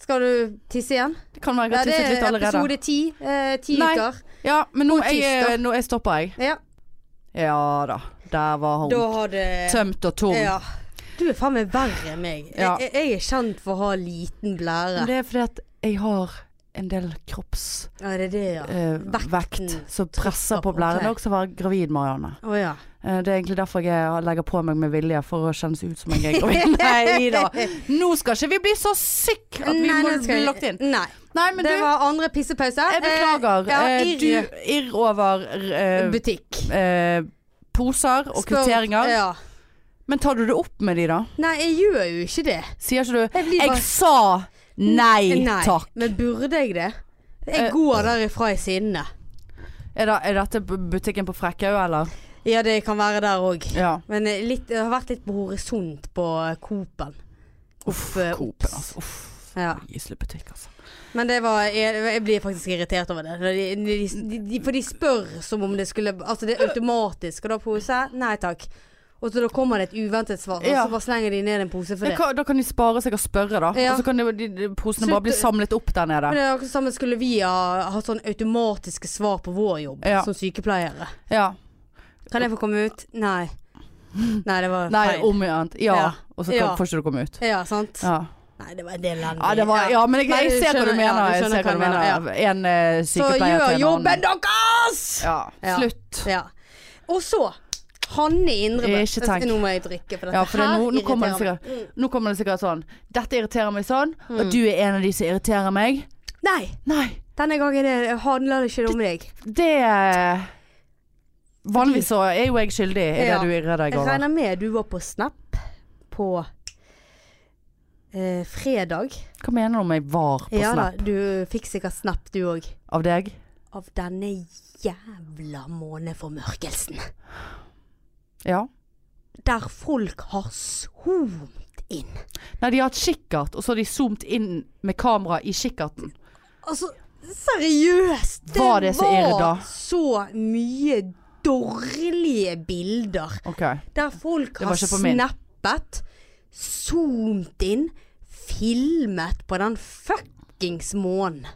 [SPEAKER 2] Skal du tisse igjen?
[SPEAKER 3] Det kan være jeg
[SPEAKER 2] Ja,
[SPEAKER 3] har
[SPEAKER 2] det
[SPEAKER 3] tisset
[SPEAKER 2] er
[SPEAKER 3] litt allerede.
[SPEAKER 2] episode ti. Eh, ti
[SPEAKER 3] Nei.
[SPEAKER 2] uker.
[SPEAKER 3] Ja, men nå,
[SPEAKER 2] God
[SPEAKER 3] jeg,
[SPEAKER 2] tirsdag.
[SPEAKER 3] eh, nå jeg stopper jeg.
[SPEAKER 2] Ja,
[SPEAKER 3] Ja da. Der var hun.
[SPEAKER 2] da har det
[SPEAKER 3] Tømt og tom.
[SPEAKER 2] Ja. Du er faen meg verre enn meg.
[SPEAKER 3] Ja.
[SPEAKER 2] Jeg, jeg er kjent for å ha liten
[SPEAKER 3] Men
[SPEAKER 2] blære.
[SPEAKER 3] det er fordi at jeg har en del kroppsvekt
[SPEAKER 2] Ja, det er det, ja.
[SPEAKER 3] Eh,
[SPEAKER 2] Vekten
[SPEAKER 3] som presser på
[SPEAKER 2] trykker,
[SPEAKER 3] blæren.
[SPEAKER 2] ok.
[SPEAKER 3] Og også være gravid, Marianne.
[SPEAKER 2] Å ja.
[SPEAKER 3] Eh, Det er egentlig derfor jeg legger på meg med vilje, for å kjennes ut som jeg er gravid. Nei da. Nå skal ikke vi bli så syke at vi
[SPEAKER 2] Nei,
[SPEAKER 3] må
[SPEAKER 2] nå skal
[SPEAKER 3] bli
[SPEAKER 2] jeg-
[SPEAKER 3] lagt inn.
[SPEAKER 2] Nei.
[SPEAKER 3] Nei, men
[SPEAKER 2] Det
[SPEAKER 3] du,
[SPEAKER 2] var andre pissepause.
[SPEAKER 3] jeg beklager.
[SPEAKER 2] Eh, ja,
[SPEAKER 3] Eh,
[SPEAKER 2] irr
[SPEAKER 3] Du irr over eh,
[SPEAKER 2] butikk.
[SPEAKER 3] eh, poser og
[SPEAKER 2] Spør-
[SPEAKER 3] kvitteringer.
[SPEAKER 2] Ja.
[SPEAKER 3] Men tar du det opp med de, da?
[SPEAKER 2] Nei, jeg gjør jo ikke det.
[SPEAKER 3] Sier ikke du
[SPEAKER 2] Jeg blir bare
[SPEAKER 3] Jeg sa nei,
[SPEAKER 2] Nei,
[SPEAKER 3] takk.
[SPEAKER 2] Men burde jeg det? Jeg
[SPEAKER 3] Eh,
[SPEAKER 2] går derifra i sinne.
[SPEAKER 3] Er, da, er dette bu- butikken på Frekkhaug, eller?
[SPEAKER 2] Ja, det kan være der òg.
[SPEAKER 3] Ja.
[SPEAKER 2] Men eh, litt, det har vært litt på horisont på eh, Coop-en.
[SPEAKER 3] Uff,
[SPEAKER 2] Opp, eh,
[SPEAKER 3] Coop,
[SPEAKER 2] opps.
[SPEAKER 3] altså. Uff.
[SPEAKER 2] Ja.
[SPEAKER 3] Gislebutikk, altså.
[SPEAKER 2] Men det var jeg, jeg blir faktisk irritert over det. Når De, de, de, de, for de spør som om det skulle Altså det er automatisk. Skal du ha pose? Nei takk. Og så da kommer det et uventet svar, og
[SPEAKER 3] Ja.
[SPEAKER 2] så bare slenger de ned en pose for det.
[SPEAKER 3] Ja, hva, da kan de spare seg å spørre, da.
[SPEAKER 2] Ja.
[SPEAKER 3] Og så kan de, de, de posene bare bli
[SPEAKER 2] Slutt-
[SPEAKER 3] samlet opp der nede.
[SPEAKER 2] Men det er akkurat samme skulle vi ha, ha sånn automatiske svar på vår jobb
[SPEAKER 3] Ja.
[SPEAKER 2] som sykepleiere.
[SPEAKER 3] Ja.
[SPEAKER 2] Kan jeg få komme ut? Nei. Nei, det var
[SPEAKER 3] Nei,
[SPEAKER 2] feil.
[SPEAKER 3] om igjen. Ja.
[SPEAKER 2] Ja.
[SPEAKER 3] Og så kan,
[SPEAKER 2] Ja.
[SPEAKER 3] får ikke du komme ut.
[SPEAKER 2] Ja, sant?
[SPEAKER 3] Ja.
[SPEAKER 2] Nei, det var en del elendig.
[SPEAKER 3] Ja, det var, ja, men jeg,
[SPEAKER 2] Nei,
[SPEAKER 3] jeg
[SPEAKER 2] du
[SPEAKER 3] ser hva du
[SPEAKER 2] skjønner-
[SPEAKER 3] mener.
[SPEAKER 2] ja, du
[SPEAKER 3] jeg
[SPEAKER 2] skjønner
[SPEAKER 3] ser hva du mener. En eh,
[SPEAKER 2] Så
[SPEAKER 3] sykepleier
[SPEAKER 2] gjør
[SPEAKER 3] til en
[SPEAKER 2] jobben
[SPEAKER 3] annen.
[SPEAKER 2] deres!
[SPEAKER 3] Ja.
[SPEAKER 2] Ja.
[SPEAKER 3] Slutt.
[SPEAKER 2] Ja. Og så Hanne Indrebø.
[SPEAKER 3] Ikke tenk.
[SPEAKER 2] Nå må jeg drikke, for dette
[SPEAKER 3] Ja, for det, nå, nå, kommer det
[SPEAKER 2] irriterer
[SPEAKER 3] sikkert, nå kommer det sikkert sånn Dette irriterer meg sånn, og du er en av de som irriterer meg.
[SPEAKER 2] meg. Nei,
[SPEAKER 3] Nei,
[SPEAKER 2] denne gangen er det- handler det ikke om deg.
[SPEAKER 3] det Vanligvis så er jo jeg skyldig i det
[SPEAKER 2] Ja.
[SPEAKER 3] du irrer deg
[SPEAKER 2] Jeg
[SPEAKER 3] over.
[SPEAKER 2] regner med du var på Snap på eh, fredag.
[SPEAKER 3] Hva mener du om jeg var på
[SPEAKER 2] Ja da,
[SPEAKER 3] Snap
[SPEAKER 2] du fikk sikkert Snap du òg.
[SPEAKER 3] av deg?
[SPEAKER 2] Av denne jævla måneformørkelsen.
[SPEAKER 3] Ja.
[SPEAKER 2] Der folk har zoomt inn.
[SPEAKER 3] Nei, de har hatt kikkert, og så har de zoomet inn med kamera i kikkerten.
[SPEAKER 2] Altså, seriøst! Det
[SPEAKER 3] Var det så ille da?
[SPEAKER 2] var så mye dårlige bilder
[SPEAKER 3] Ok.
[SPEAKER 2] der folk
[SPEAKER 3] Det var
[SPEAKER 2] har
[SPEAKER 3] ikke på min.
[SPEAKER 2] snappet, zoomt inn, filmet på den fuckings månen.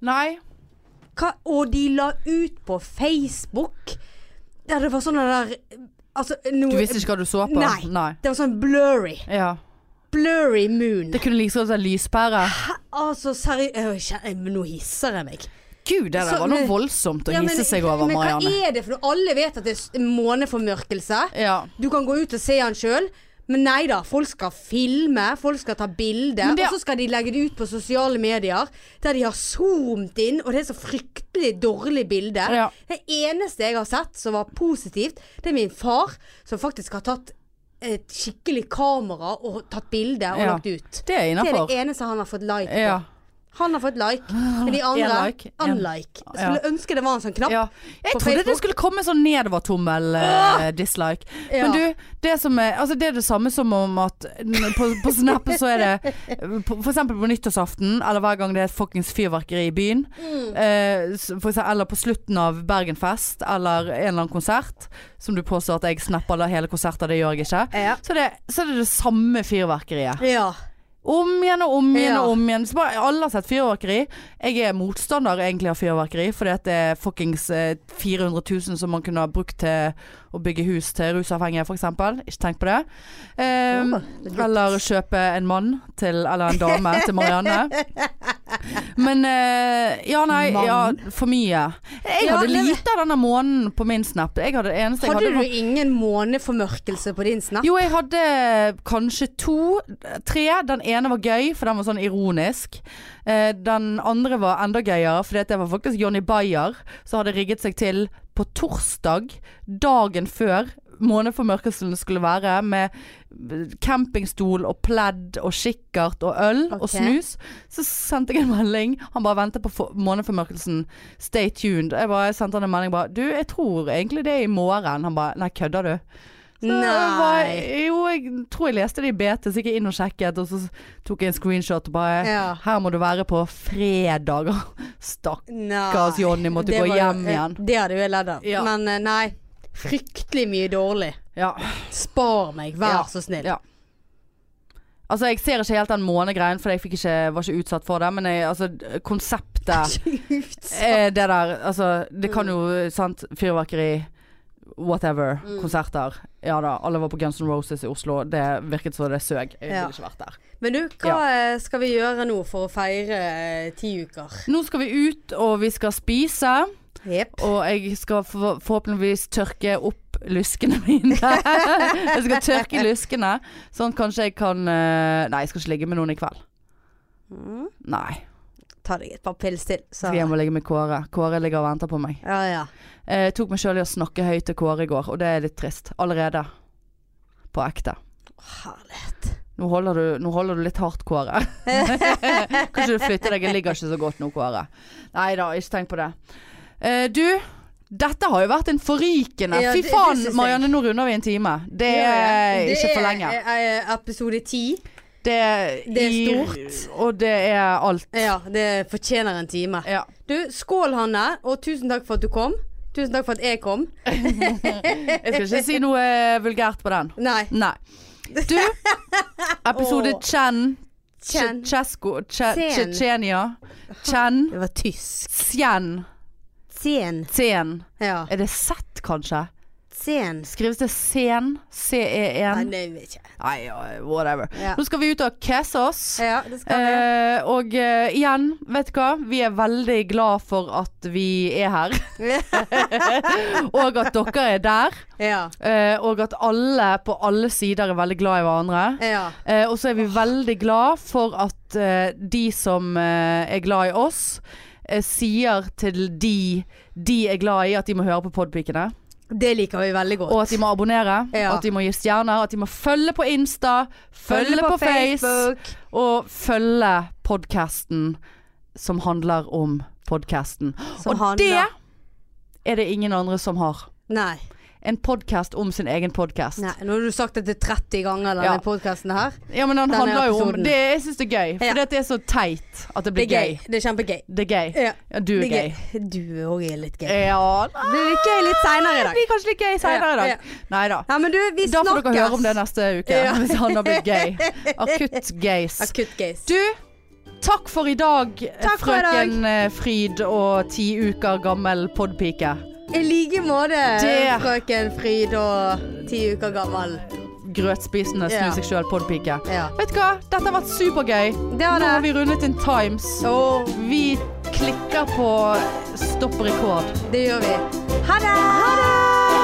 [SPEAKER 3] Nei.
[SPEAKER 2] Hva- Og de la ut på Facebook der det var sånne der Altså, noe
[SPEAKER 3] Du visste ikke hva du så på?
[SPEAKER 2] Nei.
[SPEAKER 3] Nei.
[SPEAKER 2] Det var sånn blurry.
[SPEAKER 3] Ja.
[SPEAKER 2] Blurry moon.
[SPEAKER 3] Det kunne like så godt vært lyspære.
[SPEAKER 2] Hæ? Altså, seriøst Nå hisser jeg meg.
[SPEAKER 3] Gud, det der
[SPEAKER 2] Så-
[SPEAKER 3] var noe
[SPEAKER 2] men-
[SPEAKER 3] voldsomt å
[SPEAKER 2] Ja,
[SPEAKER 3] hisse seg over,
[SPEAKER 2] men
[SPEAKER 3] Marianne.
[SPEAKER 2] hva er det for noe? Alle vet at det er s- måneformørkelse.
[SPEAKER 3] Ja.
[SPEAKER 2] Du kan gå ut og se han sjøl. Men nei da, folk skal filme, folk skal ta bilder.
[SPEAKER 3] Men det-
[SPEAKER 2] Og så skal de legge det ut på sosiale medier, der de har zoomt inn, og det er så fryktelig dårlig bilde.
[SPEAKER 3] Ja.
[SPEAKER 2] Det eneste jeg har sett som var positivt, det er min far, som faktisk har tatt et skikkelig kamera og tatt bilde og
[SPEAKER 3] Ja.
[SPEAKER 2] lagt ut.
[SPEAKER 3] Det er
[SPEAKER 2] Det er
[SPEAKER 3] innafor.
[SPEAKER 2] det eneste han har fått like på.
[SPEAKER 3] Ja.
[SPEAKER 2] Han har fått like,
[SPEAKER 3] Ah,
[SPEAKER 2] men de andre
[SPEAKER 3] En like, en-
[SPEAKER 2] unlike. Jeg skulle ønske det var en sånn knapp.
[SPEAKER 3] ja. Jeg
[SPEAKER 2] På
[SPEAKER 3] trodde det
[SPEAKER 2] Facebook? Ah!
[SPEAKER 3] skulle komme sånn nedover-tommel-dislike.
[SPEAKER 2] Ja.
[SPEAKER 3] Men du, det, som er, altså det er det samme som om at n- på, på Snap så er det på- For eksempel på nyttårsaften, eller hver gang det er et fuckings fyrverkeri i byen.
[SPEAKER 2] Mm.
[SPEAKER 3] eh, s- for eksempel, eller på slutten av Bergenfest, eller en eller annen konsert. Som du påstår at jeg snapper eller hele konserter, det gjør jeg ikke.
[SPEAKER 2] Ja.
[SPEAKER 3] Så, det, så er det det samme fyrverkeriet.
[SPEAKER 2] Ja.
[SPEAKER 3] Om igjen og om igjen
[SPEAKER 2] Ja.
[SPEAKER 3] og om igjen. Så bare, alle har sett fyrverkeri. Jeg er motstander egentlig av fyrverkeri, fordi at det er fuckings eh, 400 000 som man kunne ha brukt til å bygge hus til rusavhengige, f.eks. Ikke tenk på det. Ehm,
[SPEAKER 2] Åh, det er godt.
[SPEAKER 3] eller kjøpe en mann til, eller en dame til Marianne. Men eh, ja, nei, ja, for mye. Jeg
[SPEAKER 2] Ja,
[SPEAKER 3] hadde
[SPEAKER 2] det-
[SPEAKER 3] lite av denne månen på min snap. Jeg hadde, det eneste jeg
[SPEAKER 2] Hadde
[SPEAKER 3] hadde
[SPEAKER 2] du ingen måneformørkelse på din snap?
[SPEAKER 3] jo, jeg hadde eh, kanskje to, tre. Den ene var gøy, for den var sånn ironisk. Eh, den andre var enda gøyere, for det var faktisk Johnny Bayer som hadde rigget seg til på torsdag, dagen før måneformørkelsen skulle være, med campingstol og pledd og kikkert og øl og
[SPEAKER 2] Ok.
[SPEAKER 3] snus. Så sendte jeg en melding. Han bare venter på for- måneformørkelsen. Stay tuned. Jeg bare sendte han en melding bare Du, jeg tror egentlig det er i morgen. Han bare Nei, kødder du? Så jeg bare,
[SPEAKER 2] Nei.
[SPEAKER 3] jo, jeg tror jeg leste det i BT, så gikk jeg inn og sjekket, og så tok jeg en screenshot og bare
[SPEAKER 2] Ja.
[SPEAKER 3] Her må du være på fredager. Stakkars
[SPEAKER 2] Nei.
[SPEAKER 3] Johnny måtte
[SPEAKER 2] Det
[SPEAKER 3] gå
[SPEAKER 2] var jo-
[SPEAKER 3] hjem
[SPEAKER 2] eh,
[SPEAKER 3] igjen.
[SPEAKER 2] Det hadde jo jeg ledd av.
[SPEAKER 3] Ja.
[SPEAKER 2] Men eh, nei. Fryktelig mye dårlig.
[SPEAKER 3] Ja.
[SPEAKER 2] Spar meg, vær
[SPEAKER 3] Ja.
[SPEAKER 2] så snill.
[SPEAKER 3] Ja. Altså, jeg ser ikke helt den månegreien, for jeg fikk ikke, var ikke utsatt for det, men jeg, altså, konseptet Eh, det der, altså Det kan jo,
[SPEAKER 2] Mm.
[SPEAKER 3] sant, fyrverkeri Whatever, konserter Ja da, alle var på Guns N' Roses i Oslo Det virket som det søg Jeg
[SPEAKER 2] Ja.
[SPEAKER 3] ville ikke vært der
[SPEAKER 2] Men du, hva eh, skal vi gjøre nå for å feire eh, ti uker?
[SPEAKER 3] Nå skal vi ut, og vi skal spise.
[SPEAKER 2] Jepp.
[SPEAKER 3] Og jeg skal for, forhåpentligvis tørke opp lyskene mine. jeg skal tørke lyskene, sånn at kanskje jeg kan eh, Nei, jeg skal ikke ligge med noen i kveld.
[SPEAKER 2] Mm.
[SPEAKER 3] Nei.
[SPEAKER 2] Ta deg et par pils til, så
[SPEAKER 3] Skal hjem og ligge med Kåre. Kåre ligger og venter på meg.
[SPEAKER 2] Ja ja.
[SPEAKER 3] Eh, Jeg tok meg sjøl i å snakke høyt til Kåre i går, og det er litt trist. Allerede. På ekte.
[SPEAKER 2] Herlighet.
[SPEAKER 3] Nå holder du, nå holder du litt hardt, Kåre. Kanskje du flytter deg. Jeg ligger ikke så godt nå, Kåre. Nei da, ikke tenk på det. Eh, du, dette har jo vært en forrykende
[SPEAKER 2] Ja,
[SPEAKER 3] Fy
[SPEAKER 2] det- det
[SPEAKER 3] faen,
[SPEAKER 2] synes jeg.
[SPEAKER 3] Marianne, nå runder vi en time. Det er ikke for lenge.
[SPEAKER 2] Det er eh, episode ti.
[SPEAKER 3] Det,
[SPEAKER 2] det er
[SPEAKER 3] gir- Og det er alt.
[SPEAKER 2] Ja, det fortjener en time.
[SPEAKER 3] Ja.
[SPEAKER 2] Du, skål, Hanne, og tusen takk for at du kom. Tusen takk for at jeg kom.
[SPEAKER 3] Jeg skal ikke si noe eh, vulgært på den.
[SPEAKER 2] Nei.
[SPEAKER 3] Nei. Du, episode
[SPEAKER 2] Åh.
[SPEAKER 3] Chen
[SPEAKER 2] Chen.
[SPEAKER 3] Tsjetsjesko
[SPEAKER 2] Chen.
[SPEAKER 3] Tsjetsjenia Chen
[SPEAKER 2] Det var tysk.
[SPEAKER 3] Sjen
[SPEAKER 2] Sen.
[SPEAKER 3] Tsen
[SPEAKER 2] Ja.
[SPEAKER 3] Er det Z, kanskje?
[SPEAKER 2] Sen.
[SPEAKER 3] Skrives det sen?
[SPEAKER 2] Nei,
[SPEAKER 3] C-E-N?
[SPEAKER 2] det vet jeg ikke.
[SPEAKER 3] Nei, ja, whatever.
[SPEAKER 2] E Ja.
[SPEAKER 3] Nå skal vi ut og kese oss.
[SPEAKER 2] Ja, det skal vi.
[SPEAKER 3] Eh, og eh, igjen, vet du hva? Vi er veldig glad for at vi er her, og at dere er der.
[SPEAKER 2] ja.
[SPEAKER 3] eh, og at alle på alle sider er veldig glad i hverandre.
[SPEAKER 2] Ja.
[SPEAKER 3] Eh, og så er vi veldig glad for at eh, de som eh, er glad i oss, eh, sier til de de er glad i, at de må høre på Podpikene.
[SPEAKER 2] Det liker vi veldig godt.
[SPEAKER 3] Og at de må abonnere,
[SPEAKER 2] Ja.
[SPEAKER 3] at de må gi stjerner, at de må følge på Insta, følge, på, Face, og følge podkasten som handler om podkasten.
[SPEAKER 2] Som
[SPEAKER 3] Og
[SPEAKER 2] handler-
[SPEAKER 3] det er det ingen andre som har.
[SPEAKER 2] Nei.
[SPEAKER 3] En podkast om sin egen podkast.
[SPEAKER 2] Nei. Nå har du sagt dette 30 ganger, denne
[SPEAKER 3] Ja.
[SPEAKER 2] podkasten her.
[SPEAKER 3] Ja, men den
[SPEAKER 2] Denne
[SPEAKER 3] handler jo om
[SPEAKER 2] episoden.
[SPEAKER 3] det, Jeg syns det er gøy, for
[SPEAKER 2] Ja.
[SPEAKER 3] det er så teit at
[SPEAKER 2] Det
[SPEAKER 3] det blir
[SPEAKER 2] er gøy.
[SPEAKER 3] gøy.
[SPEAKER 2] Det er kjempegøy.
[SPEAKER 3] Det er gøy.
[SPEAKER 2] Ja.
[SPEAKER 3] Ja, du er,
[SPEAKER 2] Det
[SPEAKER 3] gøy.
[SPEAKER 2] Du òg er litt gøy.
[SPEAKER 3] Ja, nei,
[SPEAKER 2] Det blir gøy litt seinere i
[SPEAKER 3] det
[SPEAKER 2] dag.
[SPEAKER 3] blir kanskje litt gøy seinere i
[SPEAKER 2] Ja,
[SPEAKER 3] dag. Nei da.
[SPEAKER 2] Ja, men du, vi
[SPEAKER 3] Da
[SPEAKER 2] snakkes.
[SPEAKER 3] får dere høre om det neste uke,
[SPEAKER 2] Ja.
[SPEAKER 3] hvis han har blitt gøy. Akutt gays.
[SPEAKER 2] Akutt gays.
[SPEAKER 3] Du, takk for i dag,
[SPEAKER 2] Takk for i dag.
[SPEAKER 3] frøken eh, Fryd og ti uker gammel podpike.
[SPEAKER 2] I like måte,
[SPEAKER 3] Det-
[SPEAKER 2] frøken Fryd og ti uker gammel.
[SPEAKER 3] Grøtspisende snu
[SPEAKER 2] Ja.
[SPEAKER 3] seg sjøl podpike.
[SPEAKER 2] Ja.
[SPEAKER 3] Vet du hva, dette har vært supergøy.
[SPEAKER 2] Det har
[SPEAKER 3] Nå har
[SPEAKER 2] det.
[SPEAKER 3] vi rundet in times. Vi klikker på stopp rekord.
[SPEAKER 2] Det gjør vi. Ha det! Ha det!